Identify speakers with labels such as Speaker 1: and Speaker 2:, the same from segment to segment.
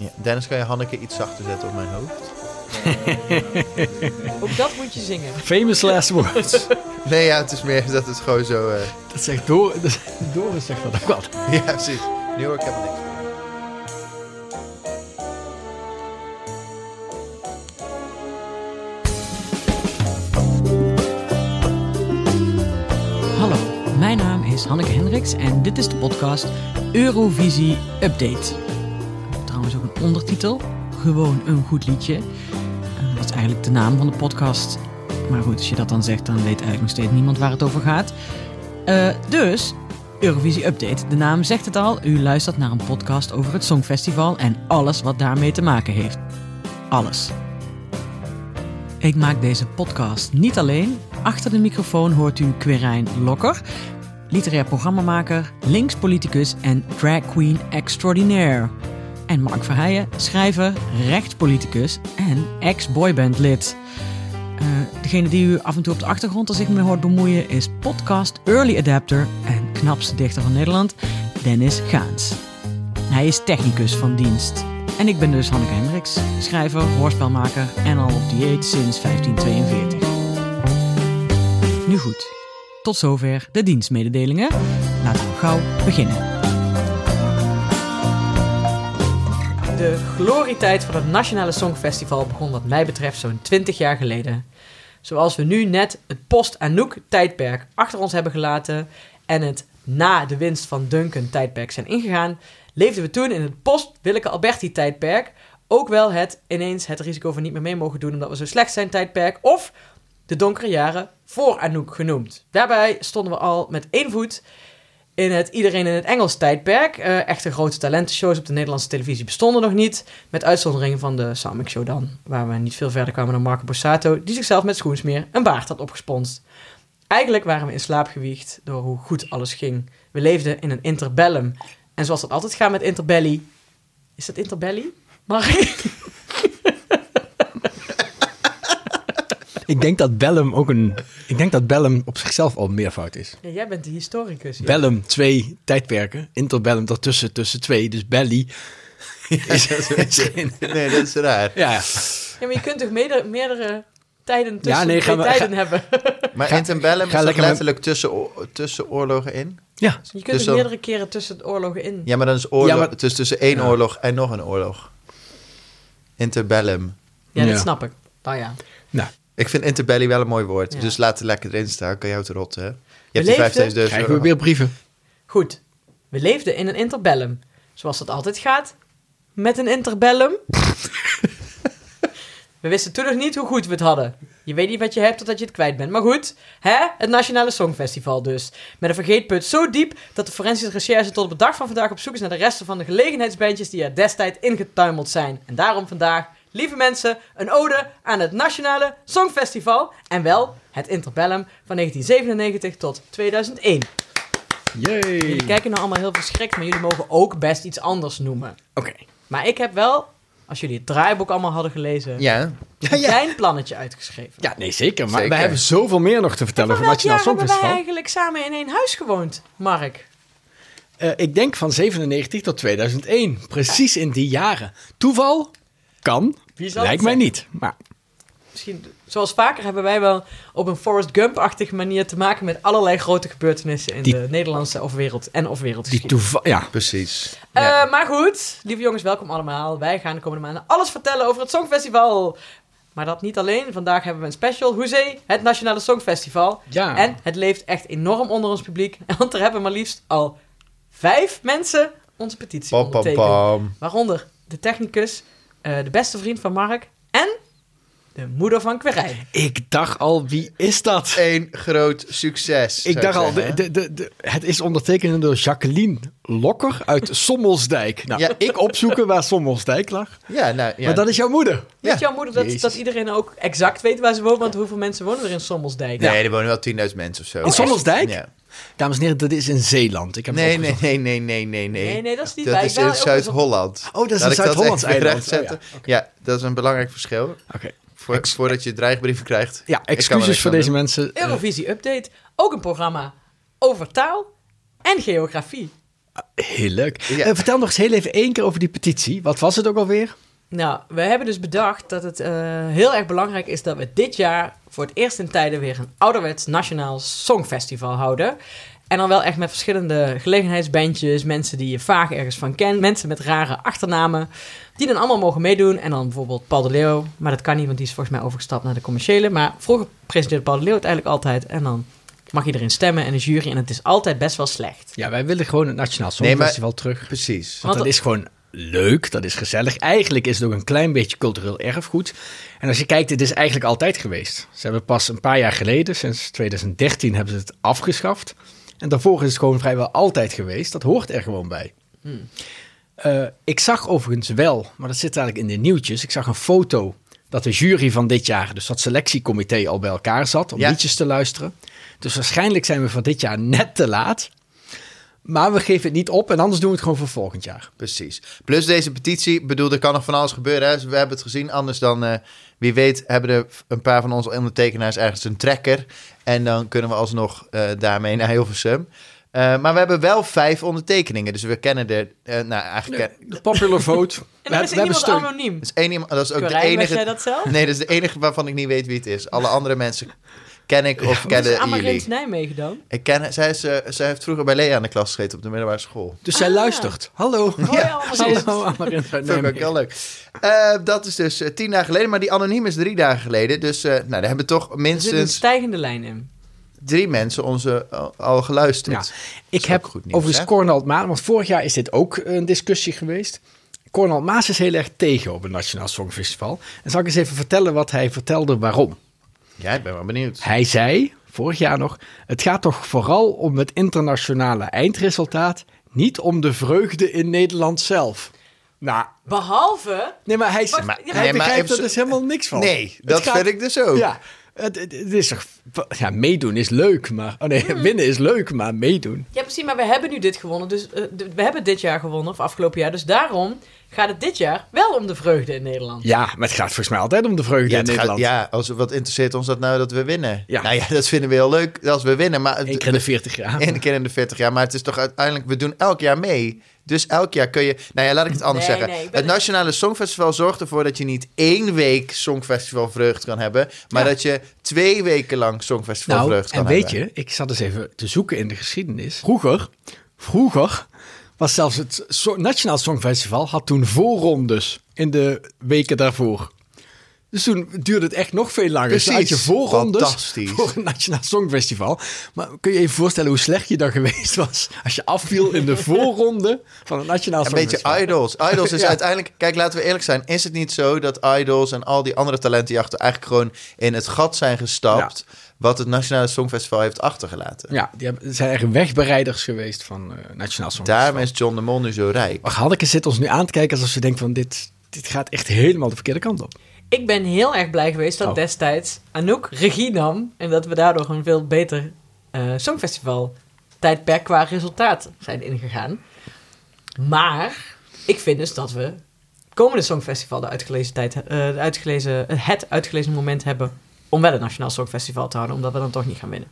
Speaker 1: Ja. Dennis, kan je Hanneke iets zachter zetten op mijn hoofd?
Speaker 2: Ook dat moet je zingen.
Speaker 3: Famous last words.
Speaker 1: Nee, ja, het is meer dat het gewoon zo... eh,
Speaker 3: dat zegt door, dat, Doris zegt dat ook wel.
Speaker 1: ja, precies. Nu hoor ik helemaal niks.
Speaker 4: Hallo, mijn naam is Hanneke Hendricks en dit is de podcast Eurovisie Update. Trouwens ook een ondertitel, gewoon een goed liedje. Eh, Dat is eigenlijk de naam van de podcast. Maar goed, als je dat dan zegt, dan weet eigenlijk nog steeds niemand waar het over gaat. Eh, dus, Eurovisie Update. De naam zegt het al, u luistert naar een podcast over het Songfestival en alles wat daarmee te maken heeft. Alles. Ik maak deze podcast niet alleen. Achter de microfoon hoort u Quirijn Lokker, literair programmamaker, linkspoliticus en drag queen extraordinaire. En Mark Verheijen, schrijver, rechtspoliticus en ex-boybandlid. Eh, degene die u af en toe op de achtergrond er zich mee hoort bemoeien is podcast Early Adapter en knapste dichter van Nederland, Dennis Gaans. Hij is technicus van dienst. En ik ben dus Hanneke Hendricks, schrijver, hoorspelmaker en al op dieet sinds 1542. Nu goed, tot zover de dienstmededelingen. Laten we gauw beginnen.
Speaker 2: De glorietijd van het Nationale Songfestival begon wat mij betreft zo'n 20 jaar geleden. Zoals we nu net het post-Anouk-tijdperk achter ons hebben gelaten en het na de winst van Duncan-tijdperk zijn ingegaan, leefden we toen in het post-Willeke Alberti-tijdperk. Ook wel het ineens het risico van niet meer mee mogen doen omdat we zo slecht zijn tijdperk of de donkere jaren voor Anouk genoemd. Daarbij stonden we al met één voet in het Iedereen in het Engels tijdperk. Eh, echte grote talentenshows op de Nederlandse televisie bestonden nog niet. Met uitzondering van de Samick Show dan. Waar we niet veel verder kwamen dan Marco Borsato. Die zichzelf met schoensmeer een baard had opgesponst. Eigenlijk waren we in slaap gewiegd door hoe goed alles ging. We leefden in een interbellum. En zoals dat altijd gaat met interbelly... Is dat interbelly? Mark?
Speaker 3: Ik denk dat Bellum ook een. Ik denk dat Bellum op zichzelf al meervoud is.
Speaker 2: Ja, jij bent de historicus. hier.
Speaker 3: Bellum, twee tijdperken. Interbellum daartussen, tussen twee. Dus Belly. is, is geen-
Speaker 1: Nee, dat is raar.
Speaker 3: ja,
Speaker 2: Ja, maar je kunt toch meerdere, meerdere tijden tussen
Speaker 3: Ja, nee,
Speaker 2: twee
Speaker 3: gaan we-
Speaker 2: tijden hebben?
Speaker 1: Maar
Speaker 3: Ga-
Speaker 1: interbellum
Speaker 3: ga
Speaker 1: is dat
Speaker 3: lekker met-
Speaker 1: letterlijk tussen, o- tussen oorlogen in?
Speaker 3: ja.
Speaker 2: Je kunt
Speaker 1: Dus
Speaker 2: dus
Speaker 1: dan-
Speaker 2: meerdere keren tussen de oorlogen in.
Speaker 1: Ja, maar dan is oorlog,
Speaker 3: Ja, maar-
Speaker 1: het is tussen één
Speaker 3: Ja.
Speaker 1: oorlog en nog een oorlog. Interbellum.
Speaker 2: Ja, dat
Speaker 3: Ja.
Speaker 2: snap ik. Nou ja.
Speaker 3: Nou,
Speaker 1: Ik vind interbelly wel een mooi woord,
Speaker 2: Ja.
Speaker 1: dus laat het lekker erin staan. Kan jou te rotten, hè? Je hebt
Speaker 2: leefden-
Speaker 1: die 5000
Speaker 3: krijgen we
Speaker 1: euro.
Speaker 3: weer brieven.
Speaker 2: Goed, we leefden in een interbellum. Zoals dat altijd gaat, met een interbellum. we wisten toen nog niet hoe goed we het hadden. Je weet niet wat je hebt totdat je het kwijt bent. Maar goed, hè? het Nationale Songfestival dus. Met een vergeetput zo diep dat de forensische recherche tot op de dag van vandaag op zoek is naar de resten van de gelegenheidsbandjes die er destijds ingetuimeld zijn. En daarom vandaag, lieve mensen, een ode aan het Nationale Songfestival. En wel het interbellum van 1997 tot 2001.
Speaker 3: Yay.
Speaker 2: Jullie kijken nou allemaal heel verschrikt, maar jullie mogen ook best iets anders noemen.
Speaker 3: Oké.
Speaker 2: Maar ik heb wel, als jullie het draaiboek allemaal hadden gelezen,
Speaker 1: Ja,
Speaker 2: een klein plannetje uitgeschreven.
Speaker 3: Ja, nee, zeker. Maar
Speaker 1: Zeker.
Speaker 3: wij hebben zoveel meer nog te vertellen
Speaker 2: Van
Speaker 3: over
Speaker 2: welk
Speaker 3: Nationaal
Speaker 2: jaar hebben wij
Speaker 3: Songfestival.
Speaker 2: eigenlijk samen in één huis gewoond, Mark?
Speaker 3: Eh, ik denk van 97 tot 2001. Precies in die jaren. Toeval kan.
Speaker 2: Wie zal
Speaker 3: Lijkt
Speaker 2: het
Speaker 3: mij niet. Maar
Speaker 2: Misschien, zoals vaker hebben wij wel op een Forrest Gump-achtige manier te maken met allerlei grote gebeurtenissen in
Speaker 3: Die-
Speaker 2: de Nederlandse of wereld en of
Speaker 3: die
Speaker 2: wereldgeschiedenis.
Speaker 3: toeval. Ja.
Speaker 1: precies.
Speaker 2: Eh, Maar goed, lieve jongens, welkom allemaal. Wij gaan de komende maanden alles vertellen over het Songfestival. Maar dat niet alleen. Vandaag hebben we een special. Hoezee, het Nationale Songfestival.
Speaker 1: Ah.
Speaker 3: ja.
Speaker 2: En het leeft echt enorm onder ons publiek. Want er hebben maar liefst al vijf mensen onze petitie
Speaker 1: Pam, pam,
Speaker 2: ondertekend.
Speaker 1: pam.
Speaker 2: Waaronder de technicus, eh, de beste vriend van Mark en de moeder van Querijn.
Speaker 3: Ik dacht al, wie is dat?
Speaker 1: Eén groot succes. zou
Speaker 3: Ik dacht al, de,
Speaker 1: zeggen.
Speaker 3: de, de, de- het is ondertekend door Jacqueline Lokker uit Sommelsdijk. Nou,
Speaker 1: Ja.
Speaker 3: ik opzoeken waar Sommelsdijk lag.
Speaker 1: Ja, nou, ja.
Speaker 3: Maar dat is jouw moeder.
Speaker 1: Ja.
Speaker 2: Weet jouw moeder dat,
Speaker 3: Jezus.
Speaker 2: dat iedereen ook exact weet waar ze woont? Want hoeveel mensen wonen er in Sommelsdijk?
Speaker 1: Nee, er wonen wel 10.000 mensen of zo.
Speaker 3: In Oh, Sommelsdijk?
Speaker 1: Ja.
Speaker 3: Dames en heren, dat is in Zeeland. Ik heb het
Speaker 1: Nee, nee,
Speaker 3: opgezocht.
Speaker 1: nee, nee, nee, nee, nee.
Speaker 2: Nee, nee, dat is niet
Speaker 1: Dat
Speaker 2: waar.
Speaker 1: is
Speaker 2: Ik ben
Speaker 1: in
Speaker 2: ook eens op-
Speaker 1: Zuid-Holland.
Speaker 3: Oh, dat is
Speaker 1: Laat
Speaker 3: een
Speaker 1: ik dat echt
Speaker 3: Zuid-Hollands
Speaker 1: weer
Speaker 3: eiland.
Speaker 1: rechtzetten.
Speaker 3: Oh, ja.
Speaker 1: ja, dat is een belangrijk verschil.
Speaker 3: Oké.
Speaker 1: Voor, voordat je dreigbrieven krijgt.
Speaker 3: Ja,
Speaker 1: er niks
Speaker 3: excuses voor
Speaker 1: aan
Speaker 3: deze
Speaker 1: doen.
Speaker 3: mensen. Eh,
Speaker 2: Eurovisie Update, ook een programma over taal en geografie.
Speaker 3: Heel leuk.
Speaker 1: Ja.
Speaker 3: Eh, vertel nog eens heel even één keer over die petitie. Wat was het ook alweer?
Speaker 2: Nou, we hebben dus bedacht dat het eh, heel erg belangrijk is dat we dit jaar voor het eerst in tijden weer een ouderwets nationaal songfestival houden. En dan wel echt met verschillende gelegenheidsbandjes, mensen die je vaag ergens van kent, mensen met rare achternamen, die dan allemaal mogen meedoen. En dan bijvoorbeeld Paul de Leeuw, maar dat kan niet, want die is volgens mij overgestapt naar de commerciële. Maar vroeger presenteerde Paul de Leeuw het eigenlijk altijd en dan mag je erin stemmen en een jury en het is altijd best wel slecht.
Speaker 3: Ja, wij willen gewoon het Nationaal
Speaker 1: Nee, maar-
Speaker 3: Songfestival terug.
Speaker 1: Precies.
Speaker 3: Want
Speaker 2: Want
Speaker 3: dat is gewoon leuk, dat is gezellig. Eigenlijk is het ook een klein beetje cultureel erfgoed. En als je kijkt, het is eigenlijk altijd geweest. Ze hebben pas een paar jaar geleden, sinds 2013, hebben ze het afgeschaft. En daarvoor is het gewoon vrijwel altijd geweest. Dat hoort er gewoon bij.
Speaker 2: Hmm.
Speaker 3: Eh, ik zag overigens wel, maar dat zit eigenlijk in de nieuwtjes. Ik zag een foto dat de jury van dit jaar, dus dat selectiecomité, al bij elkaar zat om
Speaker 1: Ja.
Speaker 3: liedjes te luisteren. Dus waarschijnlijk zijn we van dit jaar net te laat. Maar we geven het niet op en anders doen we het gewoon voor volgend jaar.
Speaker 1: Precies. Plus deze petitie, ik bedoel, er kan nog van alles gebeuren. Hè? Dus We hebben het gezien, anders dan eh, wie weet hebben er een paar van onze ondertekenaars ergens een trekker. En dan kunnen we alsnog eh, daarmee naar Hilversum. Eh, maar we hebben wel vijf ondertekeningen, dus we kennen er, eh, nou eigenlijk, ken-
Speaker 3: De popular vote.
Speaker 2: En dan is er iemand anoniem.
Speaker 1: dat is één iemand, dat is ook
Speaker 2: Corijn,
Speaker 1: de
Speaker 2: was
Speaker 1: enige,
Speaker 2: jij dat zelf?
Speaker 1: nee, dat is de enige waarvan ik niet weet wie het is. Alle andere mensen ken ik of
Speaker 2: Is
Speaker 1: kennen jullie.
Speaker 2: Amarint Nijmegen dan?
Speaker 1: Ik ken, zij, is, eh, zij heeft vroeger bij Lea aan de klas gezeten op de middelbare school.
Speaker 3: Dus
Speaker 2: Ah.
Speaker 3: zij luistert. Hallo.
Speaker 2: Hoi, Amarint.
Speaker 3: Hallo, Amarint uit
Speaker 1: Vond ik ook
Speaker 3: Nijmegen.
Speaker 1: heel leuk. Eh, dat is dus eh, tien dagen geleden, maar die anoniem is drie dagen geleden. Dus eh, nou, daar hebben toch
Speaker 2: Er zit een
Speaker 1: minstens
Speaker 2: stijgende lijn in.
Speaker 1: drie mensen onze al, al geluisterd.
Speaker 3: Ja, ik
Speaker 1: ook
Speaker 3: heb
Speaker 1: goed nieuws,
Speaker 3: overigens
Speaker 1: hè?
Speaker 3: Cornald Maas, want vorig jaar is dit ook een discussie geweest. Cornald Maas is heel erg tegen op het Nationaal Songfestival. En zal ik eens even vertellen wat hij vertelde waarom.
Speaker 1: Ja, ik ben wel benieuwd.
Speaker 3: Hij zei, vorig jaar nog, het gaat toch vooral om het internationale eindresultaat, niet om de vreugde in Nederland zelf. Nou,
Speaker 2: Behalve
Speaker 3: nee, maar hij,
Speaker 2: Wacht,
Speaker 3: maar,
Speaker 2: ja,
Speaker 3: hij
Speaker 1: nee, maar
Speaker 3: begrijpt
Speaker 1: even-
Speaker 3: er dus helemaal niks van.
Speaker 1: Nee,
Speaker 3: Het
Speaker 1: dat
Speaker 3: gaat-
Speaker 1: vind ik dus ook.
Speaker 3: Ja, het, het- het is toch... Ja, meedoen is leuk, maar... Oh nee,
Speaker 1: Hmm.
Speaker 3: winnen is leuk, maar meedoen...
Speaker 2: Ja, precies, maar we hebben nu dit gewonnen. Dus eh, d- we hebben dit jaar gewonnen, of afgelopen jaar. Dus daarom gaat het dit jaar wel om de vreugde in Nederland.
Speaker 3: Ja, maar het gaat volgens mij altijd om de vreugde
Speaker 1: Ja,
Speaker 3: in
Speaker 1: het gaat-
Speaker 3: Nederland.
Speaker 1: ja, als, wat interesseert ons dat nou dat we winnen?
Speaker 3: Ja.
Speaker 1: Nou ja, dat vinden we heel leuk als we winnen. Maar het-
Speaker 3: Eén keer in de 40 jaar.
Speaker 1: Eén keer in de 40 jaar, maar het is toch uiteindelijk, we doen elk jaar mee. Dus elk jaar kun je. Nou ja, laat ik het anders
Speaker 2: Nee,
Speaker 1: zeggen.
Speaker 2: nee, ik ben-
Speaker 1: het Nationale Songfestival zorgt ervoor dat je niet één week Songfestival vreugd kan hebben, maar dat je twee weken lang Songfestival
Speaker 3: nou,
Speaker 1: vreugd kan
Speaker 3: en
Speaker 1: hebben.
Speaker 3: weet je, ik zat eens even te zoeken in de geschiedenis. Vroeger, vroeger was zelfs het So- Nationaal Songfestival had toen voorrondes in de weken daarvoor. Dus toen duurde het echt nog veel langer. dus dan had je
Speaker 1: Precies.
Speaker 3: voorrondes
Speaker 1: Fantastisch.
Speaker 3: voor het Nationaal Songfestival. Maar kun je je even voorstellen hoe slecht je dan geweest was... als je afviel in de voorronde van het Nationaal
Speaker 1: Een beetje
Speaker 3: Songfestival?
Speaker 1: idols. Idols is
Speaker 3: Ja.
Speaker 1: uiteindelijk... Kijk, laten we eerlijk zijn. Is het niet zo dat idols en al die andere talentenjachten... eigenlijk gewoon in het gat zijn gestapt... wat het Nationale Songfestival heeft achtergelaten?
Speaker 3: Ja, die hebben, zijn echt wegbereiders geweest van eh, Nationaal Songfestival.
Speaker 1: Daarom is John de Mol nu zo rijk.
Speaker 3: Maar Hanneke zit ons nu aan te kijken alsof ze denkt van dit, dit gaat echt helemaal de verkeerde kant op.
Speaker 2: Ik ben heel erg blij geweest dat
Speaker 3: Oh.
Speaker 2: destijds Anouk regie nam. En dat we daardoor een veel beter eh songfestival tijdperk qua resultaat zijn ingegaan. Maar ik vind dus dat we komende songfestival de uitgelezen tijd, eh, de uitgelezen, eh, het uitgelezen moment hebben om wel een nationaal songfestival te houden. Omdat we dan toch niet gaan winnen.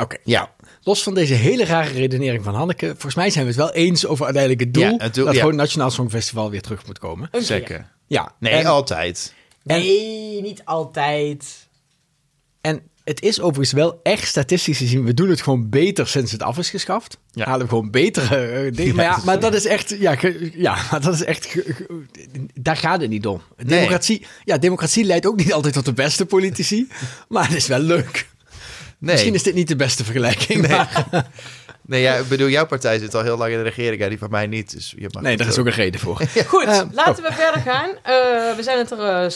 Speaker 3: Oké, ja. Los van deze hele rare redenering van Hanneke, volgens mij zijn we het wel eens over uiteindelijk het doel,
Speaker 1: Ja, het doel,
Speaker 3: dat
Speaker 1: ja.
Speaker 3: gewoon het Nationaal Songfestival weer terug moet komen.
Speaker 2: Een keer.
Speaker 3: Ja,
Speaker 1: Nee,
Speaker 3: en,
Speaker 1: altijd.
Speaker 3: En-
Speaker 2: Nee, niet altijd.
Speaker 3: en het is overigens wel echt statistisch gezien, we doen het gewoon beter sinds het af is geschaft.
Speaker 1: Ja.
Speaker 3: Halen we gewoon betere eh, dingen. maar, ja, maar dat is echt, ja, ge- ja, maar dat is echt, ge- ge- daar gaat het niet om. Democratie, ja, democratie leidt ook niet altijd tot de beste politici, maar het is wel leuk.
Speaker 1: Nee.
Speaker 3: Misschien is dit niet de beste vergelijking.
Speaker 1: Nee.
Speaker 3: maar-
Speaker 1: Nee, ja, ik bedoel, jouw partij zit al heel lang in de regering. Ja, die van mij niet. Dus je mag
Speaker 3: Nee,
Speaker 1: het
Speaker 3: daar is ook een reden voor.
Speaker 2: Goed,
Speaker 3: Eh,
Speaker 2: laten we verder gaan. Eh, we zijn het er een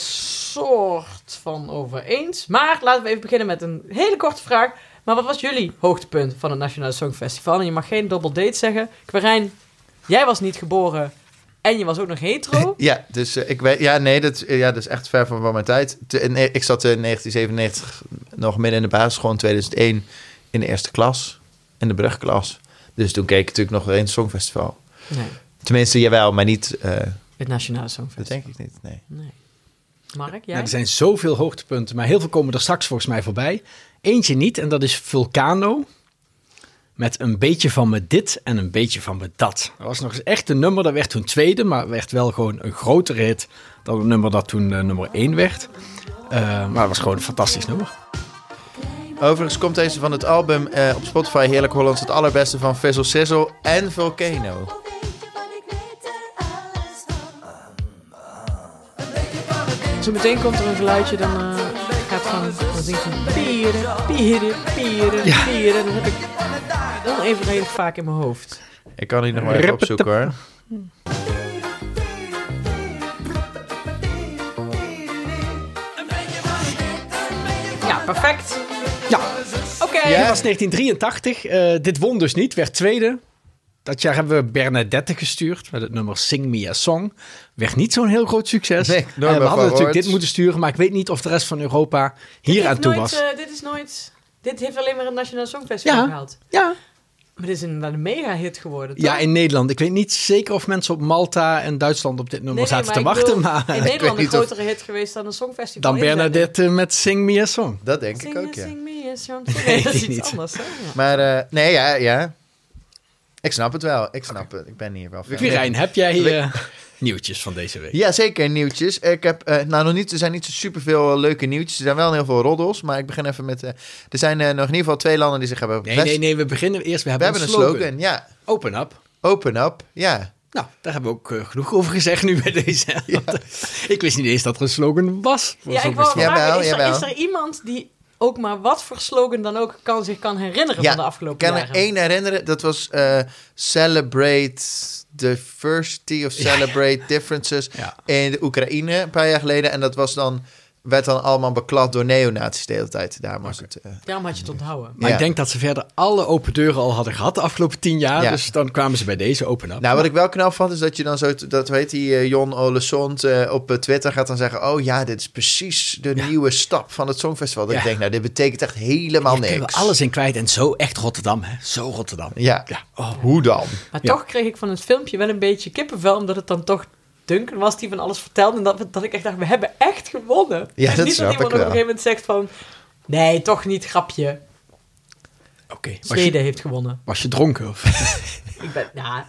Speaker 2: soort van over eens. Maar laten we even beginnen met een hele korte vraag. Maar wat was jullie hoogtepunt van het Nationale Songfestival? En je mag geen double date zeggen. Quirijn, jij was niet geboren en je was ook nog hetero.
Speaker 1: Ja, dus eh, ik weet, ja, nee, dat, ja, dat is echt ver van, van mijn tijd. Te- in- eh, ik zat in 1997 nog midden in de basisschool, in 2001 in de eerste klas, in de brugklas. Dus toen keek ik natuurlijk nog eens Songfestival.
Speaker 2: Nee,
Speaker 1: Tenminste, jawel, maar niet, eh,
Speaker 2: het Nationale
Speaker 1: dat
Speaker 2: Songfestival.
Speaker 1: denk ik niet, nee.
Speaker 2: Nee. Mark, jij?
Speaker 3: Nou, er zijn zoveel hoogtepunten, maar heel veel komen er straks volgens mij voorbij. Eentje niet, en dat is Vulcano. Met een beetje van me dit en een beetje van me dat. Dat was nog eens echt een nummer, dat werd toen tweede, maar werd wel gewoon een grotere hit dan het nummer dat toen eh, nummer één werd. Eh, maar het was gewoon een fantastisch nummer.
Speaker 1: Overigens komt deze van het album eh, op Spotify Heerlijk Hollands het allerbeste van Vessel Sizzle en Volcano.
Speaker 5: Al weet je van ik weet er alles van. Een beetje van me dit,
Speaker 2: Zo meteen komt er een geluidje, dan eh, gaat het van, dan zingt hij pieren, pieren, pieren,
Speaker 3: Ja.
Speaker 2: pieren. Dan heb ik dan even redelijk vaak in mijn hoofd.
Speaker 1: Ik kan die nog maar even
Speaker 3: Rippetep.
Speaker 1: opzoeken hoor.
Speaker 2: Ja, perfect.
Speaker 3: Ja,
Speaker 2: Oké.
Speaker 1: Ja.
Speaker 3: dat was 1983. Eh, dit won dus niet, werd tweede. Dat jaar hebben we Bernadette gestuurd met het nummer Sing Me A Song. Werd niet zo'n heel groot succes.
Speaker 1: Nee,
Speaker 3: En
Speaker 1: nooit
Speaker 3: we
Speaker 1: meer
Speaker 3: hadden
Speaker 1: gehoord.
Speaker 3: natuurlijk dit moeten sturen, maar ik weet niet of de rest van Europa hier aan
Speaker 2: Dit
Speaker 3: toe
Speaker 2: heeft
Speaker 3: was.
Speaker 2: nooit, eh, dit is nooit... Dit heeft alleen maar het Nationaal Songfestival
Speaker 3: Ja.
Speaker 2: gehaald.
Speaker 3: ja.
Speaker 2: Maar dit is inderdaad een mega-hit geworden, toch?
Speaker 3: ja, in Nederland. Ik weet niet zeker of mensen op Malta en Duitsland op dit nummer
Speaker 2: Nee, nee,
Speaker 3: zaten te
Speaker 2: maar ik
Speaker 3: wachten.
Speaker 2: bedoel,
Speaker 3: maar
Speaker 2: In Nederland
Speaker 1: niet
Speaker 2: een
Speaker 1: of-
Speaker 2: grotere hit geweest dan een Songfestival.
Speaker 3: dan
Speaker 2: in Nederland.
Speaker 3: Bernadette met Sing Me A Song.
Speaker 1: Dat denk
Speaker 2: Sing
Speaker 1: ik
Speaker 2: me,
Speaker 1: ook, ja.
Speaker 2: sing me a song. Nee, dat is
Speaker 3: niet.
Speaker 2: iets anders, hè? Ja.
Speaker 1: Maar eh, nee, ja, ja. Ik snap het wel. Ik snap het. Ik ben hier wel fan.
Speaker 3: Quirijn, heb jij eh, nieuwtjes van deze week?
Speaker 1: Ja, zeker nieuwtjes. Ik heb, eh, nou nog niet, er zijn niet zo superveel eh, leuke nieuwtjes. Er zijn wel heel veel roddels, maar ik begin even met... eh, er zijn eh, nog in ieder geval twee landen die zich hebben
Speaker 3: Nee,
Speaker 1: gevest-
Speaker 3: nee, nee. We beginnen eerst. We
Speaker 1: We
Speaker 3: hebben,
Speaker 1: hebben
Speaker 3: een slogan.
Speaker 1: ja.
Speaker 3: Open up.
Speaker 1: Open up, ja.
Speaker 3: Nou, daar hebben we ook eh, genoeg over gezegd nu bij deze. Want, eh, Ik wist niet eens dat er een slogan was. voor
Speaker 2: Ja, ik wou
Speaker 3: Songfestival.
Speaker 1: Jawel,
Speaker 2: vragen, is, er,
Speaker 1: jawel.
Speaker 2: is er iemand die ook maar wat voor slogan dan ook kan, zich kan herinneren
Speaker 1: Ja,
Speaker 2: van de afgelopen
Speaker 1: Ik kan
Speaker 2: jaren?
Speaker 1: er één herinneren, dat was eh, Celebrate Diversity of Celebrate Differences
Speaker 3: Ja.
Speaker 1: in de Oekraïne een paar jaar geleden. En dat was dan, werd dan allemaal beklad door neonazi's de hele tijd. Daarom was het... eh,
Speaker 2: Daarom had je het onthouden.
Speaker 3: Maar
Speaker 1: Ja.
Speaker 3: ik denk dat ze verder alle open deuren al hadden gehad de afgelopen tien jaar.
Speaker 1: Ja.
Speaker 3: Dus dan kwamen ze bij deze open up.
Speaker 1: Nou, wat ik wel knap vond, is dat je dan zo, dat weet die eh, Jon Olesond eh, op eh, Twitter gaat dan zeggen: Oh ja, dit is precies de nieuwe stap van het Songfestival. Dat
Speaker 3: Ja.
Speaker 1: ik denk, nou, dit betekent echt helemaal
Speaker 3: Hier kunnen
Speaker 1: niks.
Speaker 3: we alles in kwijt. En zo echt Rotterdam, hè? Zo Rotterdam.
Speaker 1: Ja.
Speaker 3: Ja. Oh,
Speaker 1: Hoe dan?
Speaker 2: Maar
Speaker 3: Ja.
Speaker 2: toch kreeg ik van het filmpje wel een beetje kippenvel, omdat het dan toch Duncan was die van alles vertelde. En dat, dat ik echt dacht, we hebben echt gewonnen.
Speaker 1: Ja,
Speaker 2: En
Speaker 1: dat
Speaker 2: niet
Speaker 1: snap
Speaker 2: dat iemand
Speaker 1: ik
Speaker 2: op een
Speaker 1: wel.
Speaker 2: gegeven moment zegt van, nee, toch niet, grapje.
Speaker 3: oké. Was, je,
Speaker 2: Zweden heeft gewonnen.
Speaker 3: was je dronken? Of?
Speaker 2: Ik ben, nou,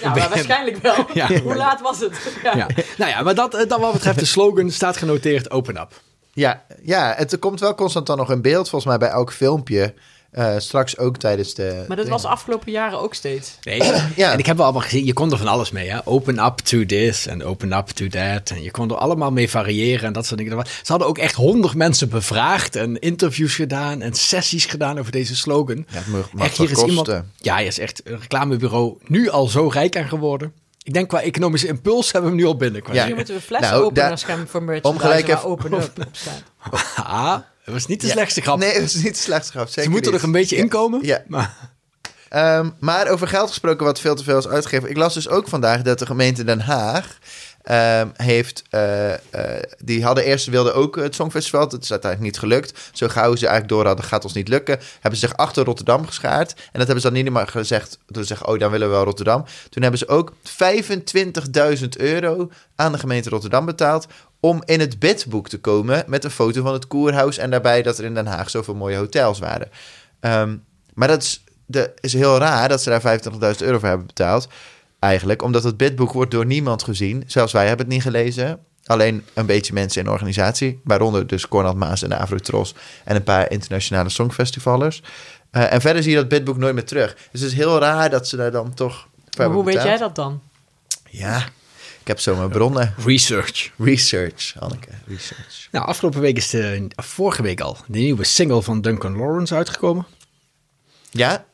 Speaker 2: ja, maar waarschijnlijk wel.
Speaker 3: Ja.
Speaker 2: Hoe laat was het? Ja.
Speaker 3: ja. Nou ja, maar dat, eh, dat wat betreft de slogan staat genoteerd open up.
Speaker 1: Ja, ja, het komt wel constant dan nog in beeld, volgens mij, bij elk filmpje. Eh, straks ook tijdens de.
Speaker 2: Maar dat was afgelopen jaren ook steeds.
Speaker 3: Nee,
Speaker 1: Ja.
Speaker 3: en ik heb wel allemaal gezien, je kon er van alles mee. Hè? Open up to this en open up to that. En je kon er allemaal mee variëren en dat soort dingen. Er wa- Ze hadden ook echt honderd mensen bevraagd en interviews gedaan en sessies gedaan over deze slogan.
Speaker 1: Ja, het mag- mag
Speaker 3: echt, hier
Speaker 1: wat
Speaker 3: is iemand,
Speaker 1: kosten.
Speaker 3: ja, hier is echt een reclamebureau nu al zo rijk aan geworden. Ik denk qua economische impuls hebben we hem nu al binnen. Qua
Speaker 1: Ja.
Speaker 2: Nu
Speaker 3: dingen.
Speaker 2: Dus moeten we
Speaker 1: Nou, daar-
Speaker 2: flesopeners gaan voor merchandise
Speaker 1: gelijk
Speaker 2: waar
Speaker 1: even-
Speaker 2: open up op staat.
Speaker 3: Ah, dat was niet de slechtste grap.
Speaker 1: Nee, dat is niet de slechtste grap. Zeker
Speaker 3: Ze moeten
Speaker 1: niet.
Speaker 3: er een beetje in komen.
Speaker 1: Ja.
Speaker 3: Maar,
Speaker 1: Ehm, maar over geld gesproken, wat veel te veel is uitgegeven. Ik las dus ook vandaag dat de gemeente Den Haag ehm, heeft. eh, eh, die hadden eerst wilden ook het Songfestival. Dat is uiteindelijk niet gelukt. Zo gauw ze eigenlijk door hadden, gaat ons niet lukken. Hebben ze zich achter Rotterdam geschaard. En dat hebben ze dan niet meer gezegd. Toen ze zeggen, oh, dan willen we wel Rotterdam. Toen hebben ze ook 25.000 euro aan de gemeente Rotterdam betaald. Om in het bedboek te komen met een foto van het koerhuis. En daarbij dat er in Den Haag zoveel mooie hotels waren. Ehm, maar dat is, de, is heel raar dat ze daar 25.000 euro voor hebben betaald. Eigenlijk, omdat het bidboek wordt door niemand gezien. Zelfs wij hebben het niet gelezen. Alleen een beetje mensen in de organisatie. Waaronder dus Cornel Maas en de Avrotros. En een paar internationale songfestivalers. Eh, en verder zie je dat bidboek nooit meer terug. Dus het is heel raar dat ze daar dan toch voor
Speaker 2: Maar
Speaker 1: hebben
Speaker 2: hoe weet jij
Speaker 1: betaald.
Speaker 2: dat dan?
Speaker 1: Ja, ik heb zo mijn bronnen.
Speaker 3: research.
Speaker 1: Research, Anneke, research.
Speaker 3: Nou, afgelopen week is de, vorige week al, de nieuwe single van Duncan Lawrence uitgekomen.
Speaker 1: Ja,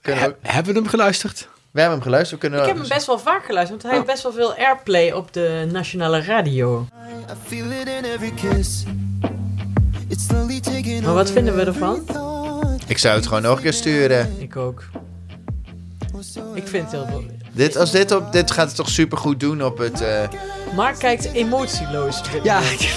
Speaker 1: kunnen we,
Speaker 3: Heb- hebben we hem geluisterd?
Speaker 1: we hebben hem geluisterd. We kunnen
Speaker 2: Ik heb hem
Speaker 3: dus-
Speaker 2: best wel vaak geluisterd, want hij heeft best wel veel airplay op de nationale radio.
Speaker 6: I feel it in every kiss. It's slowly taking
Speaker 2: Maar wat
Speaker 6: over
Speaker 2: vinden we ervan?
Speaker 6: every thought.
Speaker 1: Ik zou het gewoon nog een keer sturen.
Speaker 2: Ik ook. Ik vind het heel mooi.
Speaker 1: Dit, als dit, op, dit gaat het toch super goed doen op het. eh,
Speaker 2: Mark kijkt emotieloos. op dit
Speaker 3: Ja,
Speaker 2: moment.
Speaker 3: ik,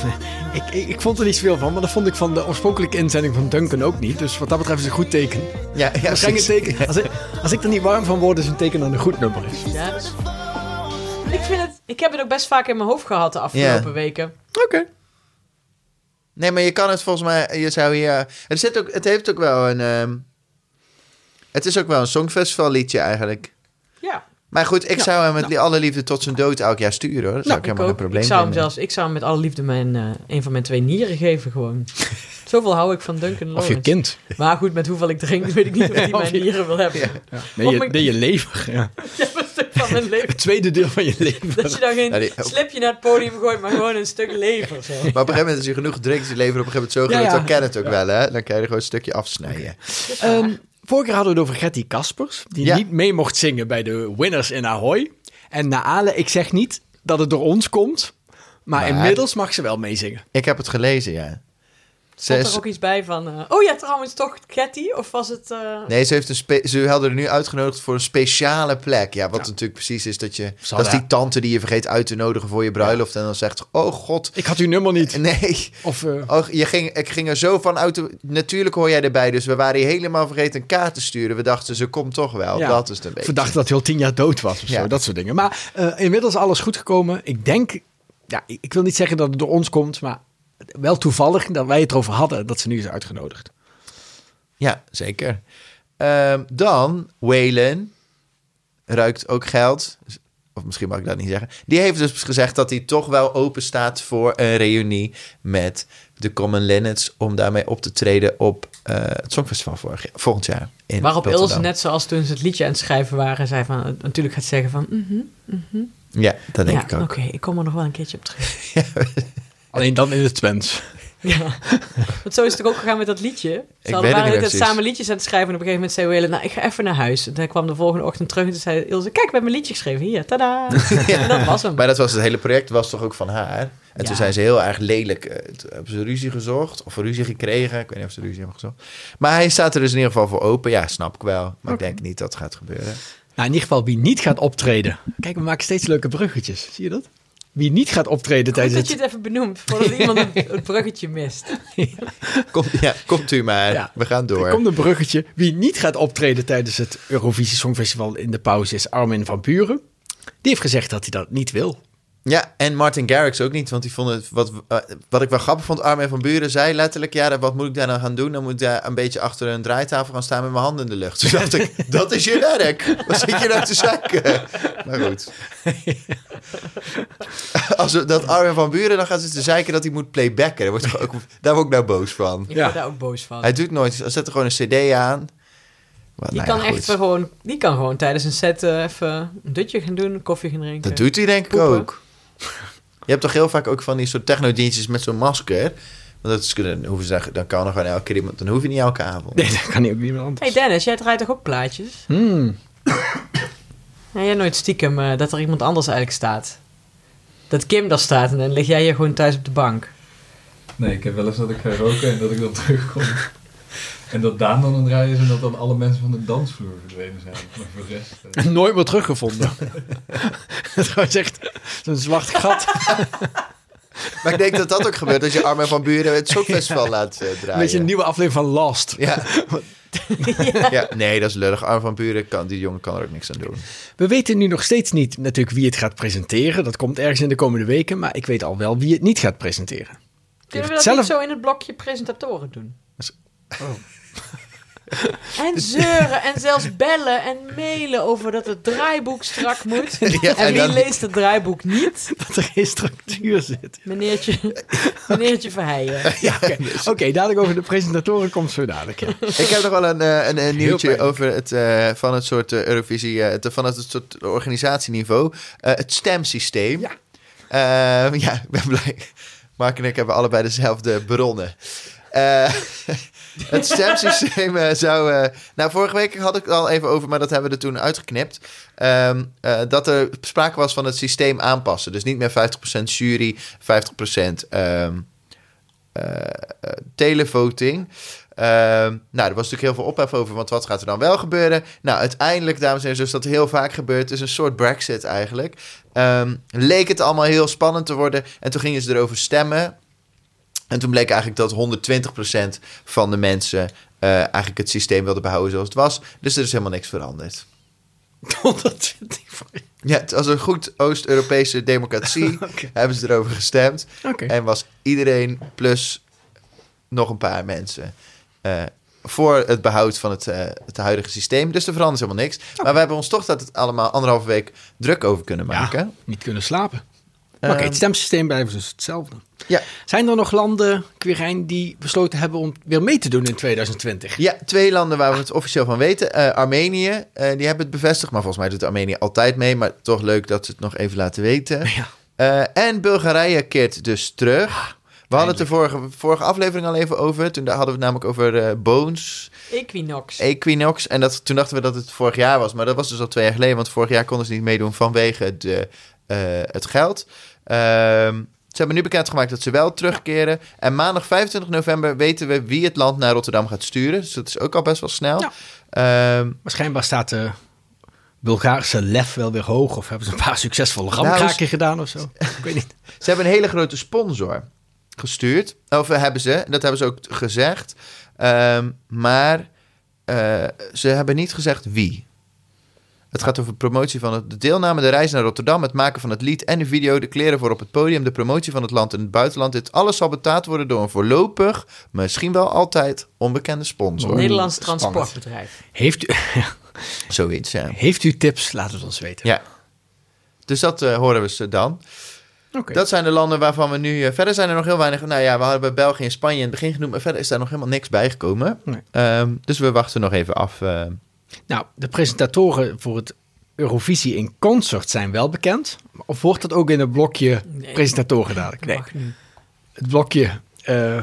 Speaker 3: ik, ik, ik vond er niet zoveel van, maar dat vond ik van de oorspronkelijke inzending van Duncan ook niet. Dus wat dat betreft is het een goed teken.
Speaker 1: ja, ja,
Speaker 3: Waarschijnlijk een teken. Als ik, als ik er niet warm van word, is een teken dat het een goed nummer is.
Speaker 2: Ja, dat is- Ik, vind het, ik heb het ook best vaak in mijn hoofd gehad de afgelopen
Speaker 1: Ja.
Speaker 2: weken.
Speaker 3: Oké.
Speaker 1: Nee, maar je kan het volgens mij. Je zou hier. Het, zit ook, het heeft ook wel een. ehm, Het is ook wel een songfestival liedje eigenlijk.
Speaker 2: Ja,
Speaker 1: Maar goed, ik
Speaker 3: Ja,
Speaker 1: zou hem met li- alle liefde tot zijn dood elk jaar sturen hoor. Dat zou ik
Speaker 2: Nou, ik,
Speaker 1: helemaal
Speaker 2: ook.
Speaker 1: geen probleem
Speaker 2: ik zou hem
Speaker 1: vinden.
Speaker 2: zelfs, ik zou hem met alle liefde mijn, eh, een van mijn twee nieren geven gewoon. Zoveel hou ik van Duncan
Speaker 3: Of
Speaker 2: Lawrence.
Speaker 3: je kind.
Speaker 2: Maar goed, met hoeveel ik drink weet ik niet of die
Speaker 3: Of
Speaker 2: mijn
Speaker 3: je-
Speaker 2: nieren wil hebben.
Speaker 3: Nee,
Speaker 2: Of
Speaker 3: je,
Speaker 2: mijn-
Speaker 3: nee, je lever. Ja.
Speaker 2: Ja, een stuk van mijn leven.
Speaker 3: Het tweede deel van je lever.
Speaker 2: Dat je dan geen
Speaker 1: Ja, die-
Speaker 2: slipje naar het podium gooit, maar gewoon een stuk lever. Zo.
Speaker 1: Maar op een gegeven moment, als je genoeg drinkt, is je lever op een gegeven moment zo groot,
Speaker 3: Ja, ja.
Speaker 1: dan ken het ook wel hè. Dan kan je er gewoon een stukje afsnijden.
Speaker 3: Ehm, vorige keer hadden we het over Gertie Kaspers, die
Speaker 1: Ja.
Speaker 3: niet mee mocht zingen bij de winners in Ahoy. En na Ale, ik zeg niet dat het door ons komt, maar,
Speaker 1: Maar-
Speaker 3: inmiddels mag ze wel meezingen.
Speaker 1: Ik heb het gelezen, ja. Ze,
Speaker 2: Stond
Speaker 1: is-
Speaker 2: er ook iets bij van... eh, oh ja, trouwens toch Getty? Of was het... eh,
Speaker 1: Nee, ze, heeft een spe- ze hadden er nu uitgenodigd voor een speciale plek. Ja, wat natuurlijk precies is dat je... Dat is
Speaker 3: hadden-
Speaker 1: die tante die je vergeet uit te nodigen voor je bruiloft. En dan zegt ze, oh god,
Speaker 3: Ik had uw nummer niet.
Speaker 1: nee.
Speaker 3: Of, eh,
Speaker 1: Oh, je ging, ik ging er zo van uit. de- Natuurlijk hoor jij erbij. Dus we waren hier helemaal vergeten een kaart te sturen. We dachten, ze komt toch wel.
Speaker 3: Ja.
Speaker 1: Dat is het een beetje.
Speaker 3: verdacht dat hij al tien jaar dood was of
Speaker 1: Ja.
Speaker 3: zo, dat soort dingen. Maar eh, inmiddels alles goed gekomen. Ik denk, ja, ik ik wil niet zeggen dat het door ons komt, maar wel toevallig dat wij het erover hadden dat ze nu is uitgenodigd.
Speaker 1: Ja, zeker. Ehm, dan, Waylon ruikt ook geld. Of misschien mag ik dat niet zeggen. Die heeft dus gezegd dat hij toch wel open staat voor een reunie met de Common Linnets. Om daarmee op te treden op eh, het Songfestival vorig, volgend jaar. In
Speaker 2: waarop
Speaker 1: Rotterdam.
Speaker 2: Ilse, net zoals toen ze het liedje aan het schrijven waren, zei van... eh, natuurlijk gaat zeggen van... mhm,
Speaker 1: Ja, dat denk
Speaker 2: ja,
Speaker 1: ik ook.
Speaker 2: oké, ik kom er nog wel een keertje op terug.
Speaker 3: Alleen dan in het Twents.
Speaker 2: Ja. Want zo is het ook ook gegaan met dat liedje. Ze
Speaker 1: weet
Speaker 2: hadden
Speaker 1: het
Speaker 2: waren
Speaker 1: niet
Speaker 2: het
Speaker 1: precies.
Speaker 2: samen liedjes aan het schrijven. En op een gegeven moment zei Waylon, nou, ik ga even naar huis. En hij kwam de volgende ochtend terug en toen zei Ilse, kijk, ik heb mijn liedje geschreven. Hier, tada. En dat was hem.
Speaker 1: Maar dat was het hele project, was toch ook van haar. En
Speaker 2: Ja.
Speaker 1: toen zijn ze heel erg lelijk. eh, Toen hebben ze ruzie gezocht of ruzie gekregen. Ik weet niet of ze ruzie hebben gezocht. Maar hij staat er dus in ieder geval voor open. Ja, snap ik wel. Maar ik denk niet dat het gaat gebeuren.
Speaker 3: Nou, in ieder geval wie niet gaat optreden. Kijk, we maken steeds leuke bruggetjes. Zie je dat? Wie niet gaat optreden
Speaker 2: Goed
Speaker 3: tijdens
Speaker 2: dat
Speaker 3: het...
Speaker 2: je het even benoemt, voordat iemand het, het bruggetje mist.
Speaker 1: Kom, ja, komt u maar.
Speaker 3: Ja.
Speaker 1: We gaan door.
Speaker 3: Er komt een bruggetje. Wie niet gaat optreden tijdens het Eurovisie Songfestival in de pauze is Armin van Buren. Die heeft gezegd dat hij dat niet wil.
Speaker 1: Ja, en Martin Garrix ook niet. Want die vond het, wat, eh, wat ik wel grappig vond, Armin van Buren zei letterlijk... ja, wat moet ik daar nou gaan doen? Dan moet ik daar een beetje achter een draaitafel gaan staan met mijn handen in de lucht. Toen dacht ik, dat is je werk. Wat zit je nou te zakken? Maar goed. Als we, dat Armin van Buren, dan gaan ze te zeiken dat hij moet playbacken. Daar word ik ook, daar word ik nou boos van.
Speaker 2: Ik
Speaker 3: Ja.
Speaker 2: word daar ook boos van.
Speaker 1: Hij doet nooit, hij zet er gewoon een cd aan. Maar,
Speaker 2: Die
Speaker 1: nou ja,
Speaker 2: kan
Speaker 1: goed.
Speaker 2: echt wel gewoon, die kan gewoon tijdens een set eh, even een dutje gaan doen, een koffie gaan drinken.
Speaker 1: Dat doet hij denk ik
Speaker 2: Poepen.
Speaker 1: ook. Je hebt toch heel vaak ook van die soort technodienstjes met zo'n masker. Want dat is, dan, hoeven ze, dan kan er gewoon elke keer iemand. Dan hoef je niet elke avond.
Speaker 3: Nee, dat kan niet ook niemand
Speaker 1: dus.
Speaker 3: anders.
Speaker 2: Hey Dennis, jij draait toch ook plaatjes?
Speaker 3: Hmm.
Speaker 2: Ja, jij nooit stiekem eh, dat er iemand anders eigenlijk staat. Dat Kim daar staat en dan lig jij hier gewoon thuis op de bank.
Speaker 7: Nee, ik heb wel eens dat ik ga roken en dat ik dan terugkom. En dat Daan dan aan het rijden is en dat dan alle mensen van de dansvloer verdwenen zijn. Maar voor de rest... eh,
Speaker 3: Nooit meer teruggevonden. dat was echt zo'n zwart gat.
Speaker 1: Maar ik denk dat dat ook gebeurt als je Armin van Buren het Songfestival laat eh,
Speaker 3: Een
Speaker 1: draaien.
Speaker 3: beetje een nieuwe aflevering van Lost.
Speaker 1: ja. ja. Nee, dat is lullig. Armin van Buren, kan, die jongen kan er ook niks aan doen.
Speaker 3: We weten nu nog steeds niet natuurlijk wie het gaat presenteren. Dat komt ergens in de komende weken. Maar ik weet al wel wie het niet gaat presenteren.
Speaker 2: Kunnen we dat
Speaker 3: het zelf-
Speaker 2: niet zo in het blokje presentatoren doen? En zeuren en zelfs bellen en mailen over dat het draaiboek strak moet.
Speaker 1: Ja,
Speaker 2: en
Speaker 1: en
Speaker 2: wie
Speaker 1: dan-
Speaker 2: leest het draaiboek niet?
Speaker 3: Dat er geen structuur zit.
Speaker 2: Meneertje, meneertje Verheijen.
Speaker 3: Ja, oké, Oké, dadelijk over de presentatoren komt zo dadelijk. ja.
Speaker 1: Ik heb nog wel een, eh, een, een nieuwtje
Speaker 3: pijnlijk.
Speaker 1: over het, eh, van het soort eh, Eurovisie, eh, het- van het, soort organisatieniveau. Eh, het stemsysteem.
Speaker 3: Ja.
Speaker 1: Eh, ja, ik ben blij. Mark en ik hebben allebei dezelfde bronnen. Eh, het stemsysteem eh, zou... eh, nou, vorige week had ik het al even over, maar dat hebben we er toen uitgeknipt. Ehm, eh, dat er sprake was van het systeem aanpassen. Dus niet meer 50% jury, 50% ehm eh, eh, televoting. Ehm, nou, er was natuurlijk heel veel ophef over, want wat gaat er dan wel gebeuren? Nou, uiteindelijk, dames en heren, zoals dat heel vaak gebeurt, is een soort brexit eigenlijk. Ehm, leek het allemaal heel spannend te worden en toen gingen ze erover stemmen. En toen bleek eigenlijk dat 120% van de mensen eh, eigenlijk het systeem wilde behouden zoals het was. Dus er is helemaal niks veranderd.
Speaker 3: 120 voor-
Speaker 1: Ja, het was een goed Oost-Europese democratie. Hebben ze erover gestemd.
Speaker 3: Oké.
Speaker 1: En was iedereen plus nog een paar mensen eh, voor het behoud van het, eh, het huidige systeem. Dus er verandert helemaal niks. Maar we hebben ons toch dat het allemaal anderhalve week druk over kunnen
Speaker 3: Ja.
Speaker 1: maken.
Speaker 3: Niet kunnen slapen. Maar
Speaker 1: Ehm,
Speaker 3: Oké, het stemsysteem blijft dus hetzelfde.
Speaker 1: Ja.
Speaker 3: Zijn er nog landen, Quirijn, die besloten hebben om weer mee te doen in 2020?
Speaker 1: Ja, twee landen waar we het officieel van weten. Eh, Armenië, eh, die hebben het bevestigd. Maar volgens mij doet Armenië altijd mee. Maar toch leuk dat ze het nog even laten weten.
Speaker 3: Ja.
Speaker 1: Eh, en Bulgarije keert dus terug. We hadden het de vorige, vorige aflevering al even over. Toen daar hadden we het namelijk over eh, Bones,
Speaker 2: Equinox.
Speaker 1: Equinox. En dat, toen dachten we dat het vorig jaar was. Maar dat was dus al twee jaar geleden. Want vorig jaar konden ze niet meedoen vanwege de, eh, het geld. Ehm, ze hebben nu bekendgemaakt dat ze wel terugkeren. En maandag 25 november weten we wie het land naar Rotterdam gaat sturen. Dus dat is ook al best wel snel.
Speaker 3: Ja.
Speaker 1: Ehm,
Speaker 3: Maar schijnbaar staat de Bulgaarse lef wel weer hoog. Of hebben ze een paar succesvolle ramkraken
Speaker 1: Nou,
Speaker 3: gedaan of zo? Ik weet niet.
Speaker 1: Ze hebben een hele grote sponsor gestuurd. Of eh, hebben ze, dat hebben ze ook t- gezegd. Ehm, maar eh, ze hebben niet gezegd wie. Het gaat over promotie van het, de deelname, de reis naar Rotterdam, het maken van het lied en de video, de kleren voor op het podium, de promotie van het land in het buitenland. Dit alles zal betaald worden door een voorlopig, misschien wel altijd onbekende sponsor.
Speaker 2: Nederlands
Speaker 3: Spannend.
Speaker 2: transportbedrijf.
Speaker 3: Heeft u,
Speaker 1: Zoiets, ja.
Speaker 3: heeft u tips? Laat het ons weten.
Speaker 1: ja. Dus dat eh, horen we ze dan.
Speaker 3: Oké.
Speaker 1: Dat zijn de landen waarvan we nu... eh, verder zijn er nog heel weinig... Nou ja, we hadden België en Spanje in het begin genoemd... maar verder is daar nog helemaal niks bijgekomen.
Speaker 3: Nee.
Speaker 1: Ehm, dus we wachten nog even af. eh.
Speaker 3: Nou, de presentatoren voor het Eurovisie in Concert zijn wel bekend. Of wordt dat ook in het blokje
Speaker 2: Nee.
Speaker 3: presentatoren dadelijk?
Speaker 2: Mag niet.
Speaker 3: Het blokje. eh,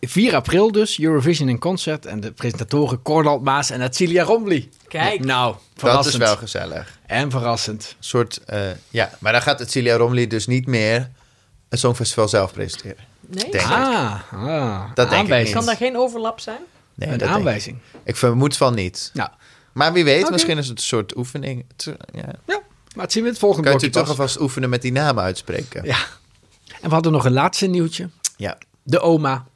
Speaker 3: 4 april dus, Eurovision in Concert. En de presentatoren Cornald Maas en Atsilia Rombly.
Speaker 2: Kijk.
Speaker 3: Nou,
Speaker 1: dat
Speaker 3: verrassend.
Speaker 1: is wel gezellig.
Speaker 3: En verrassend.
Speaker 1: Een soort... eh, ja, maar dan gaat het Cilia Romli dus niet meer... het Songfestival zelf presenteren.
Speaker 2: Nee?
Speaker 1: Denk-
Speaker 3: Ah, ah,
Speaker 1: Dat denk ik
Speaker 3: aanwijzing.
Speaker 2: Kan daar geen overlap zijn?
Speaker 1: Nee, dat
Speaker 3: Een
Speaker 1: denk ik.
Speaker 3: aanwijzing.
Speaker 1: Ik vermoed van niet.
Speaker 3: Nou,
Speaker 1: Maar wie weet,
Speaker 3: Oké.
Speaker 1: misschien is het een soort oefening. Het- eh, ja.
Speaker 3: ja, maar het zien we in het volgende
Speaker 1: Kan je
Speaker 3: blokje
Speaker 1: toch
Speaker 3: pas.
Speaker 1: alvast oefenen met die namen uitspreken.
Speaker 3: Ja. En we hadden nog een laatste nieuwtje.
Speaker 1: Ja.
Speaker 3: De oma,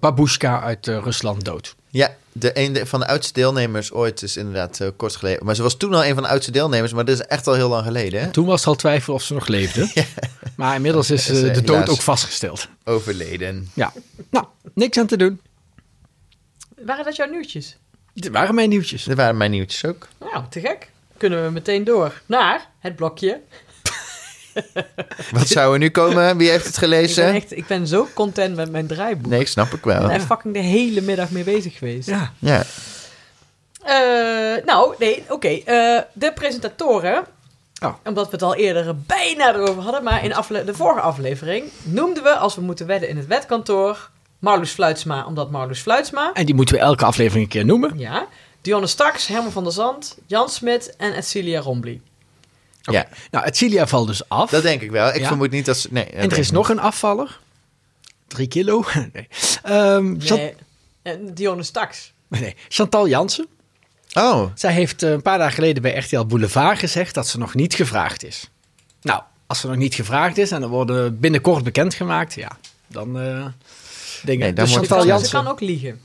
Speaker 3: Babushka uit eh, Rusland, dood.
Speaker 1: Ja, de, een de- van de oudste deelnemers ooit is inderdaad eh, kort geleden. Maar ze was toen al een van de oudste deelnemers, maar dat is echt al heel lang geleden. Hè?
Speaker 3: Toen was er al twijfel of ze nog leefde. Maar inmiddels is
Speaker 1: Is,
Speaker 3: eh,
Speaker 1: eh,
Speaker 3: de dood
Speaker 1: helaas.
Speaker 3: ook vastgesteld.
Speaker 1: Overleden.
Speaker 3: Ja. Nou, niks aan te doen.
Speaker 2: Waren dat jouw nieuwtjes?
Speaker 3: Dit waren mijn nieuwtjes.
Speaker 1: Dat waren mijn nieuwtjes ook.
Speaker 2: Nou, te gek. Kunnen we meteen door naar het blokje.
Speaker 1: Wat zou er nu komen? Wie heeft het
Speaker 2: Ik ben,
Speaker 1: gelezen?
Speaker 2: echt, ik ben zo content met mijn draaiboek.
Speaker 1: Nee, snap ik
Speaker 2: Ik
Speaker 1: wel.
Speaker 2: ben er fucking de hele middag mee bezig geweest.
Speaker 3: Ja.
Speaker 1: Ja.
Speaker 2: Eh, nou, nee, oké. eh, de presentatoren,
Speaker 3: Oh.
Speaker 2: omdat we het al eerder bijna erover hadden, maar in afle- de vorige aflevering noemden we, als we moeten wedden in het wetkantoor, Marloes Fluitsma, omdat Marloes Fluitsma,
Speaker 3: En die moeten we elke aflevering een keer noemen.
Speaker 2: ja, Dionne Staks, Herman van der Zand, Jan Smit en Edcilia Rombly.
Speaker 1: ja,
Speaker 3: Nou, Etcilia valt dus af.
Speaker 1: dat denk ik wel. Ik
Speaker 3: Ja.
Speaker 1: vermoed niet dat ze... Nee, dat
Speaker 3: en
Speaker 1: denk
Speaker 3: er is
Speaker 1: ik
Speaker 3: nog een afvaller. Drie kilo. nee. Ehm, Chan-
Speaker 2: Nee, en Dionne Staks.
Speaker 3: nee. Chantal Jansen.
Speaker 1: niet. Oh,
Speaker 3: Zij heeft eh, een paar dagen geleden bij RTL Boulevard gezegd dat ze nog niet gevraagd is. Nou, als ze nog niet gevraagd is en er worden binnenkort bekendgemaakt, ja, dan eh dingen.
Speaker 1: Nee, dan wordt-
Speaker 3: dus
Speaker 2: Ze
Speaker 3: Chantal
Speaker 2: kan, ze
Speaker 3: Jansen,
Speaker 2: kan ook liegen.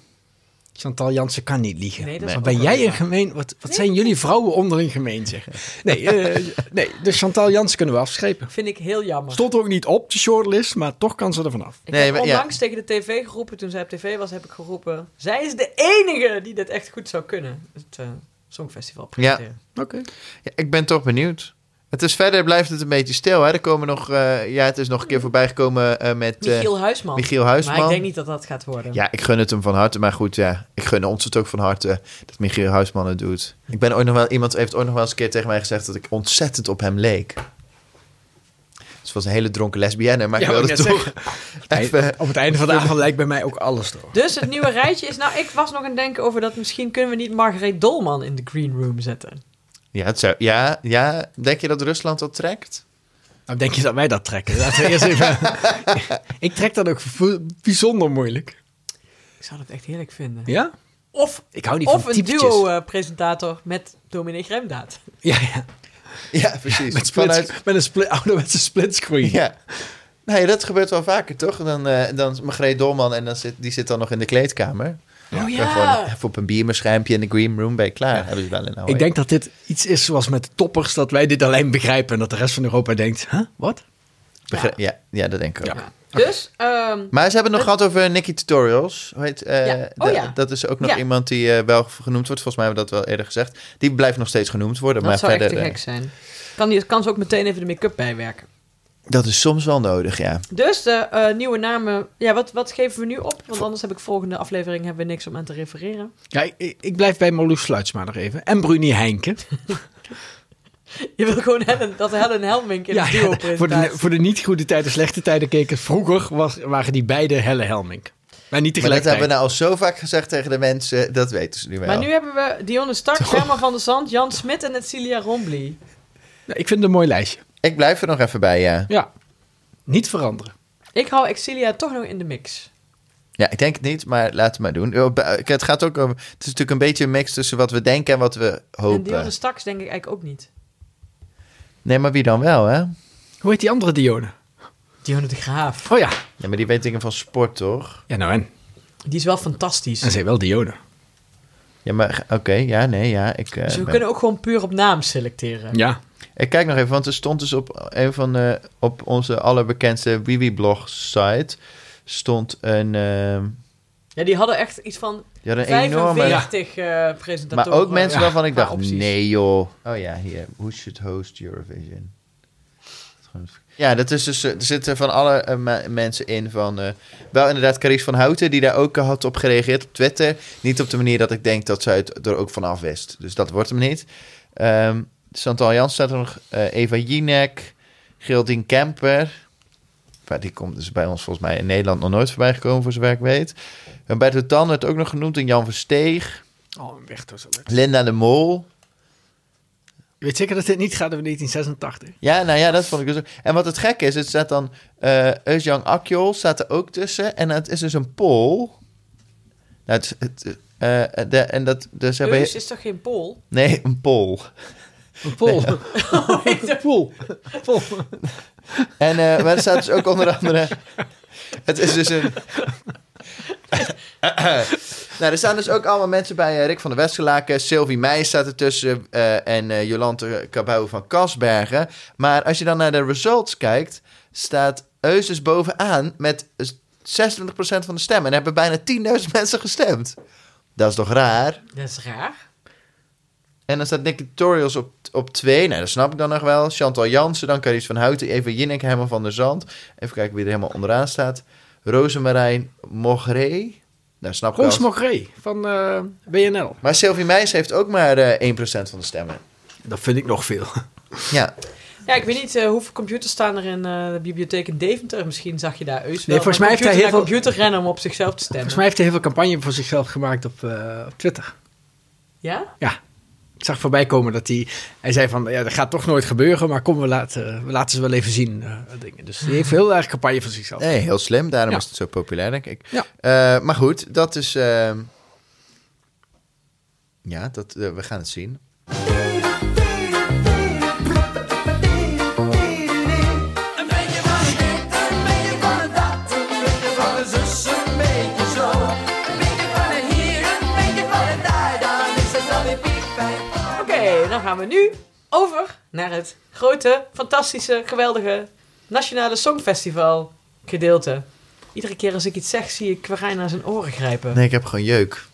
Speaker 3: Chantal Jansen kan niet liegen.
Speaker 2: Nee, dat is
Speaker 3: Maar
Speaker 2: ook
Speaker 3: ben
Speaker 2: wel
Speaker 3: jij
Speaker 2: waar.
Speaker 3: een gemeen? Wat, wat zijn jullie vrouwen onderling gemeen, zeg? Nee, eh, nee, dus Chantal Jansen kunnen we afschepen.
Speaker 2: Vind ik heel jammer.
Speaker 3: Stond er ook niet op de shortlist, maar toch kan ze er vanaf.
Speaker 2: Ik
Speaker 1: Nee,
Speaker 2: heb
Speaker 1: maar- ja.
Speaker 2: onlangs tegen de tv geroepen, toen zij op tv was, heb ik geroepen... Zij is de enige die dit echt goed zou kunnen. Het eh, Songfestival presenteren.
Speaker 3: Oké.
Speaker 1: ja, ik ben toch benieuwd. Het is verder blijft het een beetje stil. Hè? Er komen nog... eh, ja, het is nog een keer voorbijgekomen eh met eh,
Speaker 2: Michiel Huisman.
Speaker 1: Michiel Huisman.
Speaker 2: Maar ik denk niet dat dat gaat worden.
Speaker 1: Ja, ik gun het hem van harte. Maar goed, ja, ik gun ons het ook van harte dat Michiel Huisman het doet. Ik ben ooit nog wel, iemand heeft ooit nog wel eens een keer tegen mij gezegd dat ik ontzettend op hem leek. Ze was een hele dronken lesbienne, maar
Speaker 3: Ja,
Speaker 1: ik
Speaker 3: wou
Speaker 1: wilde
Speaker 3: ik net
Speaker 1: toch even...
Speaker 3: Op het einde van de avond lijkt bij mij ook alles door.
Speaker 2: Dus het nieuwe rijtje is... Nou, ik was nog aan het denken over dat misschien kunnen we niet Margaret Dolman in de green room zetten.
Speaker 1: Ja, het zou, ja, ja, denk je dat Rusland dat trekt?
Speaker 3: Nou, denk je dat wij dat trekken? Laten we eerst even... ik trek dat ook vo- bijzonder moeilijk.
Speaker 2: Ik zou dat echt heerlijk vinden.
Speaker 3: Ja?
Speaker 2: Of,
Speaker 3: Ik hou niet
Speaker 2: of
Speaker 3: van
Speaker 2: een eh.
Speaker 3: typetjes.
Speaker 2: duo-presentator met Dominee Gremdaad.
Speaker 3: Ja, ja.
Speaker 1: Ja, precies.
Speaker 3: Met, split,
Speaker 1: Vanuit,
Speaker 3: met een split, ouderwetse splitscreen.
Speaker 1: ja. Nee, dat gebeurt wel vaker, toch? Dan, eh dan is Margreet Dolman en dan zit, die zit dan nog in de kleedkamer.
Speaker 2: Oh
Speaker 1: En Gewoon even op een biermerschuimpje in de green room bij klaar. Hebben ze wel in Hawaii.
Speaker 3: Ik denk dat dit iets is zoals met de toppers, dat wij dit alleen begrijpen en dat de rest van Europa denkt, huh, wat?
Speaker 1: Begre- ja. Ja, dat denk ik ook.
Speaker 3: Ja.
Speaker 2: Dus, ehm,
Speaker 1: Maar ze hebben het nog gehad over Nicky Tutorials. Hoe heet, eh,
Speaker 2: Ja. Oh,
Speaker 1: da-
Speaker 2: ja.
Speaker 1: Dat is ook nog
Speaker 2: Ja.
Speaker 1: iemand die eh, wel genoemd wordt. Volgens mij hebben we dat wel eerder gezegd. Die blijft nog steeds genoemd worden.
Speaker 2: dat
Speaker 1: maar
Speaker 2: zou
Speaker 1: verder,
Speaker 2: echt te
Speaker 1: eh,
Speaker 2: gek zijn. Kan, die, kan ze ook meteen even de make-up bijwerken.
Speaker 1: dat is soms wel nodig, ja.
Speaker 2: Dus de eh, nieuwe namen. Ja, wat, wat geven we nu op? Want anders heb ik volgende aflevering hebben we niks om aan te refereren.
Speaker 3: Ja, ik, ik blijf bij Marloes Sluitsma nog even. En Bruni Heinken.
Speaker 2: Je wil gewoon Helen, dat Helen Helmink in
Speaker 3: Ja,
Speaker 2: het duo
Speaker 3: ja, voor, de,
Speaker 2: presentatie.
Speaker 3: voor de niet goede tijden, slechte tijden keken. Vroeger was, waren die beide helle Helmink. Maar niet
Speaker 1: Maar dat
Speaker 3: tegelijkertijd.
Speaker 1: hebben we nou al zo vaak gezegd tegen de mensen. Dat weten ze nu wel.
Speaker 2: Maar nu hebben we Dionne Stark, Herman van der Zand, Jan Smit en het Celia Rombly.
Speaker 3: Nou, ik vind het een mooi lijstje.
Speaker 1: Ik blijf er nog even bij, ja.
Speaker 3: Ja. Niet veranderen.
Speaker 2: Ik hou Exilia toch nog in de mix.
Speaker 1: Ja, ik denk het niet, maar laten we maar doen. Eh, bij- Het gaat ook over... Het is natuurlijk een beetje een mix tussen wat we denken en wat we
Speaker 2: En Dionne
Speaker 1: hopen.
Speaker 2: Stark denk ik eigenlijk ook niet.
Speaker 1: Nee, maar wie dan wel, hè?
Speaker 3: Hoe heet die andere Dione?
Speaker 2: Dionne de Graaf.
Speaker 3: Oh ja.
Speaker 1: Ja, maar die weet dingen van sport, toch?
Speaker 3: Ja, nou en.
Speaker 2: Die is wel fantastisch.
Speaker 3: En zij wel Dione.
Speaker 1: Ja, maar oké, ja, nee, ja. Ik, eh,
Speaker 2: Dus we
Speaker 1: ben-
Speaker 2: kunnen ook gewoon puur op naam selecteren.
Speaker 3: Ja.
Speaker 1: Ik kijk nog even, want er stond dus op een van de, op onze allerbekendste blog site stond een, ehm
Speaker 2: Ja, die hadden echt iets van
Speaker 1: ja, een enorme,
Speaker 2: 45 eh
Speaker 1: maar
Speaker 2: presentatoren.
Speaker 1: ook mensen
Speaker 2: Ja,
Speaker 1: waarvan ik
Speaker 2: qua
Speaker 1: dacht,
Speaker 2: opties.
Speaker 1: nee joh. Oh ja, hier, who should host Eurovision? Ja, dat is dus, eh, er zitten van alle eh, me- mensen in van, eh, wel inderdaad Carice van Houten, die daar ook eh, had op gereageerd op Twitter. Niet op de manier dat ik denk dat zij het er ook vanaf wist. Dus dat wordt hem niet. Ehm, Chantal Jans staat er nog, eh, Eva Jinek, Gildien Kemper. Maar die komt dus bij ons volgens mij in Nederland nog nooit voorbij gekomen, voor zover ik weet. Humberto Tan werd ook nog genoemd en Jan Versteeg.
Speaker 3: Oh, weg dus.
Speaker 1: Linda de Mol.
Speaker 3: Je weet zeker dat dit niet gaat over 1986.
Speaker 1: Ja, nou ja, dat vond ik dus ook. En wat het gek is, het staat dan... eh Özjan Akjol staat er ook tussen. En het is dus een Pool. Nou, het, is- het, eh, de, en dat... Dus hebben
Speaker 2: Eus is toch geen Pool?
Speaker 1: Nee, een Pool.
Speaker 3: Een pol. Een pol. Pol.
Speaker 1: En eh maar er staat dus ook onder andere... Het is dus een... nou, er staan dus ook allemaal mensen bij. eh, Rick van der Westerlaken, Sylvie Meijs staat ertussen. eh en eh, Jolante Cabau van Kasbergen. Maar als je dan naar de results kijkt... staat Eus dus bovenaan met 26% van de stemmen. En er hebben bijna 10.000 mensen gestemd. Dat is toch raar?
Speaker 2: Dat is raar.
Speaker 1: En dan staat Nick Tutorials op, op twee. Nou, dat snap ik dan nog wel. Chantal Jansen, dan Carice van Houten, Eva Jinek, Herman van der Zand. Even kijken wie er helemaal onderaan staat. Rosemarijn Mogré. Nou, snap ik
Speaker 3: Roos
Speaker 1: wel.
Speaker 3: Mogré van eh, BNL.
Speaker 1: Maar Sylvie Meijs heeft ook maar eh 1% van de stemmen.
Speaker 3: Dat vind ik nog veel.
Speaker 1: Ja,
Speaker 2: Ja, ik weet niet eh, hoeveel computers staan er in eh, de bibliotheek in Deventer. Misschien zag je daar Eus wel.
Speaker 3: Nee, volgens mij heeft hij heel
Speaker 2: computer naar computer rennen om op zichzelf te stemmen.
Speaker 3: Volgens mij heeft hij heel veel campagne voor zichzelf gemaakt op, eh, op Twitter.
Speaker 2: Ja?
Speaker 3: Ja, ik zag voorbij komen dat hij... Hij zei van, ja, dat gaat toch nooit gebeuren, maar kom, we laten, we laten ze wel even zien. eh, dingen. Dus die heeft heel erg campagne voor zichzelf.
Speaker 1: nee, heel slim. Daarom
Speaker 3: Oh. Ja.
Speaker 1: is het zo populair, denk ik.
Speaker 3: Ja.
Speaker 1: Eh, maar goed, dat is... ehm, Ja, dat, eh, we gaan het zien.
Speaker 5: Een beetje van dit, een beetje van dat, een beetje van de zus, een beetje zo. Een beetje van de hier, een beetje van de daar, dan is het alweer piep bij.
Speaker 2: Oké, dan gaan we nu over naar het grote, fantastische, geweldige Nationale Songfestival gedeelte. Iedere keer als ik iets zeg, zie ik Quarijn naar zijn oren grijpen.
Speaker 1: Nee, ik heb gewoon jeuk.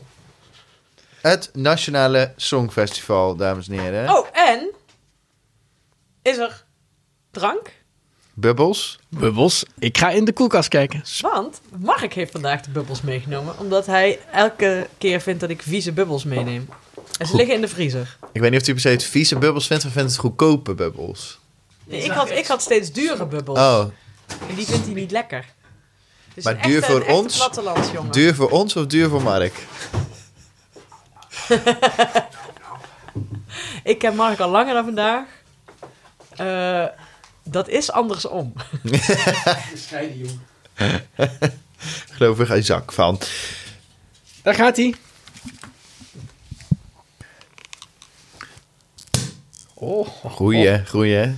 Speaker 1: Het Nationale Songfestival, dames en heren.
Speaker 2: Oh, en is er drank?
Speaker 1: Bubbles.
Speaker 3: Bubbels, ik ga in de koelkast kijken.
Speaker 2: Want Mark heeft vandaag de bubbels meegenomen, omdat hij elke keer vindt dat ik vieze bubbels meeneem. En ze liggen in de vriezer.
Speaker 1: Ik weet niet of hij per se het vieze bubbels vindt, of vindt het goedkope bubbels.
Speaker 2: Nee, ik, had, ik had steeds dure bubbels.
Speaker 1: Oh,
Speaker 2: En die vindt hij niet lekker. Dus
Speaker 1: Maar
Speaker 2: een
Speaker 1: duur
Speaker 2: echte-
Speaker 1: voor
Speaker 2: een echte
Speaker 1: ons?
Speaker 2: plattelandsjongen.
Speaker 1: duur voor ons of duur voor Mark?
Speaker 2: Ik ken Mark al langer dan vandaag. Eh, dat is andersom.
Speaker 1: Geloof ik geen zak van.
Speaker 3: Daar gaat hij. Oh,
Speaker 1: Goeie, goeie. hè?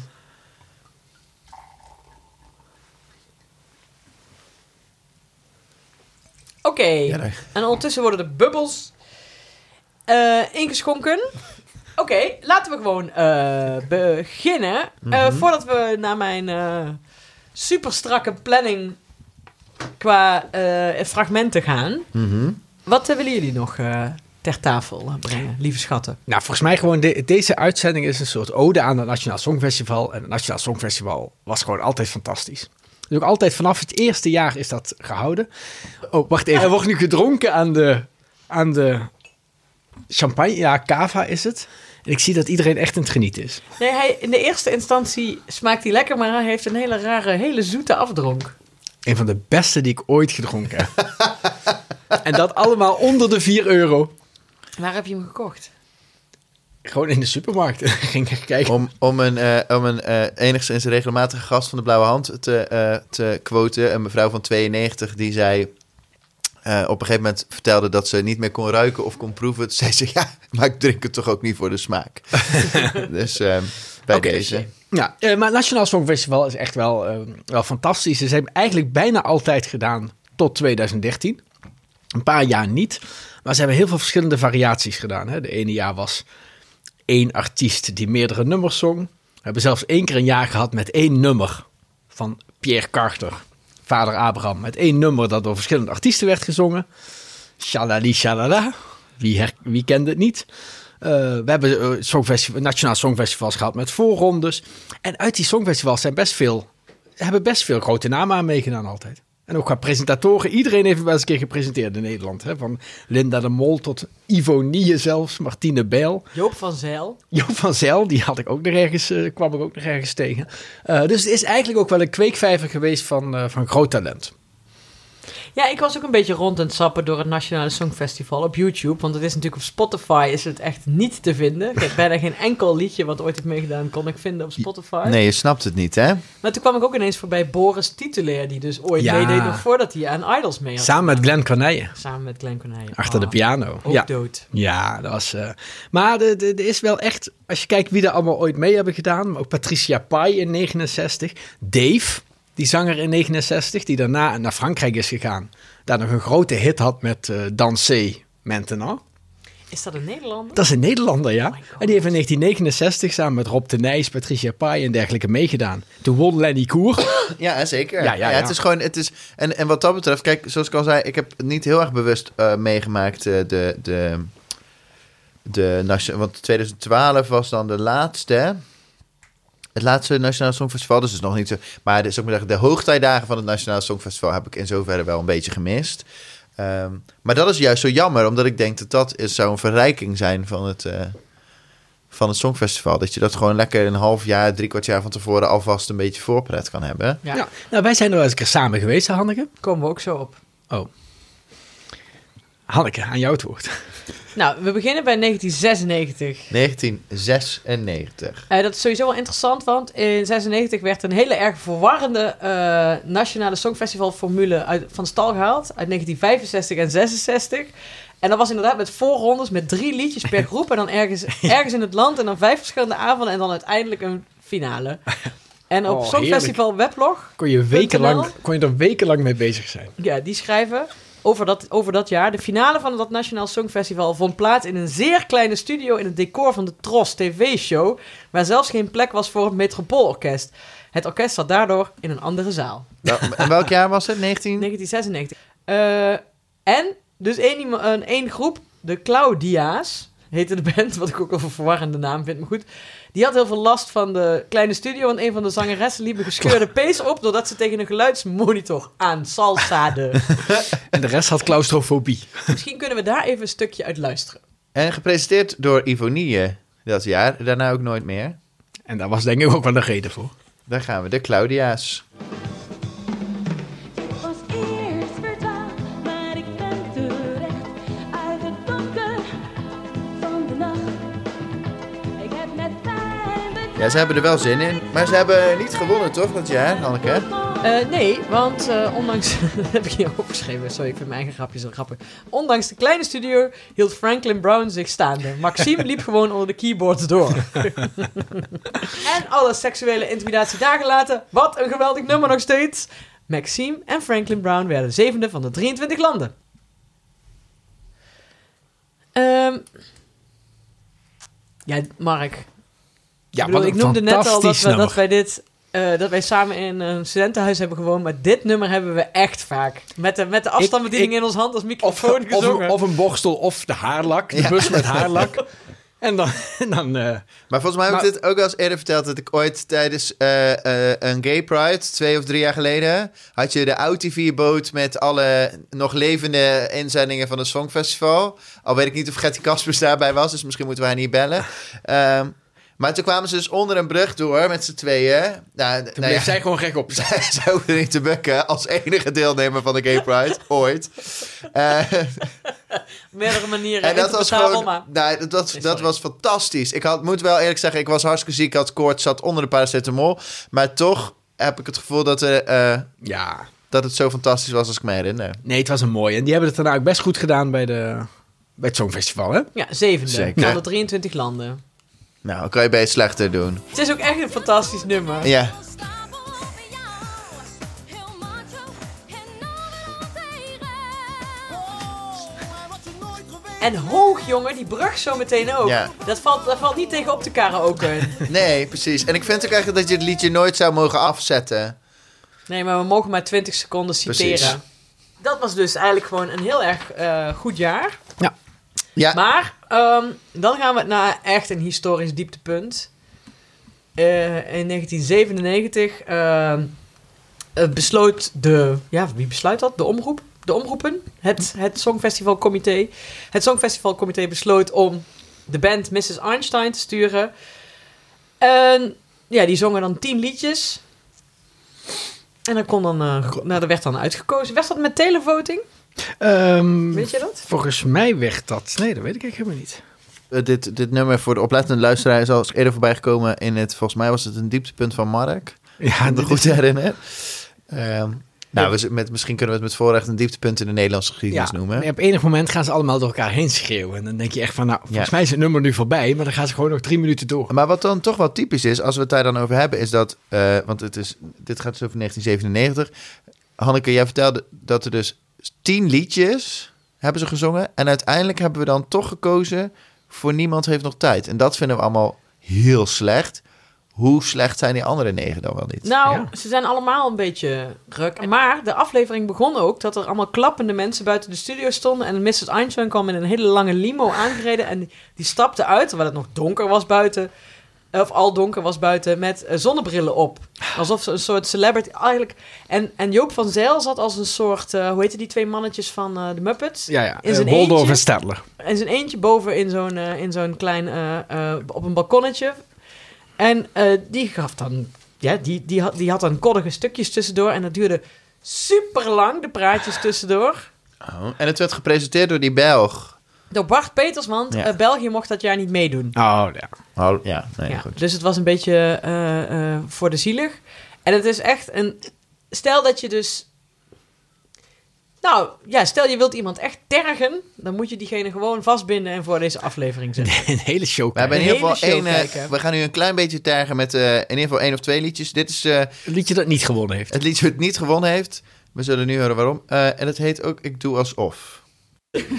Speaker 2: Oké,
Speaker 1: Ja, daar-
Speaker 2: en ondertussen worden de bubbels eh, ingeschonken. Oké,
Speaker 1: Mhm.
Speaker 2: laten we gewoon eh, beginnen. Eh, voordat we naar mijn eh, super strakke planning qua eh, fragmenten gaan.
Speaker 1: Mhm.
Speaker 2: Wat eh, willen jullie nog eh, ter tafel eh, brengen, lieve schatten?
Speaker 3: Nou, volgens mij gewoon de- deze uitzending is een soort ode aan het Nationaal Songfestival. En het Nationaal Songfestival was gewoon altijd fantastisch. Dus ook altijd vanaf het eerste jaar is dat gehouden. Oh, wacht even. Er wordt nu gedronken aan de, aan de champagne. Ja, cava is het. En ik zie dat iedereen echt aan het genieten is.
Speaker 2: Nee, hij, in de eerste instantie smaakt hij lekker, maar hij heeft een hele rare, hele zoete afdronk.
Speaker 3: Een van de beste die ik ooit gedronken heb. en dat allemaal onder de 4 euro.
Speaker 2: Waar heb je hem gekocht?
Speaker 3: Gewoon in de supermarkt. Ik Ging echt kijken.
Speaker 1: Om, om een, eh, om een eh, enigszins regelmatige gast van de Blauwe Hand te, eh te quoten. Een mevrouw van 92 die zei... eh, op een gegeven moment vertelde dat ze niet meer kon ruiken of kon proeven. Toen zei ze, ja, maar ik drink het toch ook niet voor de smaak. dus eh, bij
Speaker 3: Oké.
Speaker 1: deze.
Speaker 3: Ja, eh, maar het Nationaal Songfestival is echt wel, eh, wel fantastisch. Ze hebben eigenlijk bijna altijd gedaan tot 2013. Een paar jaar niet. Maar ze hebben heel veel verschillende variaties gedaan. Hè. De ene jaar was één artiest die meerdere nummers zong. We hebben zelfs één keer een jaar gehad met één nummer van Pierre Carter, vader Abraham. Met één nummer dat door verschillende artiesten werd gezongen. Shalali shalala. Wie, her- wie kende het niet? Eh, we hebben eh, songfestival, nationaal songfestivals gehad met voorrondes. En uit die songfestivals zijn best veel, hebben best veel grote namen aan meegedaan altijd. En ook qua presentatoren. Iedereen heeft wel eens een keer gepresenteerd in Nederland. Hè? Van Linda de Mol tot Ivo Nieuwe zelfs, Martine Bijl.
Speaker 2: Joop van Zijl.
Speaker 3: Joop van Zijl, die had ik ook nog ergens, eh, kwam ik ook nog ergens tegen. Eh, dus het is eigenlijk ook wel een kweekvijver geweest van, eh, van groot talent.
Speaker 2: Ja, ik was ook een beetje rond aan het sappen door het Nationale Songfestival op YouTube. Want het is natuurlijk op Spotify is het echt niet te vinden. Ik heb bijna geen enkel liedje wat ooit heeft meegedaan kon ik vinden op Spotify.
Speaker 1: Nee, je snapt het niet, hè?
Speaker 2: Maar toen kwam ik ook ineens voorbij Boris Titulair, die dus ooit
Speaker 3: Ja.
Speaker 2: meedeed nog voordat hij aan Idols mee had.
Speaker 3: Samen met Glenn Corneille,
Speaker 2: Samen met Glenn Corneille.
Speaker 3: achter de
Speaker 2: Ah,
Speaker 3: piano.
Speaker 2: Ook
Speaker 3: Ja,
Speaker 2: dood.
Speaker 3: ja dat was... eh, maar er er- er is wel echt, als je kijkt wie er allemaal ooit mee hebben gedaan. maar Ook Patricia Pai in 69. Dave, die zanger in 69, die daarna naar Frankrijk is gegaan. Daar nog een grote hit had met eh Danser Maintenant.
Speaker 2: Is dat een Nederlander?
Speaker 3: Dat is een Nederlander, ja.
Speaker 2: Oh my God.
Speaker 3: en die heeft in 1969 samen met Rob de Nijs, Patricia Pai en dergelijke meegedaan. Toen won Lenny Koer.
Speaker 1: Ja, zeker.
Speaker 3: Ja, ja, ja.
Speaker 1: Het is gewoon, het is, en, en wat dat betreft, kijk, zoals ik al zei, ik heb niet heel erg bewust eh, meegemaakt eh, de, de, de, nation- want 2012 was dan de laatste, hè? het laatste Nationaal Songfestival, dus het is nog niet zo, maar dus, ik moet zeggen, de hoogtijdagen van het Nationaal Songfestival heb ik in zoverre wel een beetje gemist. Ehm, maar dat is juist zo jammer, omdat ik denk dat dat is, zou een verrijking zijn van het, eh, van het Songfestival. Dat je dat gewoon lekker een half jaar, drie kwart jaar van tevoren alvast een beetje voorpret kan hebben.
Speaker 2: Ja,
Speaker 3: Ja. Nou, wij zijn er wel eens een keer samen geweest, hè, Hanneke.
Speaker 2: komen we ook zo op.
Speaker 3: Oh. Hanneke, aan jou het woord.
Speaker 2: Nou, we beginnen bij 1996.
Speaker 1: 1996.
Speaker 2: Eh, dat is sowieso wel interessant, want in 96 werd een hele erg verwarrende eh, nationale songfestivalformule uit, van stal gehaald. Uit 1965 en 66. En dat was inderdaad met voorrondes, met drie liedjes per groep. En dan ergens, ergens in het land en dan vijf verschillende avonden. En dan uiteindelijk een finale. En op
Speaker 3: Oh,
Speaker 2: Songfestival Weblog
Speaker 3: Kon je, wekenlang,
Speaker 2: .nl?
Speaker 3: kon je er wekenlang mee bezig zijn.
Speaker 2: Ja, die schrijven over dat, over dat jaar. De finale van dat Nationaal Songfestival vond plaats in een zeer kleine studio in het decor van de Tros TV-show, waar zelfs geen plek was voor het Metropoolorkest. Het orkest zat daardoor in een andere zaal.
Speaker 1: Wel- Nou, En welk jaar was het? 19?
Speaker 2: 1996. Eh, en dus één, iemand- een, één groep, de Claudia's, heette de band, wat ik ook wel een verwarrende naam vind, maar goed. Die had heel veel last van de kleine studio, want een van de zangeressen liep een gescheurde pees op, doordat ze tegen een geluidsmonitor aan salsade.
Speaker 3: En de rest had claustrofobie.
Speaker 2: Misschien kunnen we daar even een stukje uit luisteren.
Speaker 1: En gepresenteerd door Ivonie dat jaar. Daarna ook nooit meer.
Speaker 3: En daar was denk ik ook wel een reden voor.
Speaker 1: Daar gaan we, de Claudia's.
Speaker 8: Ik was eerst verdwaald, maar ik ben terecht uit het donker van de nacht. Ik heb net pijn bedacht.
Speaker 1: Ja, ze hebben er wel zin in. Maar ze hebben niet gewonnen, toch, dat jaar, Hanneke?
Speaker 2: Eh, nee, want eh, ondanks... dat heb ik hier opgeschreven. Sorry, ik vind mijn eigen grapjes zo grappig. Ondanks de kleine studio hield Franklin Brown zich staande. Maxime liep gewoon onder de keyboards door. en alle seksuele intimidatie daar gelaten. Wat een geweldig nummer nog steeds. Maxime en Franklin Brown werden zevende van de 23 landen. Ehm ja, Mark.
Speaker 3: Ja,
Speaker 2: ik bedoel, ik noemde net al dat, we, dat wij dit eh, dat wij samen in een studentenhuis hebben gewoond. Maar dit nummer hebben we echt vaak. Met de, met de afstandsbediening
Speaker 3: ik-
Speaker 2: in ons hand als
Speaker 3: Of,
Speaker 2: microfoon
Speaker 3: of,
Speaker 2: gezongen.
Speaker 3: een- of een borstel of de haarlak. De bus met haarlak. En dan... En dan eh,
Speaker 1: Maar volgens mij heb ik dit ook wel eens eerder verteld... dat ik ooit tijdens eh, eh, een gay pride, twee of drie jaar geleden... had je de OutTV-boot met alle nog levende inzendingen van het Songfestival. Al weet ik niet of Gertie Kaspers daarbij was, dus misschien moeten we haar niet bellen. Ehm, maar toen kwamen ze dus onder een brug door met z'n tweeën. Nou,
Speaker 3: toen
Speaker 1: nou
Speaker 3: bleef
Speaker 1: ja,
Speaker 3: zij gewoon gek op.
Speaker 1: zij, zij hoefde niet te bukken als enige deelnemer van de Gay Pride ooit. Eh,
Speaker 2: Meerdere manieren.
Speaker 1: en dat was gewoon. Nou, dat, dat,
Speaker 2: Nee,
Speaker 1: dat
Speaker 2: sorry.
Speaker 1: was fantastisch. Ik had, moet wel eerlijk zeggen, ik was hartstikke ziek. Ik had koorts, zat onder de paracetamol. Maar toch heb ik het gevoel dat, er, eh,
Speaker 3: Ja.
Speaker 1: dat het zo fantastisch was als ik me herinner.
Speaker 3: Nee, het was een mooie. En die hebben het daarna ook best goed gedaan bij, de, bij het Songfestival, hè?
Speaker 2: Ja, zevende
Speaker 1: Zeker.
Speaker 2: van de 23 landen.
Speaker 1: Nou, dan kan je beter slechter doen.
Speaker 2: Het is ook echt een fantastisch nummer.
Speaker 1: Ja.
Speaker 2: En hoog, jongen, die brug zo meteen ook.
Speaker 1: Ja.
Speaker 2: Dat, valt, dat valt niet tegen op te eh, karaoke.
Speaker 1: Nee, precies. En ik vind ook eigenlijk dat je het liedje nooit zou mogen afzetten.
Speaker 2: Nee, maar we mogen maar 20 seconden citeren.
Speaker 1: Precies.
Speaker 2: Dat was dus eigenlijk gewoon een heel erg eh, goed jaar.
Speaker 1: Ja,
Speaker 2: Maar ehm, dan gaan we naar echt een historisch dieptepunt. Eh, in 1997 ehm, eh, besloot de... Ja, wie besluit dat? De omroep? De omroepen? Het, het Songfestivalcomité. Het Songfestivalcomité besloot om de band Mrs. Einstein te sturen. En ja, die zongen dan tien liedjes. En dan kon dan... eh, gro- nou, er werd dan uitgekozen. Was dat met televoting?
Speaker 3: Ehm,
Speaker 2: Weet je dat?
Speaker 3: Volgens mij werd dat... Nee, dat weet ik eigenlijk helemaal niet.
Speaker 1: eh, dit, dit nummer voor de oplettende luisteraar is al eens eerder voorbij gekomen in het... Volgens mij was het een dieptepunt van Mark.
Speaker 3: Ja,
Speaker 1: Aan de
Speaker 3: dit
Speaker 1: goed herinner. Ehm, nou, we, z- met, misschien kunnen we het met voorrecht een dieptepunt in de Nederlandse geschiedenis noemen.
Speaker 3: maar Op enig moment gaan ze allemaal door elkaar heen schreeuwen. En dan denk je echt van, nou, volgens mij is het nummer nu voorbij. Maar dan gaan ze gewoon nog drie minuten door.
Speaker 1: Maar wat dan toch wel typisch is, als we het daar dan over hebben, is dat. eh, want het is, dit gaat dus over 1997. Hanneke, jij vertelde dat er dus tien liedjes hebben ze gezongen. En uiteindelijk hebben we dan toch gekozen voor Niemand heeft nog tijd. En dat vinden we allemaal heel slecht. Hoe slecht zijn die andere negen dan wel niet?
Speaker 2: Nou,
Speaker 3: Ja.
Speaker 2: ze zijn allemaal een beetje ruk. Maar de aflevering begon ook dat er allemaal klappende mensen buiten de studio stonden. En Mrs. Einstein kwam in een hele lange limo aangereden. En die stapte uit, terwijl het nog donker was buiten. Of al donker was buiten, met eh, zonnebrillen op. Alsof ze een soort celebrity eigenlijk... En, en Joop van Zijl zat als een soort... eh, hoe heette die twee mannetjes van eh, de Muppets?
Speaker 3: Ja, ja.
Speaker 2: In
Speaker 3: Eh,
Speaker 2: zijn
Speaker 3: Waldorf
Speaker 2: eentje?
Speaker 3: en Stadler.
Speaker 2: En zijn eentje boven in zo'n, eh, in zo'n klein, eh, eh, op een balkonnetje. En eh, die gaf dan, ja, die, die, had, die had dan koddige stukjes tussendoor. En dat duurde super lang, de praatjes tussendoor.
Speaker 1: Oh, En het werd gepresenteerd door die Belg.
Speaker 2: Door Bart Peters, want
Speaker 1: Ja.
Speaker 2: eh, België mocht dat jaar niet meedoen.
Speaker 3: Oh, ja.
Speaker 1: Oh, ja, nee,
Speaker 2: Ja,
Speaker 1: goed.
Speaker 2: dus het was een beetje eh, eh, voor de zielig. En het is echt een... Stel dat je dus... Nou, ja, stel je wilt iemand echt tergen... dan moet je diegene gewoon vastbinden en voor deze aflevering zetten.
Speaker 3: Een hele show.
Speaker 1: We hebben in
Speaker 2: Een
Speaker 1: ieder geval
Speaker 2: hele
Speaker 1: één.
Speaker 2: show
Speaker 1: eh,
Speaker 2: kijken.
Speaker 1: we gaan nu een klein beetje tergen met eh, in ieder geval één of twee liedjes. Dit is eh,
Speaker 3: Een liedje dat niet gewonnen heeft.
Speaker 1: Het liedje dat niet gewonnen heeft. We zullen nu horen waarom. Eh, en het heet ook Ik Doe Alsof.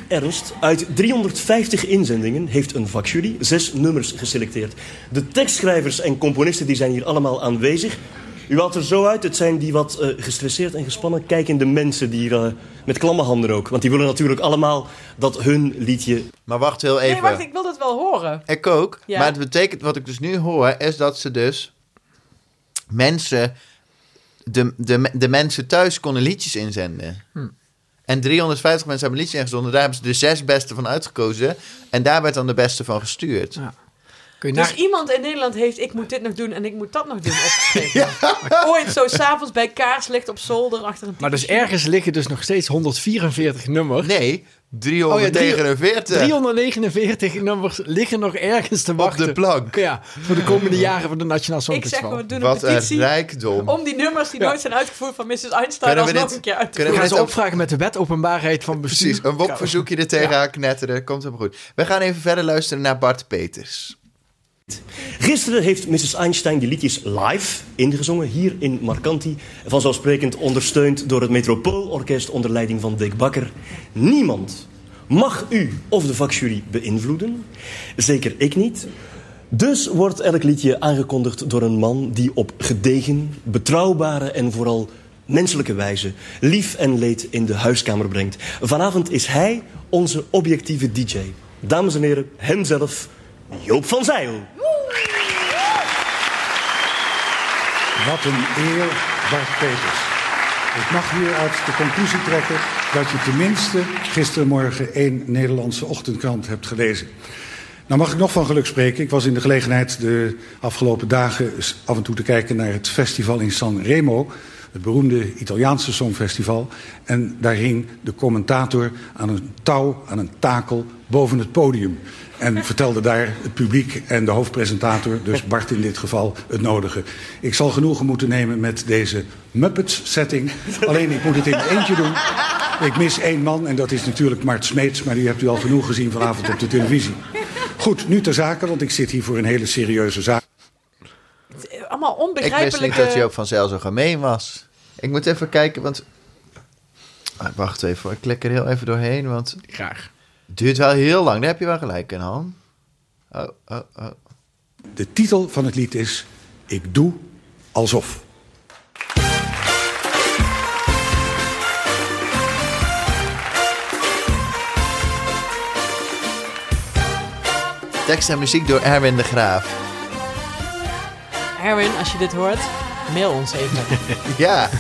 Speaker 9: Ernst, uit 350 inzendingen heeft een vakjury zes nummers geselecteerd. De tekstschrijvers en componisten die zijn hier allemaal aanwezig. U haalt er zo uit, het zijn die wat eh, gestresseerd en gespannen kijkende mensen... die hier eh, met klamme handen ook, want die willen natuurlijk allemaal dat hun liedje...
Speaker 1: Maar wacht heel even.
Speaker 2: Nee, wacht, ik wil dat wel horen.
Speaker 1: Ik ook.
Speaker 2: Ja.
Speaker 1: Maar het betekent, wat ik dus nu hoor, is dat ze dus mensen, de, de, de mensen thuis konden liedjes inzenden.
Speaker 2: Hm.
Speaker 1: En 350 mensen hebben liedjes ingezonden. Daar hebben ze de zes beste van uitgekozen. En daar werd dan de beste van gestuurd.
Speaker 3: Kun je
Speaker 2: Dus
Speaker 3: naar-
Speaker 2: iemand in Nederland heeft, ik moet dit nog doen en ik moet dat nog doen opgeschreven. Ooit zo s'avonds bij kaarslicht op zolder achter een
Speaker 3: Maar dus ergens liggen dus nog steeds 144 nummers.
Speaker 2: Oh
Speaker 1: Nee, 349.
Speaker 3: 349 nummers liggen nog ergens te
Speaker 1: eh. op
Speaker 3: wachten.
Speaker 1: de plank.
Speaker 3: Ja, voor de komende jaren van de Nationaal
Speaker 2: Ik zeg,
Speaker 3: Songfestival.
Speaker 2: we doen een
Speaker 1: Wat eh, een
Speaker 2: petitie
Speaker 1: rijkdom.
Speaker 2: om die nummers die
Speaker 3: Ja.
Speaker 2: nooit zijn uitgevoerd van Mrs.
Speaker 1: Kunnen
Speaker 2: Einstein
Speaker 1: we
Speaker 2: alsnog
Speaker 1: dit-
Speaker 2: een keer uit te
Speaker 1: kunnen
Speaker 3: We
Speaker 2: voeren.
Speaker 3: gaan
Speaker 1: dit
Speaker 3: ze
Speaker 1: ook-
Speaker 3: opvragen met de wet openbaarheid van bestuur.
Speaker 1: Precies, een wopverzoekje er tegen haar knetteren. Komt helemaal goed. We gaan even verder luisteren naar Bart Peters.
Speaker 9: Gisteren heeft Mrs. Einstein die liedjes live ingezongen, hier in Marcanti. Vanzelfsprekend ondersteund door het Metropoolorkest onder leiding van Dick Bakker. Niemand mag u of de vakjury beïnvloeden. Zeker ik niet. Dus wordt elk liedje aangekondigd door een man die op gedegen, betrouwbare en vooral menselijke wijze lief en leed in de huiskamer brengt. Vanavond is hij onze objectieve DJ. Dames en heren, hemzelf, Joop van Zeil.
Speaker 10: Wat een eer, Bart Peters. Ik mag hieruit de conclusie trekken dat je tenminste gistermorgen één Nederlandse ochtendkrant hebt gelezen. Nou mag ik nog van geluk spreken. Ik was in de gelegenheid de afgelopen dagen eens af en toe te kijken naar het festival in Sanremo. Het beroemde Italiaanse Songfestival. En daar hing de commentator aan een touw, aan een takel, boven het podium. En vertelde daar het publiek en de hoofdpresentator, dus Bart in dit geval, het nodige. Ik zal genoegen moeten nemen met deze Muppets-setting. Alleen ik moet het in mijn eentje doen. Ik mis één man en dat is natuurlijk Mart Smeets, maar die hebt u al genoeg gezien vanavond op de televisie. Goed, nu ter zake, want ik zit hier voor een hele serieuze zaak.
Speaker 2: Allemaal
Speaker 1: Ik wist
Speaker 2: onbegrijpelijke...
Speaker 1: niet dat Joop van Zijl zo gemeen was. Ik moet even kijken, want... Ah, wacht even hoor, ik klik er heel even doorheen, want
Speaker 3: Graag.
Speaker 1: het duurt wel heel lang. Daar heb je wel gelijk in, Han. Oh, oh, oh.
Speaker 10: De titel van het lied is Ik doe alsof.
Speaker 1: Tekst en muziek door Erwin de Graaf.
Speaker 2: Erwin, als je dit hoort, mail ons even.
Speaker 1: Ja,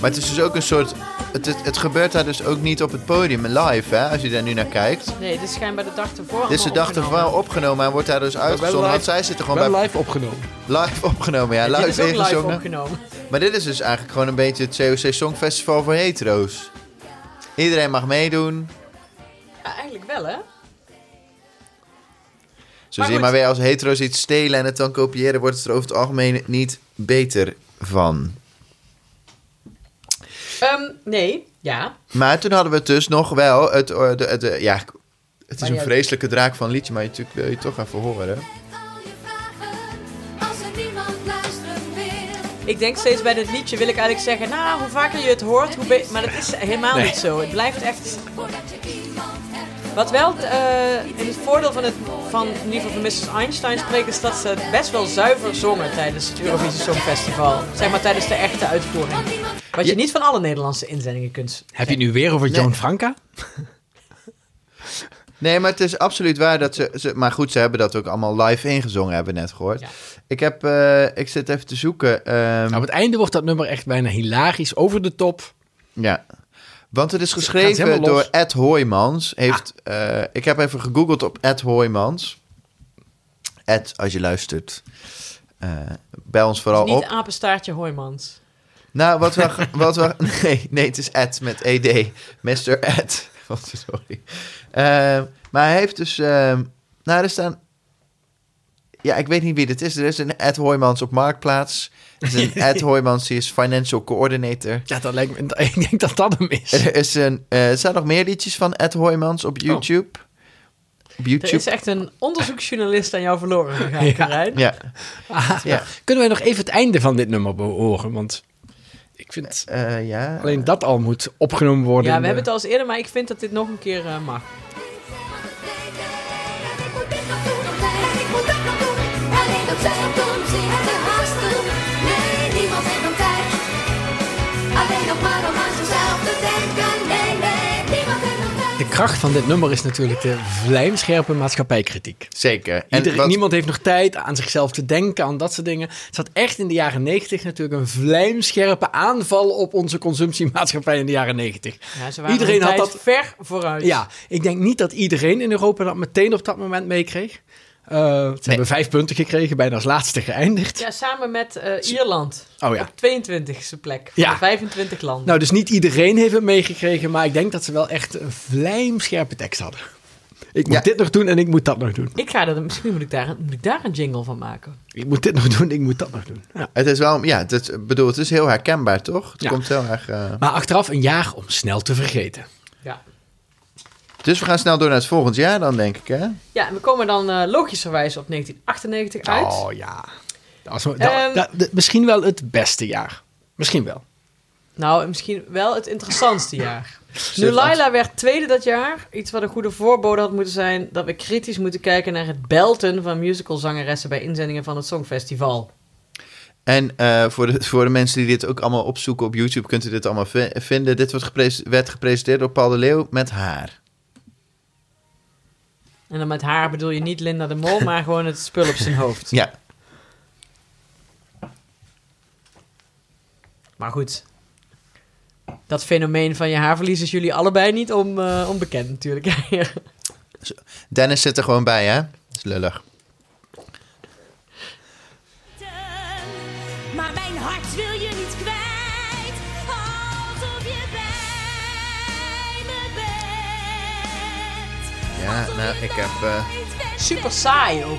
Speaker 1: maar het is dus ook een soort... Het, het, het gebeurt daar dus ook niet op het podium live, hè, als je daar nu naar kijkt.
Speaker 2: Nee, dit is schijnbaar de dag ervoor.
Speaker 1: Dit is de
Speaker 2: allemaal
Speaker 1: dag ervan
Speaker 2: opgenomen.
Speaker 1: wel opgenomen en wordt daar dus uitgezonden. Want
Speaker 3: live-
Speaker 1: zij zitten gewoon
Speaker 3: Wel
Speaker 1: bij
Speaker 3: live opgenomen.
Speaker 1: live opgenomen. Ja,
Speaker 2: Dit is
Speaker 1: live
Speaker 2: ook live
Speaker 1: ingezongen.
Speaker 2: opgenomen.
Speaker 1: Maar dit is dus eigenlijk gewoon een beetje het COC Songfestival voor hetero's. Iedereen mag meedoen.
Speaker 2: Ja, eigenlijk wel, hè?
Speaker 1: Zo zie
Speaker 2: Maar
Speaker 1: je
Speaker 2: goed.
Speaker 1: maar weer als hetero's iets stelen en het dan kopiëren, wordt het er over het algemeen niet beter van.
Speaker 2: Ehm, nee, ja.
Speaker 1: Maar toen hadden we het dus nog wel het, eh, de, de, ja, het is
Speaker 2: Maar
Speaker 1: een
Speaker 2: ja.
Speaker 1: vreselijke draak van liedje, maar natuurlijk wil je toch even horen.
Speaker 2: Ik denk steeds bij dit liedje wil ik eigenlijk zeggen, nou, hoe vaker je het hoort, hoe beter. Maar dat is helemaal
Speaker 3: Nee.
Speaker 2: niet zo. Het blijft echt... Wat wel eh, in het voordeel van, het, van in ieder geval van Mrs. Einstein spreekt, is dat ze het best wel zuiver zongen tijdens het Eurovisie Songfestival. Zeg maar tijdens de echte uitvoering. Wat je
Speaker 1: Ja.
Speaker 2: niet van alle Nederlandse inzendingen kunt.
Speaker 3: Heb je het nu weer over
Speaker 1: Nee.
Speaker 3: Joan Franca?
Speaker 1: Nee, maar het is absoluut waar dat ze, ze... Maar goed, ze hebben dat ook allemaal live ingezongen, hebben we net gehoord.
Speaker 2: Ja.
Speaker 1: Ik, heb, eh, ik zit even te zoeken. ehm,
Speaker 3: Nou, op het einde wordt dat nummer echt bijna hilarisch, over de top.
Speaker 1: Ja. Want het is
Speaker 3: Gaat
Speaker 1: geschreven
Speaker 3: helemaal
Speaker 1: door
Speaker 3: los.
Speaker 1: Ed Hoijmans. Heeft,
Speaker 2: Ah.
Speaker 1: eh, ik heb even gegoogeld op Ed Hoijmans. Ed, als je luistert, eh, bel ons vooral
Speaker 2: Het is niet
Speaker 1: op.
Speaker 2: apenstaartje Hoijmans.
Speaker 1: Nou, wat we... Wat we nee, nee, het is Ed met ED. Mr. Ed. Wat, sorry. Ehm, maar hij heeft dus... ehm, nou, er staan... Ja, ik weet niet wie dit is. Er is een Ed Hoijmans op Marktplaats. Er is een Ed Hoijmans, die is financial coordinator.
Speaker 3: Ja, dat lijkt me, ik denk dat dat hem is.
Speaker 1: Er, is een, eh, er staan nog meer liedjes van Ed Hoijmans op YouTube. Op
Speaker 2: Er
Speaker 1: YouTube.
Speaker 2: is echt een onderzoeksjournalist aan jou verloren gegaan,
Speaker 3: Ja.
Speaker 2: Karijn.
Speaker 1: Ja. ja.
Speaker 3: Kunnen wij nog even het einde van dit nummer horen? Want ik vind
Speaker 1: Eh, ja.
Speaker 3: alleen dat al moet opgenomen worden.
Speaker 2: Ja,
Speaker 3: in
Speaker 2: we
Speaker 3: de-
Speaker 2: hebben het al eens eerder, maar ik vind dat dit nog een keer eh, mag.
Speaker 8: Alleen nog maar om aan zichzelf te denken, nee, nee, niemand heeft nog tijd.
Speaker 3: De kracht van dit nummer is natuurlijk de vlijmscherpe maatschappijkritiek.
Speaker 1: Zeker.
Speaker 3: Ieder,
Speaker 1: wat-
Speaker 3: Niemand heeft nog tijd aan zichzelf te denken, aan dat soort dingen. Het zat echt in de jaren negentig natuurlijk een vlijmscherpe aanval op onze consumptiemaatschappij in de jaren negentig.
Speaker 2: Ja, ze waren
Speaker 3: Iedereen
Speaker 2: een
Speaker 3: had
Speaker 2: tijd
Speaker 3: dat-
Speaker 2: ver vooruit.
Speaker 3: Ja, ik denk niet dat iedereen in Europa dat meteen op dat moment meekreeg. Eh, ze hebben vijf punten gekregen, bijna als laatste geëindigd.
Speaker 2: Ja, samen met eh, Ierland.
Speaker 3: Oh ja.
Speaker 2: Op 22e plek. Van
Speaker 3: Ja.
Speaker 2: de 25 landen.
Speaker 3: Nou, dus niet iedereen heeft het meegekregen, maar ik denk dat ze wel echt een vlijmscherpe tekst hadden. Ik moet
Speaker 1: Ja.
Speaker 3: dit nog doen en ik moet dat nog doen.
Speaker 2: Ik ga dat, misschien moet ik, daar, moet ik daar een jingle van maken.
Speaker 3: Ik moet dit nog doen, ik moet dat nog doen. Ja.
Speaker 1: Het is wel... Ja, het, is- bedoel, het is heel herkenbaar, toch? Het
Speaker 3: Ja.
Speaker 1: komt heel erg... eh,
Speaker 3: Maar achteraf een jaar om snel te vergeten.
Speaker 2: Ja.
Speaker 1: Dus we gaan snel door naar het volgend jaar dan, denk ik, hè?
Speaker 2: Ja, en we komen dan eh, logischerwijs op 1998 uit.
Speaker 3: Oh ja. Dat was, dat-
Speaker 2: Ehm.
Speaker 3: dat- dat- misschien wel het beste jaar. Misschien wel.
Speaker 2: Nou, misschien wel het interessantste jaar. Nu Laila werd tweede dat jaar, iets wat een goede voorbode had moeten zijn, dat we kritisch moeten kijken naar het belten van musicalzangeressen bij inzendingen van het Songfestival.
Speaker 1: En eh, voor, de, voor de mensen die dit ook allemaal opzoeken op YouTube, kunt u dit allemaal vi- vinden. Dit werd, gepres- werd gepresenteerd door Paul de Leeuw met haar.
Speaker 2: En dan met haar bedoel je niet Linda de Mol, maar gewoon het spul op zijn hoofd.
Speaker 1: Ja,
Speaker 2: Maar goed, dat fenomeen van je haarverlies is jullie allebei niet on- eh, onbekend natuurlijk.
Speaker 1: Dennis zit er gewoon bij, hè? Dat is lullig.
Speaker 8: Maar mijn hart wil je niet kwijt. Alsof je bij me bent.
Speaker 1: Ja, nou, ik heb... eh,
Speaker 2: Super saai ook.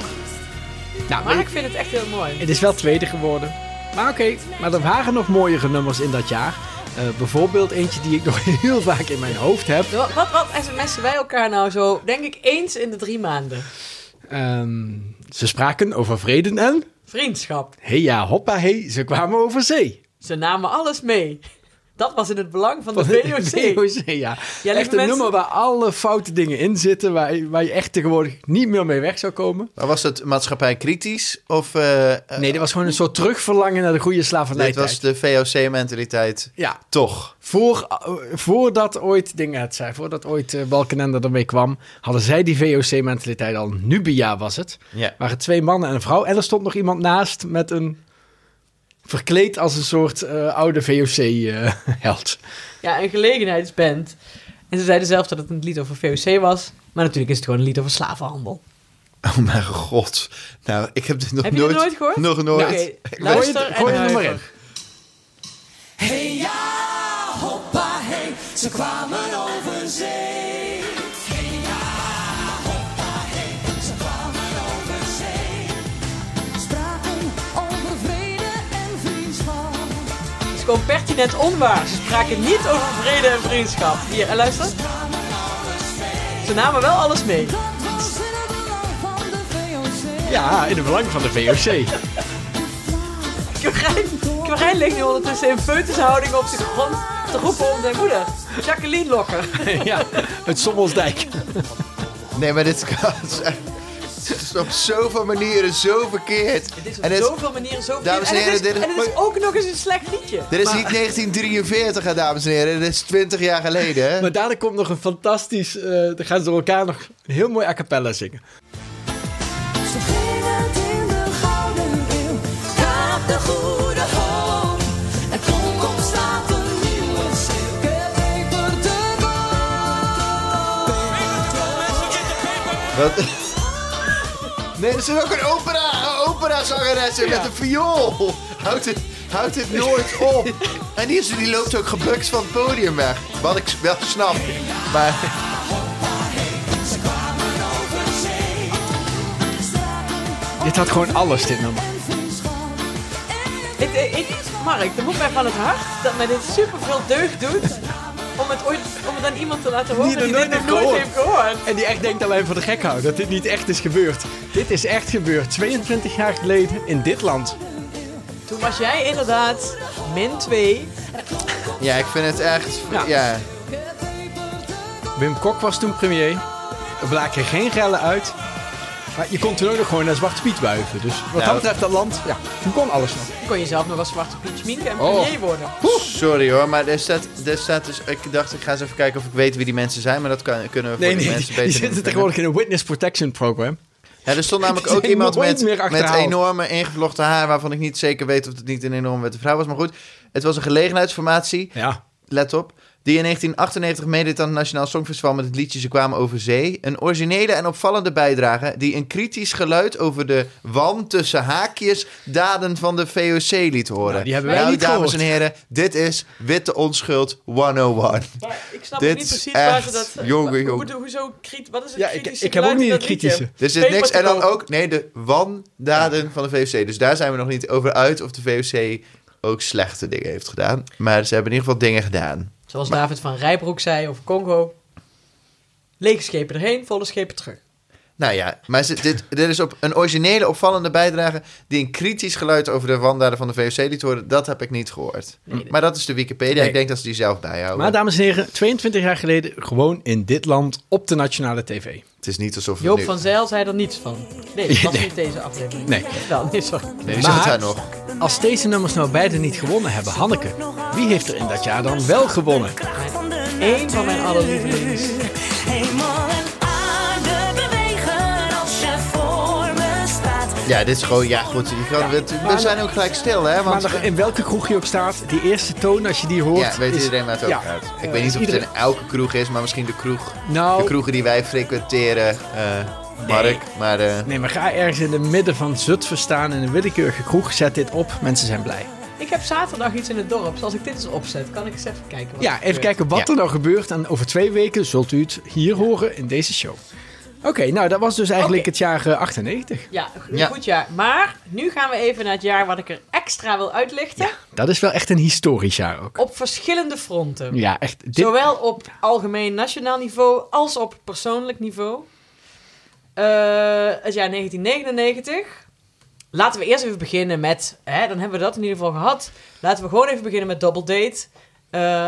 Speaker 3: Nou,
Speaker 2: Maar
Speaker 3: maar
Speaker 2: ik vind het echt heel mooi.
Speaker 3: het is wel tweede geworden. Maar oké, maar er waren nog mooiere nummers in dat jaar. Eh, bijvoorbeeld eentje die ik nog heel vaak in mijn hoofd heb.
Speaker 2: Wat, wat, wat sms'en wij elkaar nou zo, denk ik, eens in de drie maanden?
Speaker 3: Ehm, ze spraken over vrede en...
Speaker 2: Vriendschap.
Speaker 3: Hey ja, hoppa hey, ze kwamen over zee.
Speaker 2: Ze namen alles mee. Dat was in het belang van de
Speaker 3: Van de
Speaker 2: VOC.
Speaker 3: VOC, ja.
Speaker 2: Ja, lieve
Speaker 3: echt een
Speaker 2: mensen-
Speaker 3: nummer waar alle foute dingen in zitten, waar, je- waar je echt tegenwoordig niet meer mee weg zou komen.
Speaker 1: maar was dat maatschappij kritisch? Of eh, eh,
Speaker 3: Nee, dit was gewoon een soort terugverlangen naar de goede
Speaker 1: dit
Speaker 3: slavernijtijd.
Speaker 1: was de VOC-mentaliteit?
Speaker 3: Ja,
Speaker 1: Toch.
Speaker 3: voor, eh, voordat ooit dingen het zijn, voordat ooit eh, Balkenende ermee kwam, hadden zij die VOC-mentaliteit al. Nubia was het.
Speaker 1: Ja.
Speaker 3: waren twee mannen en een vrouw. En er stond nog iemand naast met een... Verkleed als een soort eh, oude eh, VOC-held.
Speaker 2: Ja, een gelegenheidsband. En ze zeiden zelf dat het een lied over VOC was. Maar natuurlijk is het gewoon een lied over slavenhandel.
Speaker 1: Oh mijn god. Nou, ik heb dit nog
Speaker 2: Heb je
Speaker 1: nooit...
Speaker 2: dit nooit gehoord?
Speaker 1: Nog nooit.
Speaker 2: Oké, luister
Speaker 3: Gooi
Speaker 2: en
Speaker 3: het- gooi het er maar
Speaker 2: huiver.
Speaker 3: in.
Speaker 5: Hey ja, hoppa hey, ze kwamen over zee. Hey ja, hoppa hey, ze kwamen over zee. Spraken over vrede en vriendschap.
Speaker 2: Het is gewoon pertinent onwaar. Ze spraken niet over vrede en vriendschap. Hier, en luister. Ze namen wel alles mee.
Speaker 5: Dat was in het belang van de VOC.
Speaker 3: Ja, in het belang van de VOC.
Speaker 2: Quirijn, Quirijn ligt nu ondertussen in feutushouding op zijn grond te roepen om zijn moeder. Jacqueline Lokker.
Speaker 3: ja, het Sommelsdijk.
Speaker 1: Nee, maar dit kan... Het is op zoveel manieren zo verkeerd.
Speaker 2: Dit is op
Speaker 1: En het-
Speaker 2: zoveel manieren zo
Speaker 1: Dames en
Speaker 2: het is-
Speaker 1: heren, dit is-
Speaker 2: en het is ook nog eens een slecht liedje.
Speaker 1: Dit is niet 1943, hè, dames en heren. Dit is 20 jaar geleden, hè?
Speaker 3: Maar daarna komt nog een fantastisch... eh dan gaan ze door elkaar nog een heel mooi a cappella zingen.
Speaker 5: Ze gingen het in de gouden eeuw. Kaap de goede hoop. En kom, op staat een nieuwe schreeuw. Get paper de
Speaker 1: Wat? Nee, er zit ook een opera, een operazangeres in met een viool. Houdt het, houdt het nooit op. En die, is, die loopt ook gebukt van het podium weg. Wat ik wel snap. Maar
Speaker 3: Dit had gewoon alles, dit nummer.
Speaker 5: eh,
Speaker 2: Ik, ik, ik- Mark, dat moet mij van het hart dat mij dit super veel deugd doet. Om het, ooit, om het aan iemand te laten horen
Speaker 3: Die
Speaker 2: die,
Speaker 3: er
Speaker 2: dit
Speaker 3: nooit
Speaker 2: nog
Speaker 3: heeft
Speaker 2: nooit
Speaker 3: gehoord.
Speaker 2: heeft gehoord.
Speaker 3: En die echt denkt dat wij hem voor de gek houden. Dat dit niet echt is gebeurd. Dit is echt gebeurd. 22 jaar geleden in dit land.
Speaker 2: Toen was jij inderdaad min 2.
Speaker 1: ja, ik vind het echt... Ja.
Speaker 3: Ja. Wim Kok was toen premier. Er blaken geen rellen uit. Maar je kon toen ook nog gewoon naar Zwarte Piet wuiven. Dus wat
Speaker 1: Nou.
Speaker 3: dat betreft, dat land, ja, toen kon alles nog.
Speaker 2: Kon je zelf nog als zwarte Piet schminken en
Speaker 3: Oh.
Speaker 2: premier worden.
Speaker 1: Sorry hoor, maar er staat, er staat dus... Ik dacht, ik ga eens even kijken of ik weet wie die mensen zijn. Maar dat kan, kunnen we voor
Speaker 3: Nee,
Speaker 1: die
Speaker 3: nee,
Speaker 1: mensen
Speaker 3: die,
Speaker 1: beter niet
Speaker 3: zitten
Speaker 1: vinden.
Speaker 3: tegenwoordig in een witness protection program.
Speaker 1: Ja, er stond namelijk
Speaker 3: Die
Speaker 1: ook
Speaker 3: zijn
Speaker 1: iemand
Speaker 3: nooit
Speaker 1: met,
Speaker 3: meer
Speaker 1: met
Speaker 3: achterhaald.
Speaker 1: enorme ingevlochten haar... waarvan ik niet zeker weet of het niet een enorme witte vrouw was. Maar goed, het was een gelegenheidsformatie.
Speaker 3: Ja.
Speaker 1: let op, die in 1998 meedeed aan het Nationaal Songfestival met het liedje Ze kwamen over zee. Een originele en opvallende bijdrage die een kritisch geluid over de wan tussen haakjes daden van de VOC liet horen.
Speaker 3: Nou, die hebben wij
Speaker 1: Nou,
Speaker 3: niet
Speaker 1: dames
Speaker 3: gehoord.
Speaker 1: en heren, dit is Witte Onschuld 101.
Speaker 2: Maar ik snap
Speaker 1: Dit
Speaker 2: ook niet
Speaker 1: is
Speaker 2: precies waar ze
Speaker 1: echt-
Speaker 2: dat...
Speaker 1: jongen,
Speaker 2: hoe-
Speaker 1: jongen.
Speaker 2: hoe- Hoezo, kritisch? wat is het
Speaker 3: Ja, ik,
Speaker 2: kritische
Speaker 3: ik heb ook
Speaker 2: geluid in
Speaker 3: niet een
Speaker 2: dat liedje?
Speaker 3: kritische.
Speaker 1: Er zit
Speaker 2: Paper
Speaker 1: niks.
Speaker 2: te
Speaker 1: En dan
Speaker 2: koop.
Speaker 1: ook, nee, de wandaden van de VOC. Dus daar zijn we nog niet over uit of de VOC ook slechte dingen heeft gedaan. Maar ze hebben in ieder geval dingen gedaan.
Speaker 2: Zoals David van Rijbroek zei over Congo. Lege schepen erheen, volle schepen terug.
Speaker 1: Nou ja, maar ze- dit, dit is op een originele opvallende bijdrage... die een kritisch geluid over de wandaden van de VOC liet horen. Dat heb ik niet gehoord. Maar dat is de Wikipedia.
Speaker 3: Nee.
Speaker 1: Ik denk dat ze die zelf bijhouden.
Speaker 3: Maar dames en heren, 22 jaar geleden gewoon in dit land op de nationale tv.
Speaker 1: Het is niet alsof we
Speaker 2: Joop
Speaker 1: nu...
Speaker 2: van Zijl zei er niets van. Nee, dat was
Speaker 3: Nee.
Speaker 2: niet deze aflevering.
Speaker 3: Nee.
Speaker 2: Wel, nee, sorry.
Speaker 1: Nee, die zit
Speaker 3: Maar-
Speaker 1: daar nog.
Speaker 3: Als deze nummers nou beide niet gewonnen hebben, Hanneke, wie heeft er in dat jaar dan wel gewonnen?
Speaker 2: Eén van mijn allerlievelings.
Speaker 5: Hemel en aarde bewegen als je voor me staat.
Speaker 1: Ja, dit is gewoon... Ja, goed. je kan- we, we zijn ook gelijk stil, hè? Want
Speaker 3: Maar in welke kroeg je ook staat, die eerste toon als je die hoort...
Speaker 1: ja, weet
Speaker 3: is-
Speaker 1: iedereen waar het over
Speaker 3: Ja.
Speaker 1: gaat. Ik
Speaker 3: Eh,
Speaker 1: weet niet of
Speaker 3: iedereen-
Speaker 1: het in elke kroeg is, maar misschien de kroeg...
Speaker 3: Nou,
Speaker 1: De kroegen die wij frequenteren, eh, Mark. Maar eh,
Speaker 3: nee, maar ga ergens in het midden van Zutphen staan in een willekeurige kroeg, zet dit op, mensen zijn blij.
Speaker 2: Ik heb zaterdag iets in het dorp. Zoals ik dit eens opzet, kan ik eens even kijken. wat
Speaker 3: Ja,
Speaker 2: er
Speaker 3: even
Speaker 2: gebeurt.
Speaker 3: kijken wat
Speaker 1: Ja.
Speaker 3: er nou gebeurt en over twee weken zult u het hier horen in deze show. Oké, nou dat was dus eigenlijk
Speaker 2: Oké.
Speaker 3: het jaar eh, 98.
Speaker 2: Ja, een
Speaker 1: Ja.
Speaker 2: goed jaar. Maar nu gaan we even naar het jaar wat ik er extra wil uitlichten.
Speaker 3: Dat is wel echt een historisch jaar ook.
Speaker 2: Op verschillende fronten.
Speaker 3: Ja, echt. Dit,
Speaker 2: Zowel op algemeen nationaal niveau als op persoonlijk niveau. Eh, het jaar 1999. Laten we eerst even beginnen met... Hè, dan hebben we dat in ieder geval gehad. Laten we gewoon even beginnen met Double Date. Eh,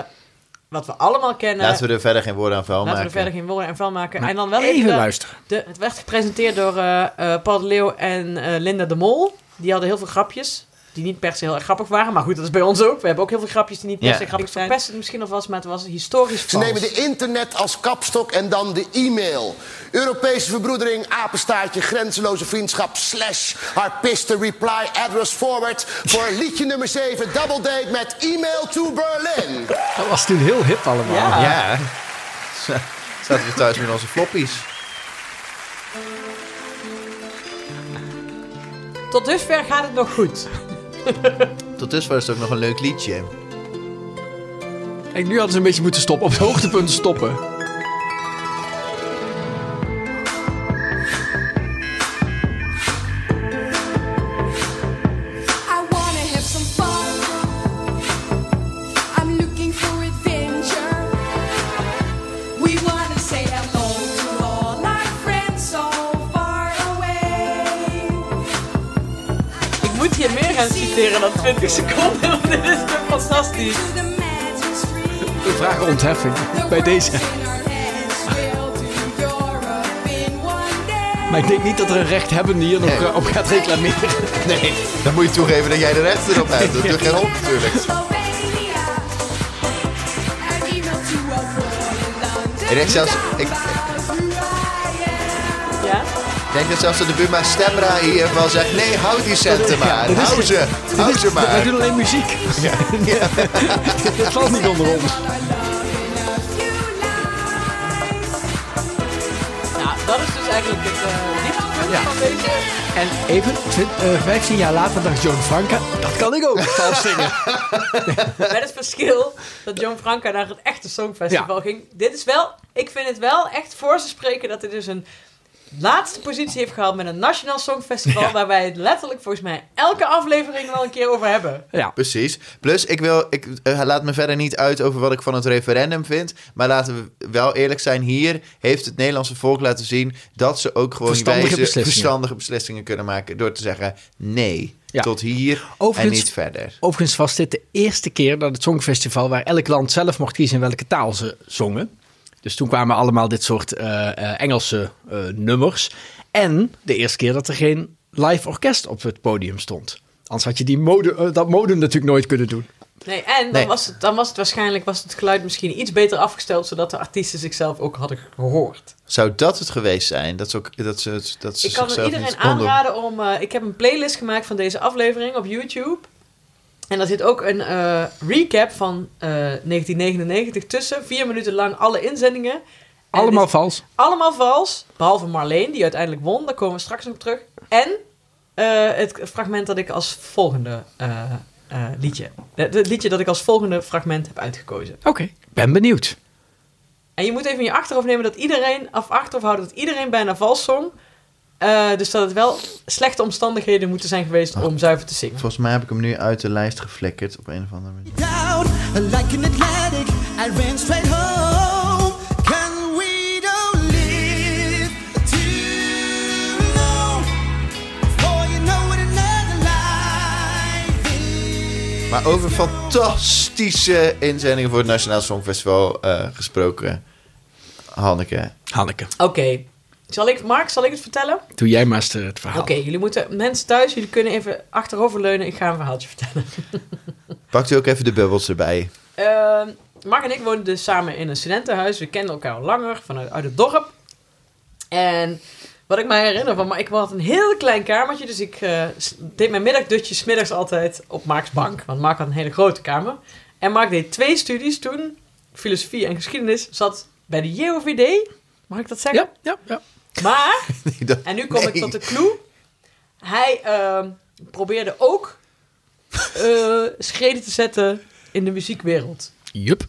Speaker 2: wat we allemaal kennen.
Speaker 1: laten we er verder geen woorden aan vuil
Speaker 2: Laten we
Speaker 1: maken.
Speaker 2: er verder geen woorden en vuil maken.
Speaker 3: Maar
Speaker 2: en dan wel
Speaker 3: even
Speaker 2: even... de-
Speaker 3: luisteren.
Speaker 2: de- het werd gepresenteerd door eh, eh, Paul de Leeuw en eh, Linda de Mol. Die hadden heel veel grapjes. Die niet per se heel erg grappig waren. Maar goed, dat is bij ons ook. We hebben ook heel veel grapjes die niet per
Speaker 1: Ja.
Speaker 2: se grappig zijn. Ik verpest het misschien alvast, maar het was historisch
Speaker 11: Ze
Speaker 2: vals.
Speaker 11: nemen de internet als kapstok en dan de e-mail. Europese verbroedering, apenstaartje, grenzeloze vriendschap, slash, harpisten, reply, address forward. Voor liedje nummer 7, double date met e-mail to Berlin.
Speaker 3: dat was toen heel hip allemaal.
Speaker 2: Ja.
Speaker 1: Ja. Zaten we thuis met onze floppies.
Speaker 2: Tot dusver gaat het nog goed.
Speaker 1: Tot dusver is het ook nog een leuk liedje.
Speaker 3: En nu hadden ze een beetje moeten stoppen, op het hoogtepunt stoppen.
Speaker 8: I wanna have some fun. I'm looking for adventure. We wanna say hello to all our friends so far away.
Speaker 2: Ik moet hier meer gaan citeren dan 20 seconden. Want dit is toch fantastisch.
Speaker 8: To the magic street.
Speaker 3: We vragen ontheffing bij deze. Maar ik denk niet dat er een rechthebbende hier nog
Speaker 1: Nee.
Speaker 3: eh, op gaat reclameren.
Speaker 1: Nee, dan moet je toegeven dat jij de rest erop hebt. Dat doet geen op natuurlijk.
Speaker 8: Ik denk zelfs... Ik...
Speaker 2: Ja?
Speaker 1: Ik denk dat zelfs dat de Buma Stemra hier wel zegt... Nee, houd die centen maar.
Speaker 3: dit is-
Speaker 1: Hou ze. Hou ze
Speaker 3: Wij
Speaker 1: maar.
Speaker 3: doen alleen muziek. Dit valt niet onder ons.
Speaker 2: Nou, dat is dus eigenlijk het eh, dieptepunt
Speaker 3: Ja.
Speaker 2: van deze.
Speaker 3: En even, twin- eh, 15 jaar later dacht John Franca, dat kan ik ook vals zingen.
Speaker 2: Met het verschil dat John Franca naar het echte Songfestival
Speaker 3: Ja.
Speaker 2: ging. Dit is wel... Ik vind het wel echt voor te spreken dat hij dus een laatste positie heeft gehaald met een Nationaal Songfestival.
Speaker 3: Ja.
Speaker 2: Waar wij het letterlijk volgens mij elke aflevering wel een keer over hebben.
Speaker 3: Ja.
Speaker 1: Precies. Plus, ik, wil, ik eh, laat me verder niet uit over wat ik van het referendum vind. Maar laten we wel eerlijk zijn. Hier heeft het Nederlandse volk laten zien... dat ze ook gewoon
Speaker 3: Verstandige
Speaker 1: wijze,
Speaker 3: beslissingen.
Speaker 1: verstandige beslissingen kunnen maken... door te zeggen nee.
Speaker 3: Ja.
Speaker 1: Tot hier en
Speaker 3: Overigens-
Speaker 1: niet verder.
Speaker 3: Overigens was dit de eerste keer dat het Songfestival, waar elk land zelf mocht kiezen in welke taal ze zongen. Dus toen kwamen allemaal dit soort eh, eh, Engelse eh, nummers. En de eerste keer dat er geen live orkest op het podium stond. Anders had je die mode, eh, dat modem natuurlijk nooit kunnen doen.
Speaker 2: Nee, en dan,
Speaker 1: Nee.
Speaker 2: Was het, dan was het waarschijnlijk was het geluid misschien iets beter afgesteld, zodat de artiesten zichzelf ook hadden gehoord.
Speaker 1: Zou dat het geweest zijn? Dat ze, ook, dat ze, het- dat ze
Speaker 2: Ik kan het
Speaker 1: zichzelf
Speaker 2: iedereen
Speaker 1: niet konden-
Speaker 2: aanraden om. eh, ik heb een playlist gemaakt van deze aflevering op YouTube. En daar zit ook een eh, recap van eh, 1999 tussen. Vier minuten lang alle inzendingen. En
Speaker 3: Allemaal
Speaker 2: het
Speaker 3: vals.
Speaker 2: is allemaal vals. Behalve Marleen, die uiteindelijk won. Daar komen we straks nog op terug. En eh, het fragment dat ik als volgende eh, eh, liedje. Het het liedje dat ik als volgende fragment heb uitgekozen.
Speaker 3: Oké, ben benieuwd.
Speaker 2: En je moet even in je achterhoofd nemen dat iedereen, of achterhoofd houden dat iedereen bijna vals zong. Eh, dus dat het wel slechte omstandigheden moeten zijn geweest om zuiver te zingen.
Speaker 1: Volgens mij heb ik hem nu uit de lijst geflikkerd op een of andere manier.
Speaker 6: down like an Atlantic. I ran straight home. Can we don't live till
Speaker 1: Maar over fantastische inzendingen voor het Nationaal Songfestival eh, gesproken. Hanneke.
Speaker 3: Hanneke.
Speaker 2: Oké. Zal ik, Mark, zal ik het vertellen?
Speaker 3: Doe jij maar eens het
Speaker 2: Oké,
Speaker 3: verhaal.
Speaker 2: jullie moeten, mensen thuis, jullie kunnen even achteroverleunen. Ik ga een verhaaltje vertellen.
Speaker 1: Pakt u ook even de bubbels erbij.
Speaker 2: Ehm Mark en ik woonden dus samen in een studentenhuis. We kenden elkaar al langer vanuit uit het dorp. En wat ik me herinner van, maar ik had een heel klein kamertje. Dus ik eh, s- deed mijn middagdutje smiddags altijd op Mark's bank. Want Mark had een hele grote kamer. En Mark deed twee studies toen. Filosofie en geschiedenis zat bij de JOVD. Mag ik dat zeggen? Ja,
Speaker 3: ja, ja.
Speaker 2: Maar,
Speaker 1: dat-
Speaker 2: en nu kom ik
Speaker 1: nee.
Speaker 2: tot de clue. Hij ehm, probeerde ook eh, schreden te zetten in de muziekwereld.
Speaker 3: Jup.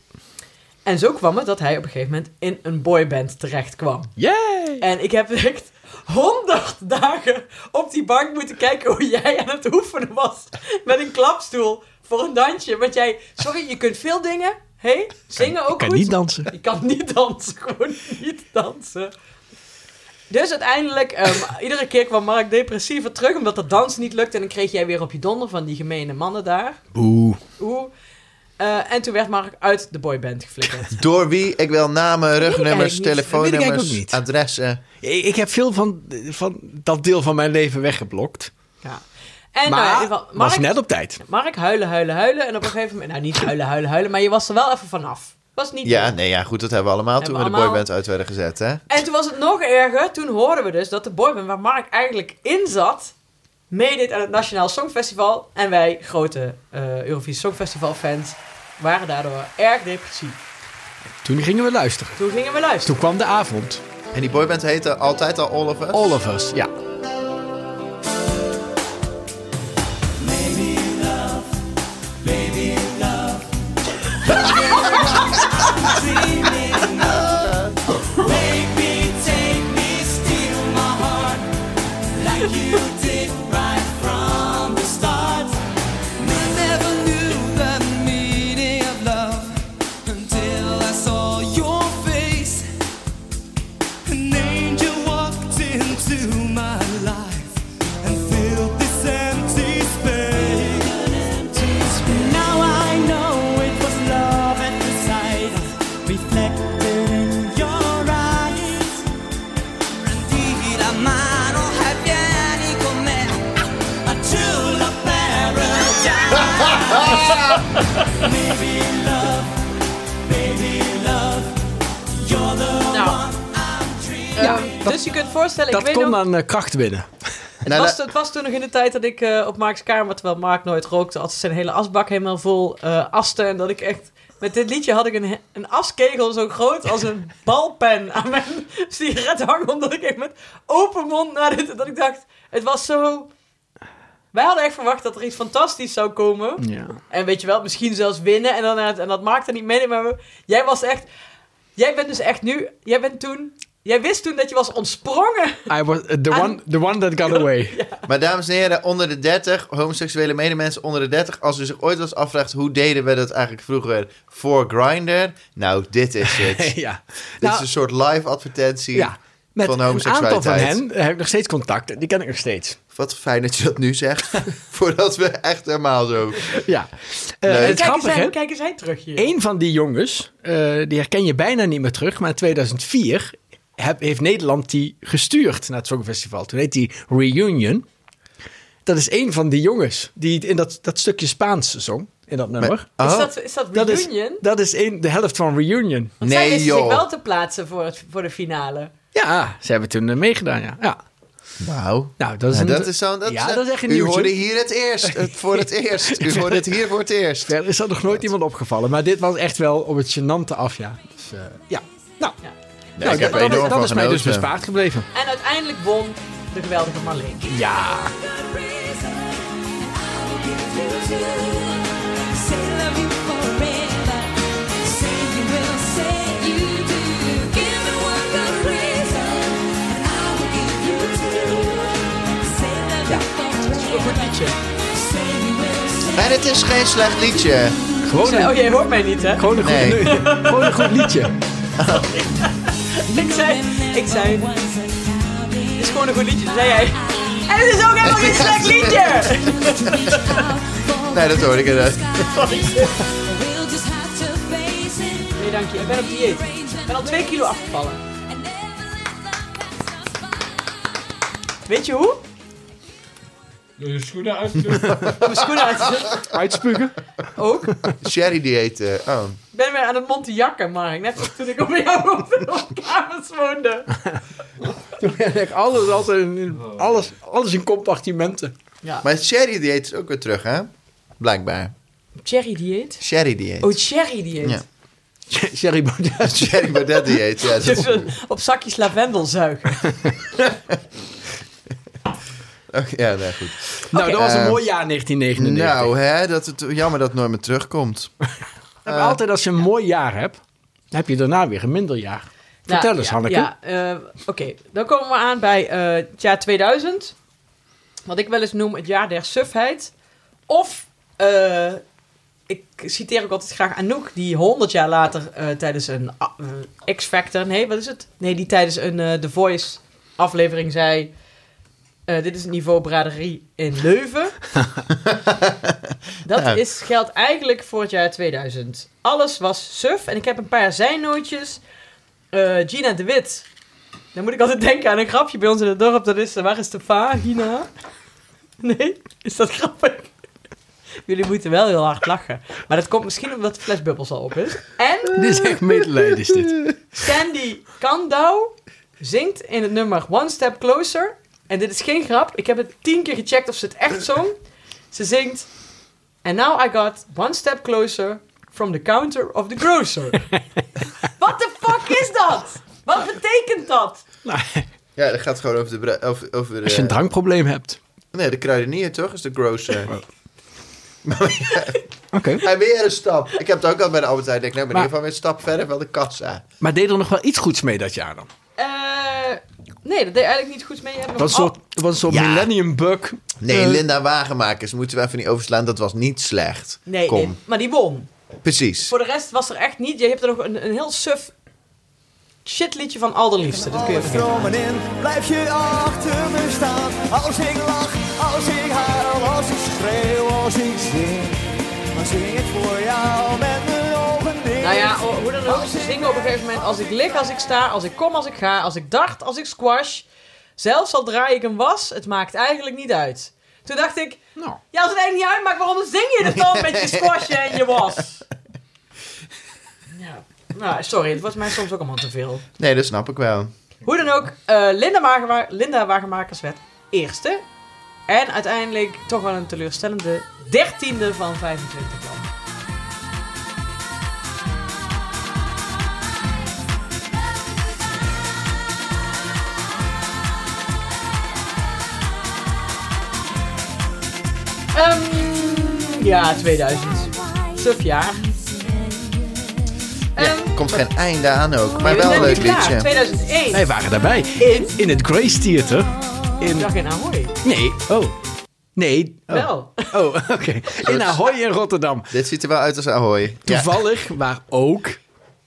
Speaker 2: En zo kwam het dat hij op een gegeven moment in een boyband terecht kwam.
Speaker 3: Yay!
Speaker 2: En ik heb echt honderd dagen op die bank moeten kijken hoe jij aan het oefenen was met een klapstoel voor een dansje. Want jij, sorry, je kunt veel dingen. Hé, zingen ook
Speaker 3: kan
Speaker 2: goed.
Speaker 3: niet dansen.
Speaker 2: Je kan niet dansen, gewoon niet dansen. Dus uiteindelijk, ehm, iedere keer kwam Mark depressiever terug omdat dat dansen niet lukte. En dan kreeg jij weer op je donder van die gemene mannen daar.
Speaker 3: Boe.
Speaker 2: Oeh. Eh, en toen werd Mark uit de boyband geflikkerd.
Speaker 1: Door wie? Ik wil namen,
Speaker 2: eigenlijk
Speaker 1: rugnummers,
Speaker 2: niet.
Speaker 3: Dat weet ik
Speaker 1: telefoonnummers,
Speaker 3: eigenlijk ook niet.
Speaker 1: adressen.
Speaker 3: Ik, ik heb veel van, van dat deel van mijn leven weggeblokt.
Speaker 2: Ja. En nou ja, in
Speaker 3: maar
Speaker 2: ieder geval,
Speaker 3: was
Speaker 2: Mark-
Speaker 3: net op tijd.
Speaker 2: Mark, huilen, huilen, huilen. En op een gegeven moment... Nou, niet huilen, huilen, huilen. Maar je was er wel even vanaf. Was niet
Speaker 1: Ja,
Speaker 2: leuk.
Speaker 1: nee, ja, goed, dat hebben we allemaal
Speaker 2: Hebben
Speaker 1: toen we
Speaker 2: we allemaal-
Speaker 1: de boyband uit werden gezet, hè?
Speaker 2: En toen was het nog erger. Toen hoorden we dus dat de boyband waar Mark eigenlijk in zat... meedeed aan het Nationaal Songfestival. En wij, grote eh Eurovisie Songfestival fans... waren daardoor erg depressief.
Speaker 3: Toen gingen we luisteren.
Speaker 2: Toen gingen we luisteren.
Speaker 3: Toen kwam de avond.
Speaker 1: En die boyband heette altijd al Nou, All of Us?
Speaker 3: All of us, ja.
Speaker 5: Now I know it was love at the sight reflected in your eyes. Indeed, a man will have yet equal man, a jewel of paradise. Maybe love, baby love, you're the
Speaker 2: Nou. Ehm, dus je kunt voorstellen, ik
Speaker 3: dat
Speaker 2: weet
Speaker 3: kon
Speaker 2: nog-
Speaker 3: aan eh, kracht winnen.
Speaker 2: Het,
Speaker 1: eh,
Speaker 2: was, het was toen nog in de tijd dat ik eh, op Mark's kamer, terwijl Mark nooit rookte, had zijn hele asbak helemaal vol eh asten. En dat ik echt, met dit liedje had ik een, een askegel zo groot als een balpen aan mijn sigaret hangen. Omdat ik echt met open mond naar dit, dat ik dacht, het was zo... Wij hadden echt verwacht dat er iets fantastisch zou komen.
Speaker 3: Ja.
Speaker 2: En weet je wel, misschien zelfs winnen. En, dan, en dat maakte niet mee. Maar we- jij was echt... Jij bent dus echt nu... Jij bent toen... Jij wist toen dat je was ontsprongen.
Speaker 3: I was eh,
Speaker 2: Ah.
Speaker 3: the, one, the one that got away.
Speaker 1: Maar dames en heren, onder de 30, homoseksuele medemensen onder de 30, als u zich ooit was afvraagt hoe deden we dat eigenlijk vroeger voor Grindr? Nou, dit is het.
Speaker 3: ja.
Speaker 1: Dit is
Speaker 3: Nou,
Speaker 1: een soort live advertentie
Speaker 3: ja. Met
Speaker 1: van
Speaker 3: een aantal
Speaker 1: homoseksualiteit.
Speaker 3: van hen heb ik nog steeds contact. Die ken ik nog steeds.
Speaker 1: Wat fijn dat je dat nu zegt, voordat we echt helemaal zo...
Speaker 3: Ja. Eh,
Speaker 1: Leuk.
Speaker 3: het
Speaker 2: Kijk eens,
Speaker 3: grappige,
Speaker 2: hij,
Speaker 3: hè?
Speaker 2: kijk eens hij terug hier.
Speaker 3: Een van die jongens, eh, die herken je bijna niet meer terug, maar in 2004 heb- heeft Nederland die gestuurd naar het Songfestival. Toen heet die Reunion. Dat is een van die jongens die in dat, dat stukje Spaans zong, in dat nummer.
Speaker 2: Is
Speaker 1: Oh,
Speaker 2: dat, is dat
Speaker 3: dat is,
Speaker 2: reunion?
Speaker 3: dat is een, de helft van Reunion.
Speaker 2: Want zij
Speaker 1: nee,
Speaker 2: wisten zich
Speaker 1: joh.
Speaker 2: wel te plaatsen voor, het, voor de finale.
Speaker 3: Ja, ze hebben toen eh, meegedaan, ja. ja.
Speaker 1: wauw.
Speaker 3: Nou, dat is,
Speaker 1: Ja,
Speaker 3: een-
Speaker 1: dat is zo, dat
Speaker 3: ja,
Speaker 1: is,
Speaker 3: dat is echt een
Speaker 1: U
Speaker 3: nieuwtje.
Speaker 1: hoorde hier het eerst, het voor het eerst. U hoorde het hier voor het eerst.
Speaker 3: Verder is dat nog nooit iemand opgevallen, maar dit was echt wel op het gênante af, ja. Dus, eh, ja. Nou,
Speaker 2: Ja.
Speaker 3: nou,
Speaker 1: ik heb er
Speaker 3: dat,
Speaker 1: enorm
Speaker 3: dat,
Speaker 1: van
Speaker 3: dat is mij dus
Speaker 1: genoten.
Speaker 3: bespaard gebleven.
Speaker 2: En uiteindelijk won de geweldige Marleen.
Speaker 3: Ja.
Speaker 2: Goed liedje.
Speaker 1: En het is geen slecht liedje.
Speaker 3: Gewoon een,
Speaker 2: Oh, jij hoort mij niet, hè?
Speaker 3: gewoon een, goed,
Speaker 1: Nee.
Speaker 3: gewoon een goed liedje.
Speaker 2: Ik zei, ik zei, het is gewoon een goed liedje. Toen zei jij, en het is ook helemaal geen slecht liedje!
Speaker 5: out for
Speaker 1: Nee, dat hoor ik inderdaad.
Speaker 2: Nee, dank je. Ik ben op dieet. Ik ben al 2 kilo afgevallen. Weet je hoe?
Speaker 7: Door je schoenen uit
Speaker 2: Mijn schoenen uit.
Speaker 3: Uitspugen.
Speaker 2: Ook. Ik
Speaker 1: Sherry dieet. eh, oh.
Speaker 2: ben weer aan het Montijakken, Mark. Net als toen ik op jou op de kamers woonde.
Speaker 3: alles, altijd in, alles, alles in compartimenten.
Speaker 2: Ja.
Speaker 1: Maar het sherry dieet is ook weer terug, hè? Blijkbaar.
Speaker 2: Cherry dieet?
Speaker 1: Sherry dieet.
Speaker 2: Oh, cherry dieet.
Speaker 1: Ja.
Speaker 3: Sherry Baudet.
Speaker 1: Sherry Baudet dieet. Ja, dat
Speaker 2: Dus
Speaker 1: is-
Speaker 2: eh, op zakjes lavendel zuigen.
Speaker 1: oh, ja, nee, goed.
Speaker 3: Nou,
Speaker 2: Oké.
Speaker 3: dat was een
Speaker 1: Eh,
Speaker 3: mooi jaar 1999.
Speaker 1: Nou, hè, dat het, jammer dat het nooit meer terugkomt.
Speaker 3: Maar altijd als je een mooi jaar hebt, dan heb je daarna weer een minder jaar. Vertel
Speaker 2: Nou,
Speaker 3: eens,
Speaker 2: ja,
Speaker 3: Hanneke.
Speaker 2: Ja, eh, oké. Dan komen we aan bij eh, het jaar 2000. Wat ik wel eens noem het jaar der sufheid. Of, eh, ik citeer ook altijd graag Anouk, die 100 jaar later eh, tijdens een ah, eh, X-Factor... Nee, wat is het? Nee, die tijdens een eh, The Voice aflevering zei... eh, dit is het niveau braderie in Leuven. Dat
Speaker 1: Nou.
Speaker 2: is, geldt eigenlijk voor het jaar 2000. Alles was suf. En ik heb een paar zijnootjes. Eh, Gina de Wit. Dan moet ik altijd denken aan een grapje bij ons in het dorp. Dat is, eh, waar is de vagina? Nee? Is dat grappig? Jullie moeten wel heel hard lachen. Maar dat komt misschien omdat de flesbubbels al op is. En
Speaker 3: Dit is echt medelijden, is dit.
Speaker 2: Sandy Kandau zingt in het nummer One Step Closer. En dit is geen grap. Ik heb het tien keer gecheckt of ze het echt zong. Ze zingt... And now I got one step closer from the counter of the grocer. What the fuck is dat? Wat betekent dat?
Speaker 3: Nou,
Speaker 1: Ja, dat gaat gewoon over de... bra- Over, over de
Speaker 3: Als je een drankprobleem hebt.
Speaker 1: Nee, de kruidenier toch? Is de grocer.
Speaker 3: Oké.
Speaker 1: En weer een stap. Ik heb het ook al bij de Albert Heijn. Ik denk, nou,
Speaker 3: Maar-
Speaker 1: maar in ieder geval weer een stap verder van de kassa.
Speaker 3: Maar deed er nog wel iets goeds mee dat jaar dan?
Speaker 2: Eh, nee, dat deed eigenlijk niet goed mee. Je hebt nog Oh,
Speaker 3: Wat een
Speaker 2: al-
Speaker 3: soort, wat een soort
Speaker 1: Ja.
Speaker 3: millennium bug.
Speaker 1: Nee,
Speaker 3: Eh.
Speaker 1: Linda Wagenmakers moeten we even niet overslaan. Dat was niet slecht.
Speaker 2: Nee,
Speaker 1: Kom.
Speaker 2: nee, maar die won.
Speaker 1: Precies.
Speaker 2: Voor de rest was er echt niet... Je hebt er nog een, een heel suf shitliedje van Alderliefste. Dat kun je vergeten.
Speaker 5: stromen in, blijf je achter me staan. Als ik lach, als ik huil, als ik schreeuw, als ik zing. Dan zing ik voor jou met mijn ogen dicht.
Speaker 2: Nou ja, o- hoe dan ook, ze zingen op een gegeven moment als ik lig, als ik sta, als ik kom, als ik ga, als ik dart, als ik squash. Zelfs al draai ik een was, het maakt eigenlijk niet uit. Toen dacht ik,
Speaker 3: Nou.
Speaker 2: ja, als het eigenlijk niet uitmaakt, waarom zing je het dan met je squash en je was? Ja. Nou, sorry, het was mij soms ook allemaal te veel.
Speaker 1: Nee, dat snap ik wel.
Speaker 2: Hoe dan ook, eh, Linda, Wagema- Linda Wagemakers werd eerste. En uiteindelijk toch wel een teleurstellende dertiende van 25 landen. Ehm, ja, 2000. Suf jaar.
Speaker 1: Ja,
Speaker 2: Ehm,
Speaker 1: komt geen einde aan ook. Maar
Speaker 2: we
Speaker 1: wel een
Speaker 2: zijn
Speaker 1: leuk
Speaker 2: weer klaar.
Speaker 1: liedje.
Speaker 2: 2001.
Speaker 3: Wij waren daarbij.
Speaker 2: In?
Speaker 3: In het Grace Theater. In...
Speaker 2: Dag in Ahoy.
Speaker 3: Nee. Oh. Nee. Oh,
Speaker 2: Wel.
Speaker 3: Oh, oké. In Ahoy in Rotterdam.
Speaker 1: Dit ziet er wel uit als Ahoy. Ja.
Speaker 3: Toevallig waar ook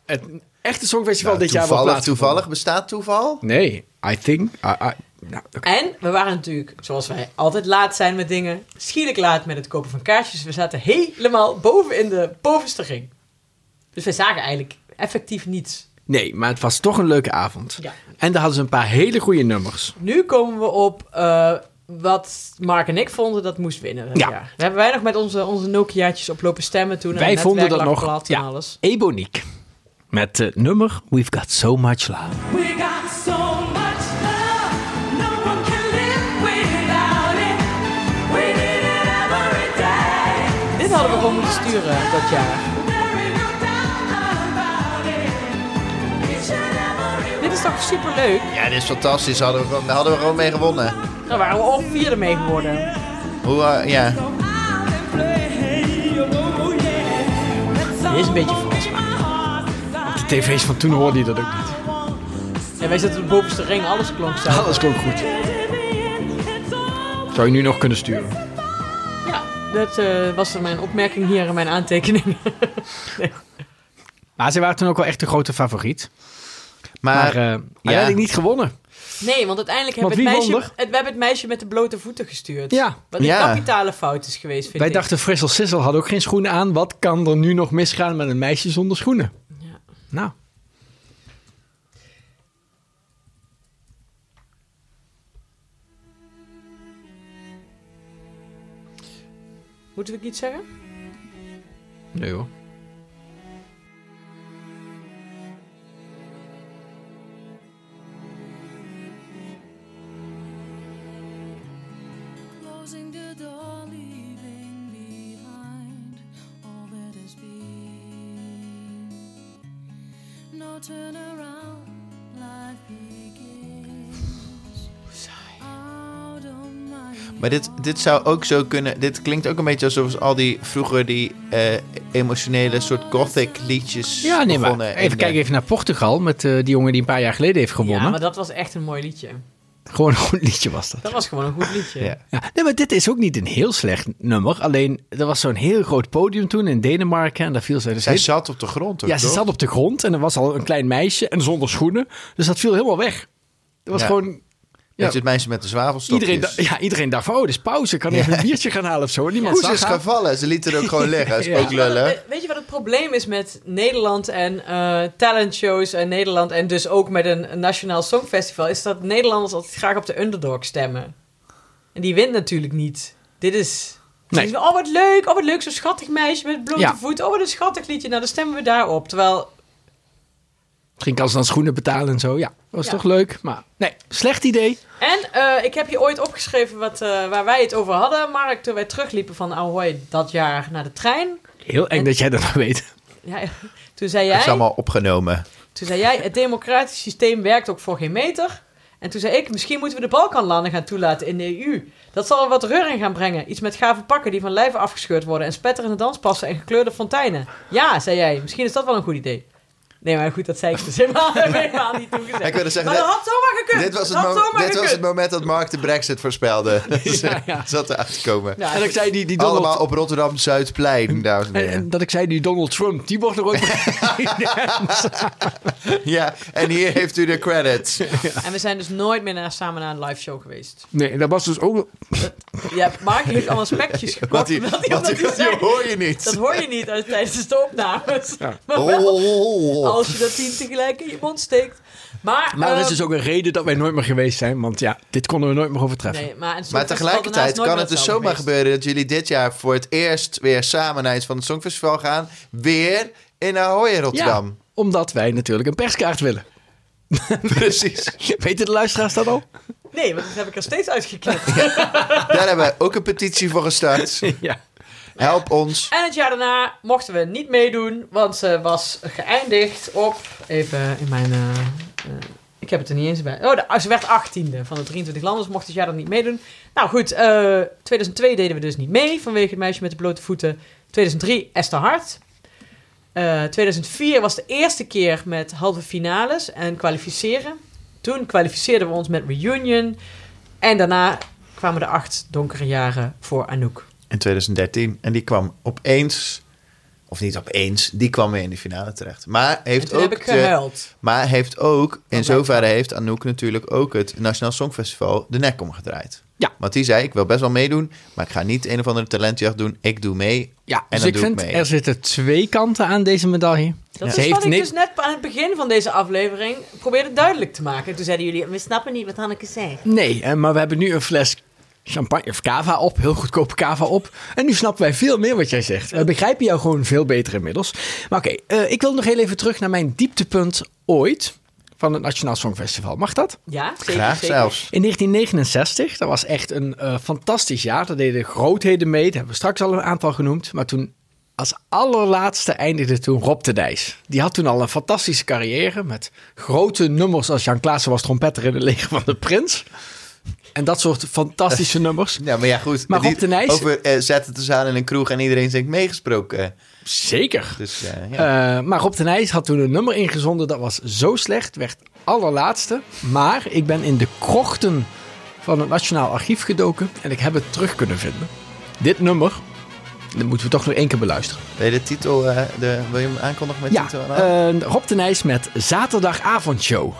Speaker 3: het echte Songfestival dit jaar wel
Speaker 1: Toevallig,
Speaker 3: plaatsvond.
Speaker 1: toevallig. Bestaat toeval?
Speaker 3: Nee, I think... I, I- nou, oké.
Speaker 2: En we waren natuurlijk, zoals wij altijd laat zijn met dingen, schielijk laat met het kopen van kaartjes. We zaten helemaal boven in de bovenste ring. Dus we zagen eigenlijk effectief niets.
Speaker 3: Nee, maar het was toch een leuke avond.
Speaker 2: Ja.
Speaker 3: En daar hadden ze een paar hele goede nummers.
Speaker 2: Nu komen we op eh, wat Mark en ik vonden dat moest winnen. dat
Speaker 3: Ja.
Speaker 2: jaar. Daar hebben wij nog met onze, onze Nokiaatjes op lopen stemmen toen. en
Speaker 3: Wij
Speaker 2: het
Speaker 3: vonden dat
Speaker 2: netwerk lag
Speaker 3: nog...
Speaker 2: plat en alles.
Speaker 3: Eboniek. Met het nummer We've Got So Much Love.
Speaker 8: We got so much love, no one can live without it. We need it every day.
Speaker 2: Dit hadden we gewoon moeten sturen dat jaar.
Speaker 8: There ain't no doubt about it. Each and every
Speaker 2: Dit is toch superleuk?
Speaker 1: Ja, dit is fantastisch. Hadden we gewoon, daar hadden we gewoon mee gewonnen.
Speaker 2: Daar waren we al vierde mee geworden.
Speaker 1: Hoe, eh, ja.
Speaker 8: one out and play. Oh yeah, That's
Speaker 2: Dit is een beetje
Speaker 8: all
Speaker 2: vals,
Speaker 8: my heart's desire.
Speaker 3: De tv's van toen hoorde je dat ook niet.
Speaker 2: En wij zaten op de bovenste ring, alles klonk zo.
Speaker 3: Alles klonk goed. Zou je nu nog kunnen sturen?
Speaker 2: Ja, dat eh, was er mijn opmerking hier in mijn aantekeningen.
Speaker 3: Maar ze waren toen ook wel echt de grote favoriet.
Speaker 1: Maar,
Speaker 3: Maar, eh, hij
Speaker 1: ja.
Speaker 3: had ik niet gewonnen.
Speaker 2: Nee, want uiteindelijk hebben
Speaker 3: Want
Speaker 2: het
Speaker 3: wie
Speaker 2: meisje,
Speaker 3: won
Speaker 2: het, we hebben het meisje met de blote voeten gestuurd.
Speaker 3: Ja.
Speaker 2: Wat een
Speaker 3: Ja.
Speaker 2: kapitale fout is geweest, vind
Speaker 3: Wij
Speaker 2: ik.
Speaker 3: dachten, Frissel Sissel had ook geen schoenen aan. Wat kan er nu nog misgaan met een meisje zonder schoenen?
Speaker 2: Ja.
Speaker 3: Nou,
Speaker 2: Moeten we ook iets zeggen?
Speaker 3: nee hoor.
Speaker 12: Closing the door, leaving behind all that has been. No turnaround, life begins. Out of my
Speaker 1: Maar dit, dit zou ook zo kunnen. Dit klinkt ook een beetje alsof al die vroeger die eh, emotionele soort gothic liedjes.
Speaker 3: Ja, nee, maar
Speaker 1: begonnen eh, in de-
Speaker 3: even kijken even naar Portugal met eh, die jongen die een paar jaar geleden heeft gewonnen.
Speaker 2: Ja, maar dat was echt een mooi liedje.
Speaker 3: Gewoon een goed liedje was dat.
Speaker 2: Dat was gewoon een goed liedje.
Speaker 3: Ja, nee, maar dit is ook niet een heel slecht nummer. Alleen, er was zo'n heel groot podium toen in Denemarken. En daar viel zij dus...
Speaker 1: Zij
Speaker 3: heel-
Speaker 1: zat op de grond. Ook,
Speaker 3: Ja, ze
Speaker 1: toch?
Speaker 3: zat op de grond en er was al een klein meisje en zonder schoenen. Dus dat viel helemaal weg. Dat was
Speaker 1: Ja.
Speaker 3: gewoon...
Speaker 1: Ja. Het is het meisje met de zwavelstokjes.
Speaker 3: Iedereen, da- ja, iedereen dacht van, oh, dit is pauze. Ik kan even een biertje gaan halen of zo. Niemand
Speaker 1: Hoe ze
Speaker 3: zag
Speaker 1: is
Speaker 3: haar.
Speaker 1: gevallen. Ze liet het ook gewoon liggen. Dat is
Speaker 3: Ja.
Speaker 1: ook lullen.
Speaker 2: Nou, We- Weet je wat het probleem is met Nederland en eh, talent talentshows en Nederland en dus ook met een, een nationaal songfestival? Is dat Nederlanders altijd graag op de underdog stemmen. En die wint natuurlijk niet. Dit is.
Speaker 3: Nee.
Speaker 2: Ze zeggen, Oh, wat leuk, oh, wat leuk, zo'n schattig meisje met blote
Speaker 3: Ja.
Speaker 2: voet. Oh, wat een schattig liedje. Nou, dan stemmen we daarop. Terwijl,
Speaker 3: Misschien kan ze dan schoenen betalen en zo. Ja, dat was
Speaker 2: Ja.
Speaker 3: toch leuk. Maar nee, slecht idee.
Speaker 2: en eh, ik heb hier ooit opgeschreven wat, eh, waar wij het over hadden, Mark, toen wij terugliepen van Ahoy dat jaar naar de trein.
Speaker 3: Heel eng dat jij dat nog weet.
Speaker 2: Ja, toen zei
Speaker 1: Dat
Speaker 2: jij...
Speaker 1: is allemaal opgenomen.
Speaker 2: Toen zei jij, het democratisch systeem werkt ook voor geen meter. En toen zei ik, misschien moeten we de Balkanlanden gaan toelaten in de EU. Dat zal er wat reuring gaan brengen. Iets met gave pakken die van lijf afgescheurd worden... en spetterende danspassen en gekleurde fonteinen. Ja, zei jij, misschien is dat wel een goed idee. Nee, maar goed, dat zei ik dus helemaal, helemaal niet toen gezegd.
Speaker 1: Ik wilde zeggen,
Speaker 2: maar dat
Speaker 1: dit-
Speaker 2: had zomaar gekund.
Speaker 1: Dit was het,
Speaker 2: Dat had
Speaker 1: mo-
Speaker 2: zomaar
Speaker 1: dit was
Speaker 2: gekund.
Speaker 1: het moment dat Mark de Brexit voorspelde.
Speaker 3: Ja, ja.
Speaker 1: Zat eruit te komen.
Speaker 2: Ja,
Speaker 3: En ik zei die, die Donald...
Speaker 1: Allemaal op Rotterdam Zuidplein, dames en
Speaker 3: en,
Speaker 1: heren.
Speaker 3: en dat ik zei, die Donald Trump, die wordt er ook...
Speaker 1: Ja, en hier heeft u de credits.
Speaker 2: En we zijn dus nooit meer naar, samen naar een live show geweest.
Speaker 3: nee, dat was dus ook...
Speaker 2: Ja, Mark heeft allemaal spekjes gekocht.
Speaker 1: Wat die,
Speaker 2: omdat hij-
Speaker 1: wat
Speaker 2: omdat
Speaker 1: die,
Speaker 2: hij zei-
Speaker 1: hoor je niet.
Speaker 2: Dat hoor je niet uit, tijdens de opnames. Maar
Speaker 1: Oh,
Speaker 2: wel-
Speaker 1: oh, oh, oh.
Speaker 2: Als je dat tien tegelijk in je mond steekt. Maar,
Speaker 3: Maar er is
Speaker 2: ehm,
Speaker 3: dus ook een reden dat wij nooit meer geweest zijn. Want ja, dit konden we nooit meer overtreffen.
Speaker 2: Nee, maar, een
Speaker 1: Maar
Speaker 2: songfestival daarna is
Speaker 1: tegelijkertijd
Speaker 2: nooit
Speaker 1: kan
Speaker 2: meer
Speaker 1: het dus
Speaker 2: hetzelfde
Speaker 1: zomaar
Speaker 2: geweest.
Speaker 1: gebeuren dat jullie dit jaar voor het eerst weer samen naar iets van het Songfestival gaan. Weer in Ahoy in Rotterdam.
Speaker 3: Ja, omdat wij natuurlijk een perskaart willen.
Speaker 1: Precies.
Speaker 3: Weten de luisteraars dat al?
Speaker 2: Nee, want dat heb ik er steeds uitgeknipt.
Speaker 1: Daar hebben we ook een petitie voor gestart.
Speaker 3: Ja.
Speaker 1: Help ons.
Speaker 2: En het jaar daarna mochten we niet meedoen, want ze was geëindigd op. Even in mijn. eh, eh, ik heb het er niet eens bij. Oh, de- ze werd 18e van de 23 landen, dus mocht het jaar dan niet meedoen. Nou goed, eh, 2002 deden we dus niet mee vanwege het meisje met de blote voeten. 2003 Esther Hart. Eh, 2004 was de eerste keer met halve finales en kwalificeren. Toen kwalificeerden we ons met reunion. En daarna kwamen de acht donkere jaren voor Anouk.
Speaker 1: In 2013. En die kwam opeens, of niet opeens, die kwam weer in de finale terecht. Maar
Speaker 2: en
Speaker 1: heeft
Speaker 2: toen
Speaker 1: ook.
Speaker 2: heb ik
Speaker 1: de-
Speaker 2: gehuild.
Speaker 1: maar heeft ook, in
Speaker 2: blijkt
Speaker 1: zoverre heeft Anouk natuurlijk ook het Nationaal Songfestival de nek omgedraaid.
Speaker 3: Ja.
Speaker 1: Want die zei, ik wil best wel meedoen, maar ik ga niet een of andere talentjacht doen. Ik doe mee.
Speaker 3: Ja,
Speaker 1: dan
Speaker 3: dus ik
Speaker 1: doe ik
Speaker 3: vind,
Speaker 1: mee.
Speaker 3: er zitten twee kanten aan deze medaille.
Speaker 2: Dat is
Speaker 3: Ze heeft
Speaker 2: wat ik
Speaker 3: niks-
Speaker 2: dus net aan het begin van deze aflevering probeerde duidelijk te maken. Toen zeiden jullie, we snappen niet wat Hanneke zei.
Speaker 3: Nee, hè, maar we hebben nu een fles champagne of cava op, heel goedkope cava op. En nu snappen wij veel meer wat jij zegt. We begrijpen jou gewoon veel beter inmiddels. Maar oké, eh, ik wil nog heel even terug naar mijn dieptepunt ooit van het Nationaal Songfestival. Mag dat?
Speaker 2: Ja, zeker.
Speaker 1: Graag
Speaker 2: zeker.
Speaker 1: zelfs.
Speaker 3: In 1969, dat was echt een eh, fantastisch jaar. Daar deden grootheden mee. Daar hebben we straks al een aantal genoemd. Maar toen als allerlaatste eindigde toen Rob de Dijs. Die had toen al een fantastische carrière met grote nummers als Jan Klaassen was trompetter in het leger van de prins. En dat soort fantastische nummers.
Speaker 1: Ja, maar ja, goed.
Speaker 3: Maar
Speaker 1: die-
Speaker 3: Rob de Nijs-
Speaker 1: Over eh, zetten te aan in een kroeg en iedereen zingt meegesproken.
Speaker 3: Zeker.
Speaker 1: Dus eh, ja.
Speaker 3: Eh, maar Rob de Nijs had toen een nummer ingezonden dat was zo slecht, werd allerlaatste. Maar ik ben in de krochten van het Nationaal Archief gedoken en ik heb het terug kunnen vinden. Dit nummer, dat moeten we toch nog één keer beluisteren.
Speaker 1: Wil je de titel, eh, de, wil je hem aankondigen met
Speaker 3: Ja,
Speaker 1: titel? en al?
Speaker 3: eh Rob de Nijs met Zaterdagavondshow.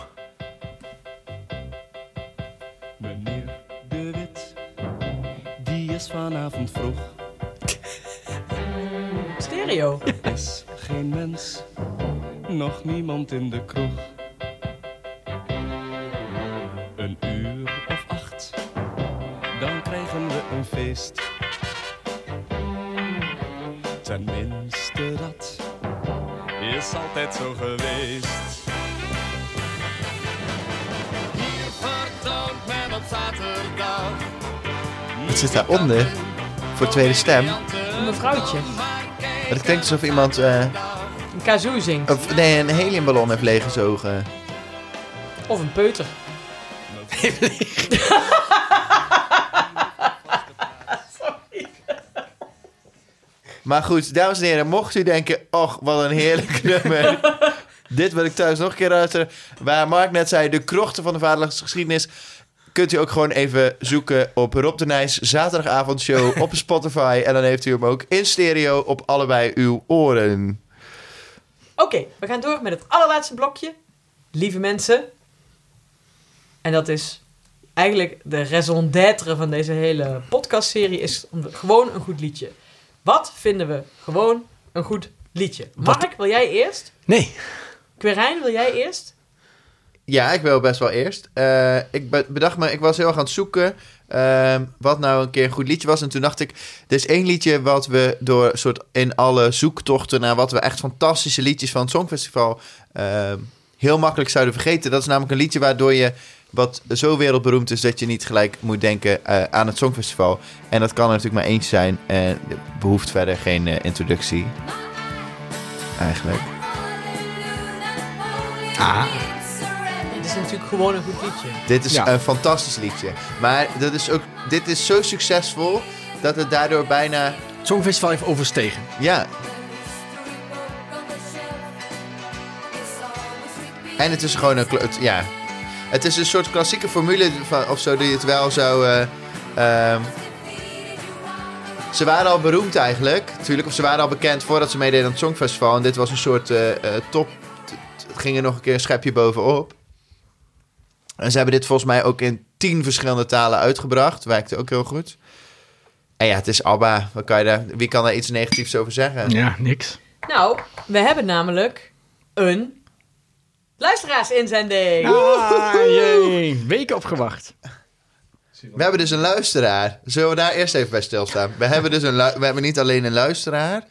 Speaker 2: Stereo.
Speaker 13: Er is geen mens, nog niemand in de kroeg. Een uur of acht, dan krijgen we een feest. Tenminste, dat is altijd zo geweest. Hier vertoont men op zaterdag.
Speaker 1: Wat zit daaronder? Voor tweede stem.
Speaker 2: Een vrouwtje.
Speaker 1: Het klinkt alsof iemand eh,
Speaker 2: Een kazoo zingt.
Speaker 1: of, nee, een heliumballon heeft leeggezogen.
Speaker 2: Of een peuter.
Speaker 1: Maar goed, dames en heren, mocht u denken... Och, wat een heerlijk nummer. Dit wil ik thuis nog een keer luisteren. Waar Mark net zei, de krochten van de vaderlandse geschiedenis... kunt u ook gewoon even zoeken op Rob de Nijs... zaterdagavondshow op Spotify. En dan heeft u hem ook in stereo op allebei uw oren.
Speaker 2: Oké, we gaan door met het allerlaatste blokje. Lieve mensen. En dat is eigenlijk de raison d'être van deze hele podcastserie. Is om- gewoon een goed liedje. Wat vinden we gewoon een goed liedje? Mark, wil jij eerst?
Speaker 3: Nee.
Speaker 2: Quirijn, wil jij eerst?
Speaker 1: Ja, ik wil best wel eerst. Eh, ik be- bedacht me, ik was heel erg aan het zoeken ehm, wat nou een keer een goed liedje was. En toen dacht ik, er is één liedje wat we door soort in alle zoektochten naar wat we echt fantastische liedjes van het Songfestival ehm, heel makkelijk zouden vergeten. Dat is namelijk een liedje waardoor je wat zo wereldberoemd is dat je niet gelijk moet denken eh, aan het Songfestival. En dat kan er natuurlijk maar eentje zijn. En het behoeft verder geen eh, introductie. Eigenlijk. Ah.
Speaker 2: Dit is natuurlijk gewoon een goed liedje.
Speaker 1: Dit is een fantastisch liedje. Maar dat is ook, dit is zo succesvol dat het daardoor bijna. Het
Speaker 3: Songfestival heeft overstegen.
Speaker 1: Ja. En het is gewoon een. kle- het- ja. Het is een soort klassieke formule van, of zo die het wel zou. eh, ehm, ze waren al beroemd eigenlijk, natuurlijk. Of ze waren al bekend voordat ze meededen aan het Songfestival. En dit was een soort eh, eh, top. t- t- Het ging er nog een keer een schepje bovenop. En ze hebben dit volgens mij ook in tien verschillende talen uitgebracht. Werkte ook heel goed. En ja, het is ABBA. Wat kan je daar, wie kan daar iets negatiefs over zeggen?
Speaker 3: Ja, niks.
Speaker 2: Nou, we hebben namelijk een luisteraarsinzending.
Speaker 3: Ah, jee. Weken opgewacht.
Speaker 1: We hebben dus een luisteraar. Zullen we daar eerst even bij stilstaan? We hebben dus een lu- we hebben niet alleen een luisteraar.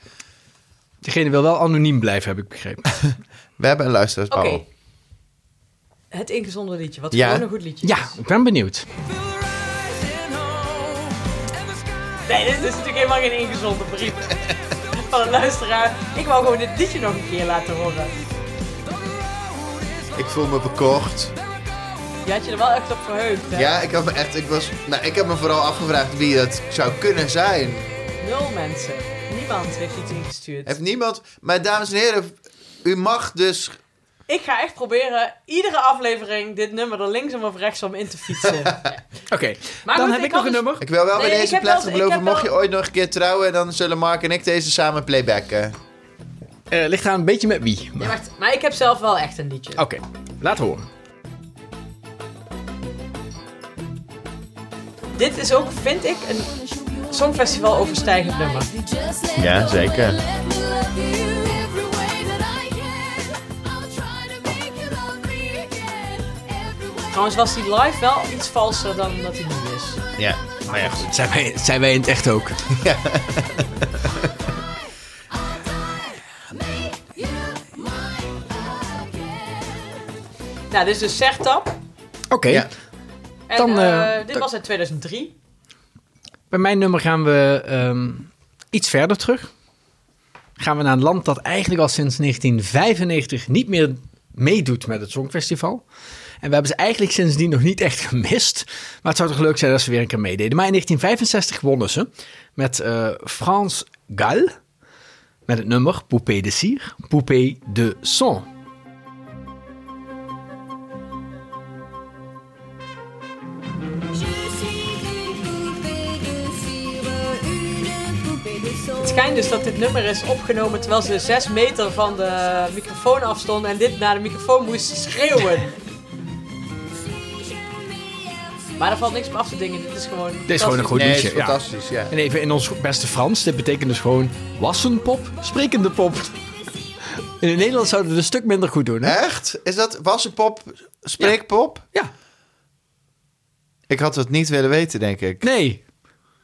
Speaker 3: Degene wil wel anoniem blijven, heb ik begrepen.
Speaker 1: we hebben een luisteraar. Oh,
Speaker 2: Oké. Het ingezonden liedje, wat
Speaker 3: Oh. Ja.
Speaker 2: gewoon een goed liedje
Speaker 3: Ja,
Speaker 2: is.
Speaker 3: ik ben benieuwd.
Speaker 2: Nee, dit is dus natuurlijk helemaal geen ingezonden brief van een luisteraar. Ik wou gewoon dit liedje nog een keer laten horen.
Speaker 1: Ik voel me bekocht.
Speaker 2: Je had je er wel echt op verheugd, hè?
Speaker 1: Ja, ik had me echt. Ik, was, nou, ik heb me vooral afgevraagd wie dat zou kunnen zijn.
Speaker 2: Nul mensen. Niemand heeft iets ingestuurd.
Speaker 1: Heeft niemand. Maar dames en heren, u mag dus.
Speaker 2: Ik ga echt proberen iedere aflevering dit nummer er linksom of rechtsom in te fietsen.
Speaker 3: Oké,
Speaker 2: Maar
Speaker 3: dan
Speaker 2: goed,
Speaker 3: heb
Speaker 2: ik
Speaker 3: ik nog
Speaker 2: had
Speaker 3: een
Speaker 2: dus-
Speaker 3: nummer.
Speaker 1: Ik wil wel
Speaker 2: Nee,
Speaker 1: bij
Speaker 2: ik
Speaker 1: deze
Speaker 2: heb
Speaker 1: plek
Speaker 2: wel- ik
Speaker 1: beloven.
Speaker 2: heb wel-
Speaker 1: Mocht je ooit nog een keer trouwen, dan zullen Mark en ik deze samen playbacken.
Speaker 3: Eh, ligt aan een beetje met wie.
Speaker 2: Nee, wacht, maar ik heb zelf wel echt een liedje.
Speaker 3: Oké, laat horen.
Speaker 2: Dit is ook, vind ik, een songfestival overstijgend nummer.
Speaker 1: Ja, zeker.
Speaker 2: Trouwens was die live wel iets valser dan dat hij nu is.
Speaker 1: Ja, maar ja,
Speaker 3: goed. Zijn wij, zijn wij in het echt ook? Ja.
Speaker 2: Nou, dit is dus Sertap.
Speaker 3: Oké,
Speaker 2: En
Speaker 3: Dan,
Speaker 2: eh,
Speaker 3: eh,
Speaker 2: dit
Speaker 3: dan-
Speaker 2: was uit 2003.
Speaker 3: bij mijn nummer gaan we ehm, iets verder terug. Gaan we naar een land dat eigenlijk al sinds 1995 niet meer meedoet met het Songfestival. En we hebben ze eigenlijk sindsdien nog niet echt gemist. Maar het zou toch leuk zijn als ze weer een keer meededen. Maar in 1965 wonnen ze met eh Frans Gall. Met het nummer Poupée de Cire, Poupée de Son.
Speaker 2: Het schijnt dus dat dit nummer is opgenomen terwijl ze zes meter van de microfoon afstonden en dit naar de microfoon moesten schreeuwen. Maar daar valt niks op af te dingen. Dit is gewoon.
Speaker 3: Dit is gewoon een goed
Speaker 1: Nee, het is
Speaker 3: liedje.
Speaker 1: fantastisch, ja.
Speaker 3: En even in ons beste Frans, dit betekent dus gewoon wassenpop, sprekende pop. En in Nederland zouden we het een stuk minder goed doen.
Speaker 1: Echt? Is dat wassenpop, spreekpop?
Speaker 3: Ja.
Speaker 1: Ik had het niet willen weten, denk ik.
Speaker 3: Nee.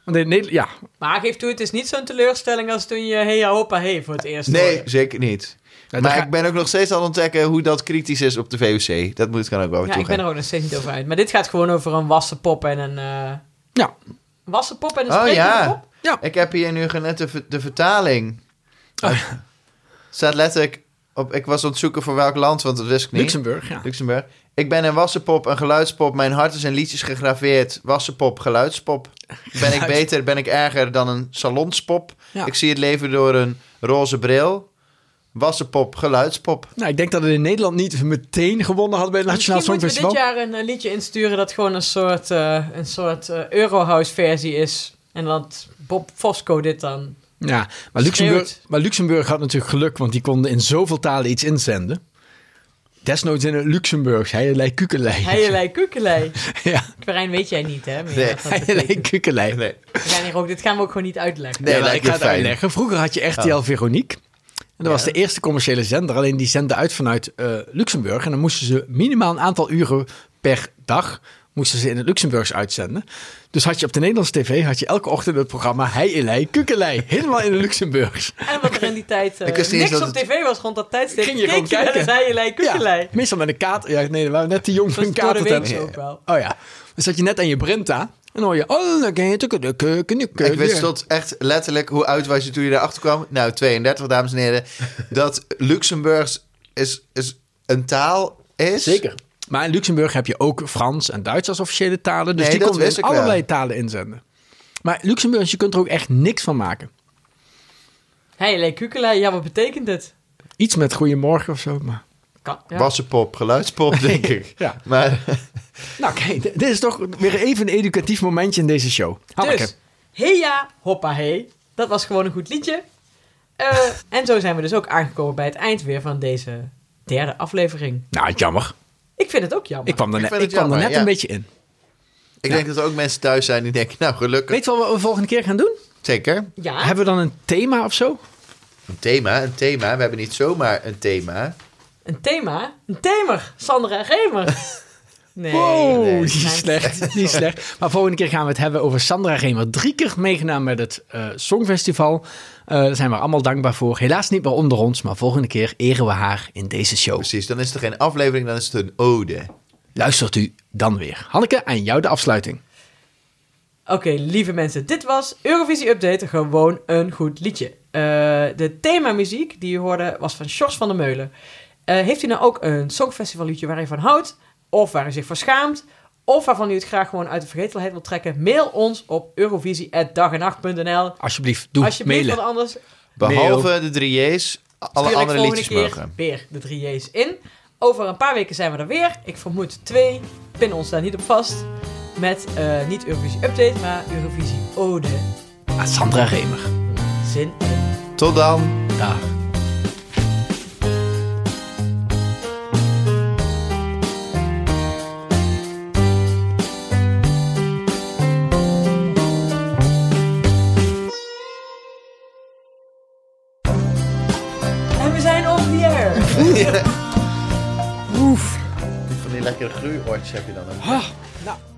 Speaker 3: Want in Nederland, ja.
Speaker 2: Maar geef toe, het is niet zo'n teleurstelling als toen je Hey ah, Hoppa Hey voor het eerst
Speaker 1: Nee,
Speaker 2: hoorde.
Speaker 1: zeker niet. maar ik ben ook nog steeds aan het ontdekken hoe dat kritisch is op de VOC. Dat moet ik dan ook wel weer
Speaker 2: Ja, ik ben er
Speaker 1: toegeven.
Speaker 2: ook nog steeds niet over uit. Maar dit gaat gewoon over een wassen pop en een... eh
Speaker 3: Ja.
Speaker 2: Wassen pop en een
Speaker 1: Oh
Speaker 2: sprekende
Speaker 1: ja.
Speaker 2: pop?
Speaker 1: ik heb hier nu net de, ver- de vertaling.
Speaker 3: Oh.
Speaker 1: staat letterlijk op... Ik was aan het zoeken voor welk land, want dat wist ik niet.
Speaker 3: Luxemburg, ja.
Speaker 1: Luxemburg. Ik ben een wassenpop, een geluidspop. Mijn hart is in liedjes gegraveerd. Wassenpop, geluidspop. Ben ik
Speaker 3: Geluid.
Speaker 1: beter, ben ik erger dan een salonspop?
Speaker 3: Ja.
Speaker 1: Ik zie het leven door een roze bril. Wassenpop, geluidspop.
Speaker 3: Nou, ik denk dat het in Nederland niet meteen gewonnen had bij het Nationaal
Speaker 2: Misschien moeten we dit
Speaker 3: Songfestival.
Speaker 2: jaar een eh, liedje insturen dat gewoon een soort, eh, een soort eh, Eurohouse versie is. En dat Bob Fosco dit dan...
Speaker 3: Ja, maar Luxemburg,
Speaker 2: Schreeuwt.
Speaker 3: maar Luxemburg had natuurlijk geluk, want die konden in zoveel talen iets inzenden. Desnoods in het Luxemburgs, heierlei kukelei.
Speaker 2: Heierlei kukelei.
Speaker 3: Ja.
Speaker 2: Quirijn weet jij niet, hè? meer
Speaker 3: Nee,
Speaker 2: wat dat
Speaker 3: heierlei kukelei. Nee.
Speaker 2: We gaan hier ook, dit gaan we ook gewoon niet uitleggen.
Speaker 3: Nee, ik ga het uitleggen. Vroeger had je RTL
Speaker 2: Oh.
Speaker 3: Veronique. En dat was de eerste commerciële zender. Alleen die zenden uit vanuit eh, Luxemburg. En dan moesten ze minimaal een aantal uren per dag... moesten ze in het Luxemburgs uitzenden. Dus had je op de Nederlandse tv... had je elke ochtend het programma Hei Elei Kukelei. Helemaal in het Luxemburgs.
Speaker 2: En wat er in die tijd eh,
Speaker 3: Ik wist niet eens
Speaker 2: niks
Speaker 3: dat
Speaker 2: op tv was rond dat tijdstip.
Speaker 3: Ging je gewoon
Speaker 2: keek naar
Speaker 3: kijken.
Speaker 2: de Heierlei kukelei.
Speaker 3: Ja, meestal met een kater. Ja, nee, we waren net te jong voor een
Speaker 2: door de
Speaker 3: kater. te
Speaker 2: week
Speaker 3: hebben.
Speaker 2: ook wel.
Speaker 3: Oh ja. Dan zat je net aan je Brinta. En dan hoor je... Oh, dan ken je het ook, de keuken, de
Speaker 1: Ik wist
Speaker 3: keuken.
Speaker 1: tot echt letterlijk hoe oud was je toen je erachter kwam. Nou, 32, dames en heren. Dat Luxemburgs is, is een taal is.
Speaker 3: Zeker. Maar in Luxemburg heb je ook Frans en Duits als officiële talen. Dus
Speaker 1: Nee,
Speaker 3: die
Speaker 1: dat
Speaker 3: konden
Speaker 1: wist
Speaker 3: in
Speaker 1: ik wel.
Speaker 3: allerlei talen inzenden. Maar Luxemburg, je kunt er ook echt niks van maken.
Speaker 2: Heierlei kukelei, ja, wat betekent het?
Speaker 3: Iets met goeiemorgen of zo. Maar...
Speaker 2: Kan, ja.
Speaker 1: Wassenpop, geluidspop, denk ik.
Speaker 3: Ja.
Speaker 1: Maar
Speaker 3: Nou kijk, dit is toch weer even een educatief momentje in deze show. Hanneke.
Speaker 2: Dus, heja, hoppa hey. Dat was gewoon een goed liedje. Eh, en zo zijn we dus ook aangekomen bij het eind weer van deze derde aflevering.
Speaker 3: Nou, jammer.
Speaker 2: Ik vind het ook jammer.
Speaker 3: Ik kwam
Speaker 1: Ik
Speaker 3: er net,
Speaker 1: vind
Speaker 3: ik
Speaker 1: het
Speaker 3: kwam er
Speaker 1: jammer,
Speaker 3: net
Speaker 1: ja.
Speaker 3: een beetje in.
Speaker 1: ik
Speaker 3: Ja.
Speaker 1: denk dat er ook mensen thuis zijn die denken, nou gelukkig.
Speaker 3: Weet je wat we de volgende keer gaan doen?
Speaker 1: Zeker.
Speaker 2: Ja.
Speaker 3: Hebben we dan een thema of zo?
Speaker 1: Een thema, een thema. We hebben niet zomaar een thema.
Speaker 2: Een thema? Een themer. Sandra en Remer. Nee.
Speaker 3: wow,
Speaker 2: nee.
Speaker 3: Oh, die is
Speaker 2: Mijn-
Speaker 3: slecht. Die is slecht. Maar volgende keer gaan we het hebben over Sandra Remer. Drie keer meegedaan met het eh, Songfestival. Eh, daar zijn we allemaal dankbaar voor. Helaas niet meer onder ons, maar volgende keer eren we haar in deze show.
Speaker 1: Precies, dan is er geen aflevering, dan is het een ode.
Speaker 3: Luistert u dan weer. Hanneke, aan jou de afsluiting.
Speaker 2: Oké, lieve mensen, dit was Eurovisie Update. Gewoon een goed liedje. Eh, de themamuziek die je hoorde was van Sjors van der Meulen. Eh, heeft u nou ook een songfestivalliedje waar u van houdt? Of waar u zich voor schaamt? Of waarvan u het graag gewoon uit de vergetelheid wilt trekken? Mail ons op eurovisie.dagenacht.nl
Speaker 3: Alsjeblieft, doe
Speaker 2: Alsjeblieft,
Speaker 3: mailen.
Speaker 2: want anders
Speaker 1: Behalve de drie J's, alle
Speaker 2: stuur ik
Speaker 1: andere
Speaker 2: volgende
Speaker 1: liedjes
Speaker 2: keer
Speaker 1: mogen.
Speaker 2: weer de drie J's in. Over een paar weken zijn we er weer. Ik vermoed twee. Pin ons daar niet op vast. Met eh, niet Eurovisie Update, maar Eurovisie Ode.
Speaker 3: Aan Sandra Remer.
Speaker 2: Zin
Speaker 1: Tot dan.
Speaker 3: Dag.
Speaker 2: En we zijn on the air.
Speaker 1: Van die lekkere groeioortjes heb je dan ook.
Speaker 2: Nou,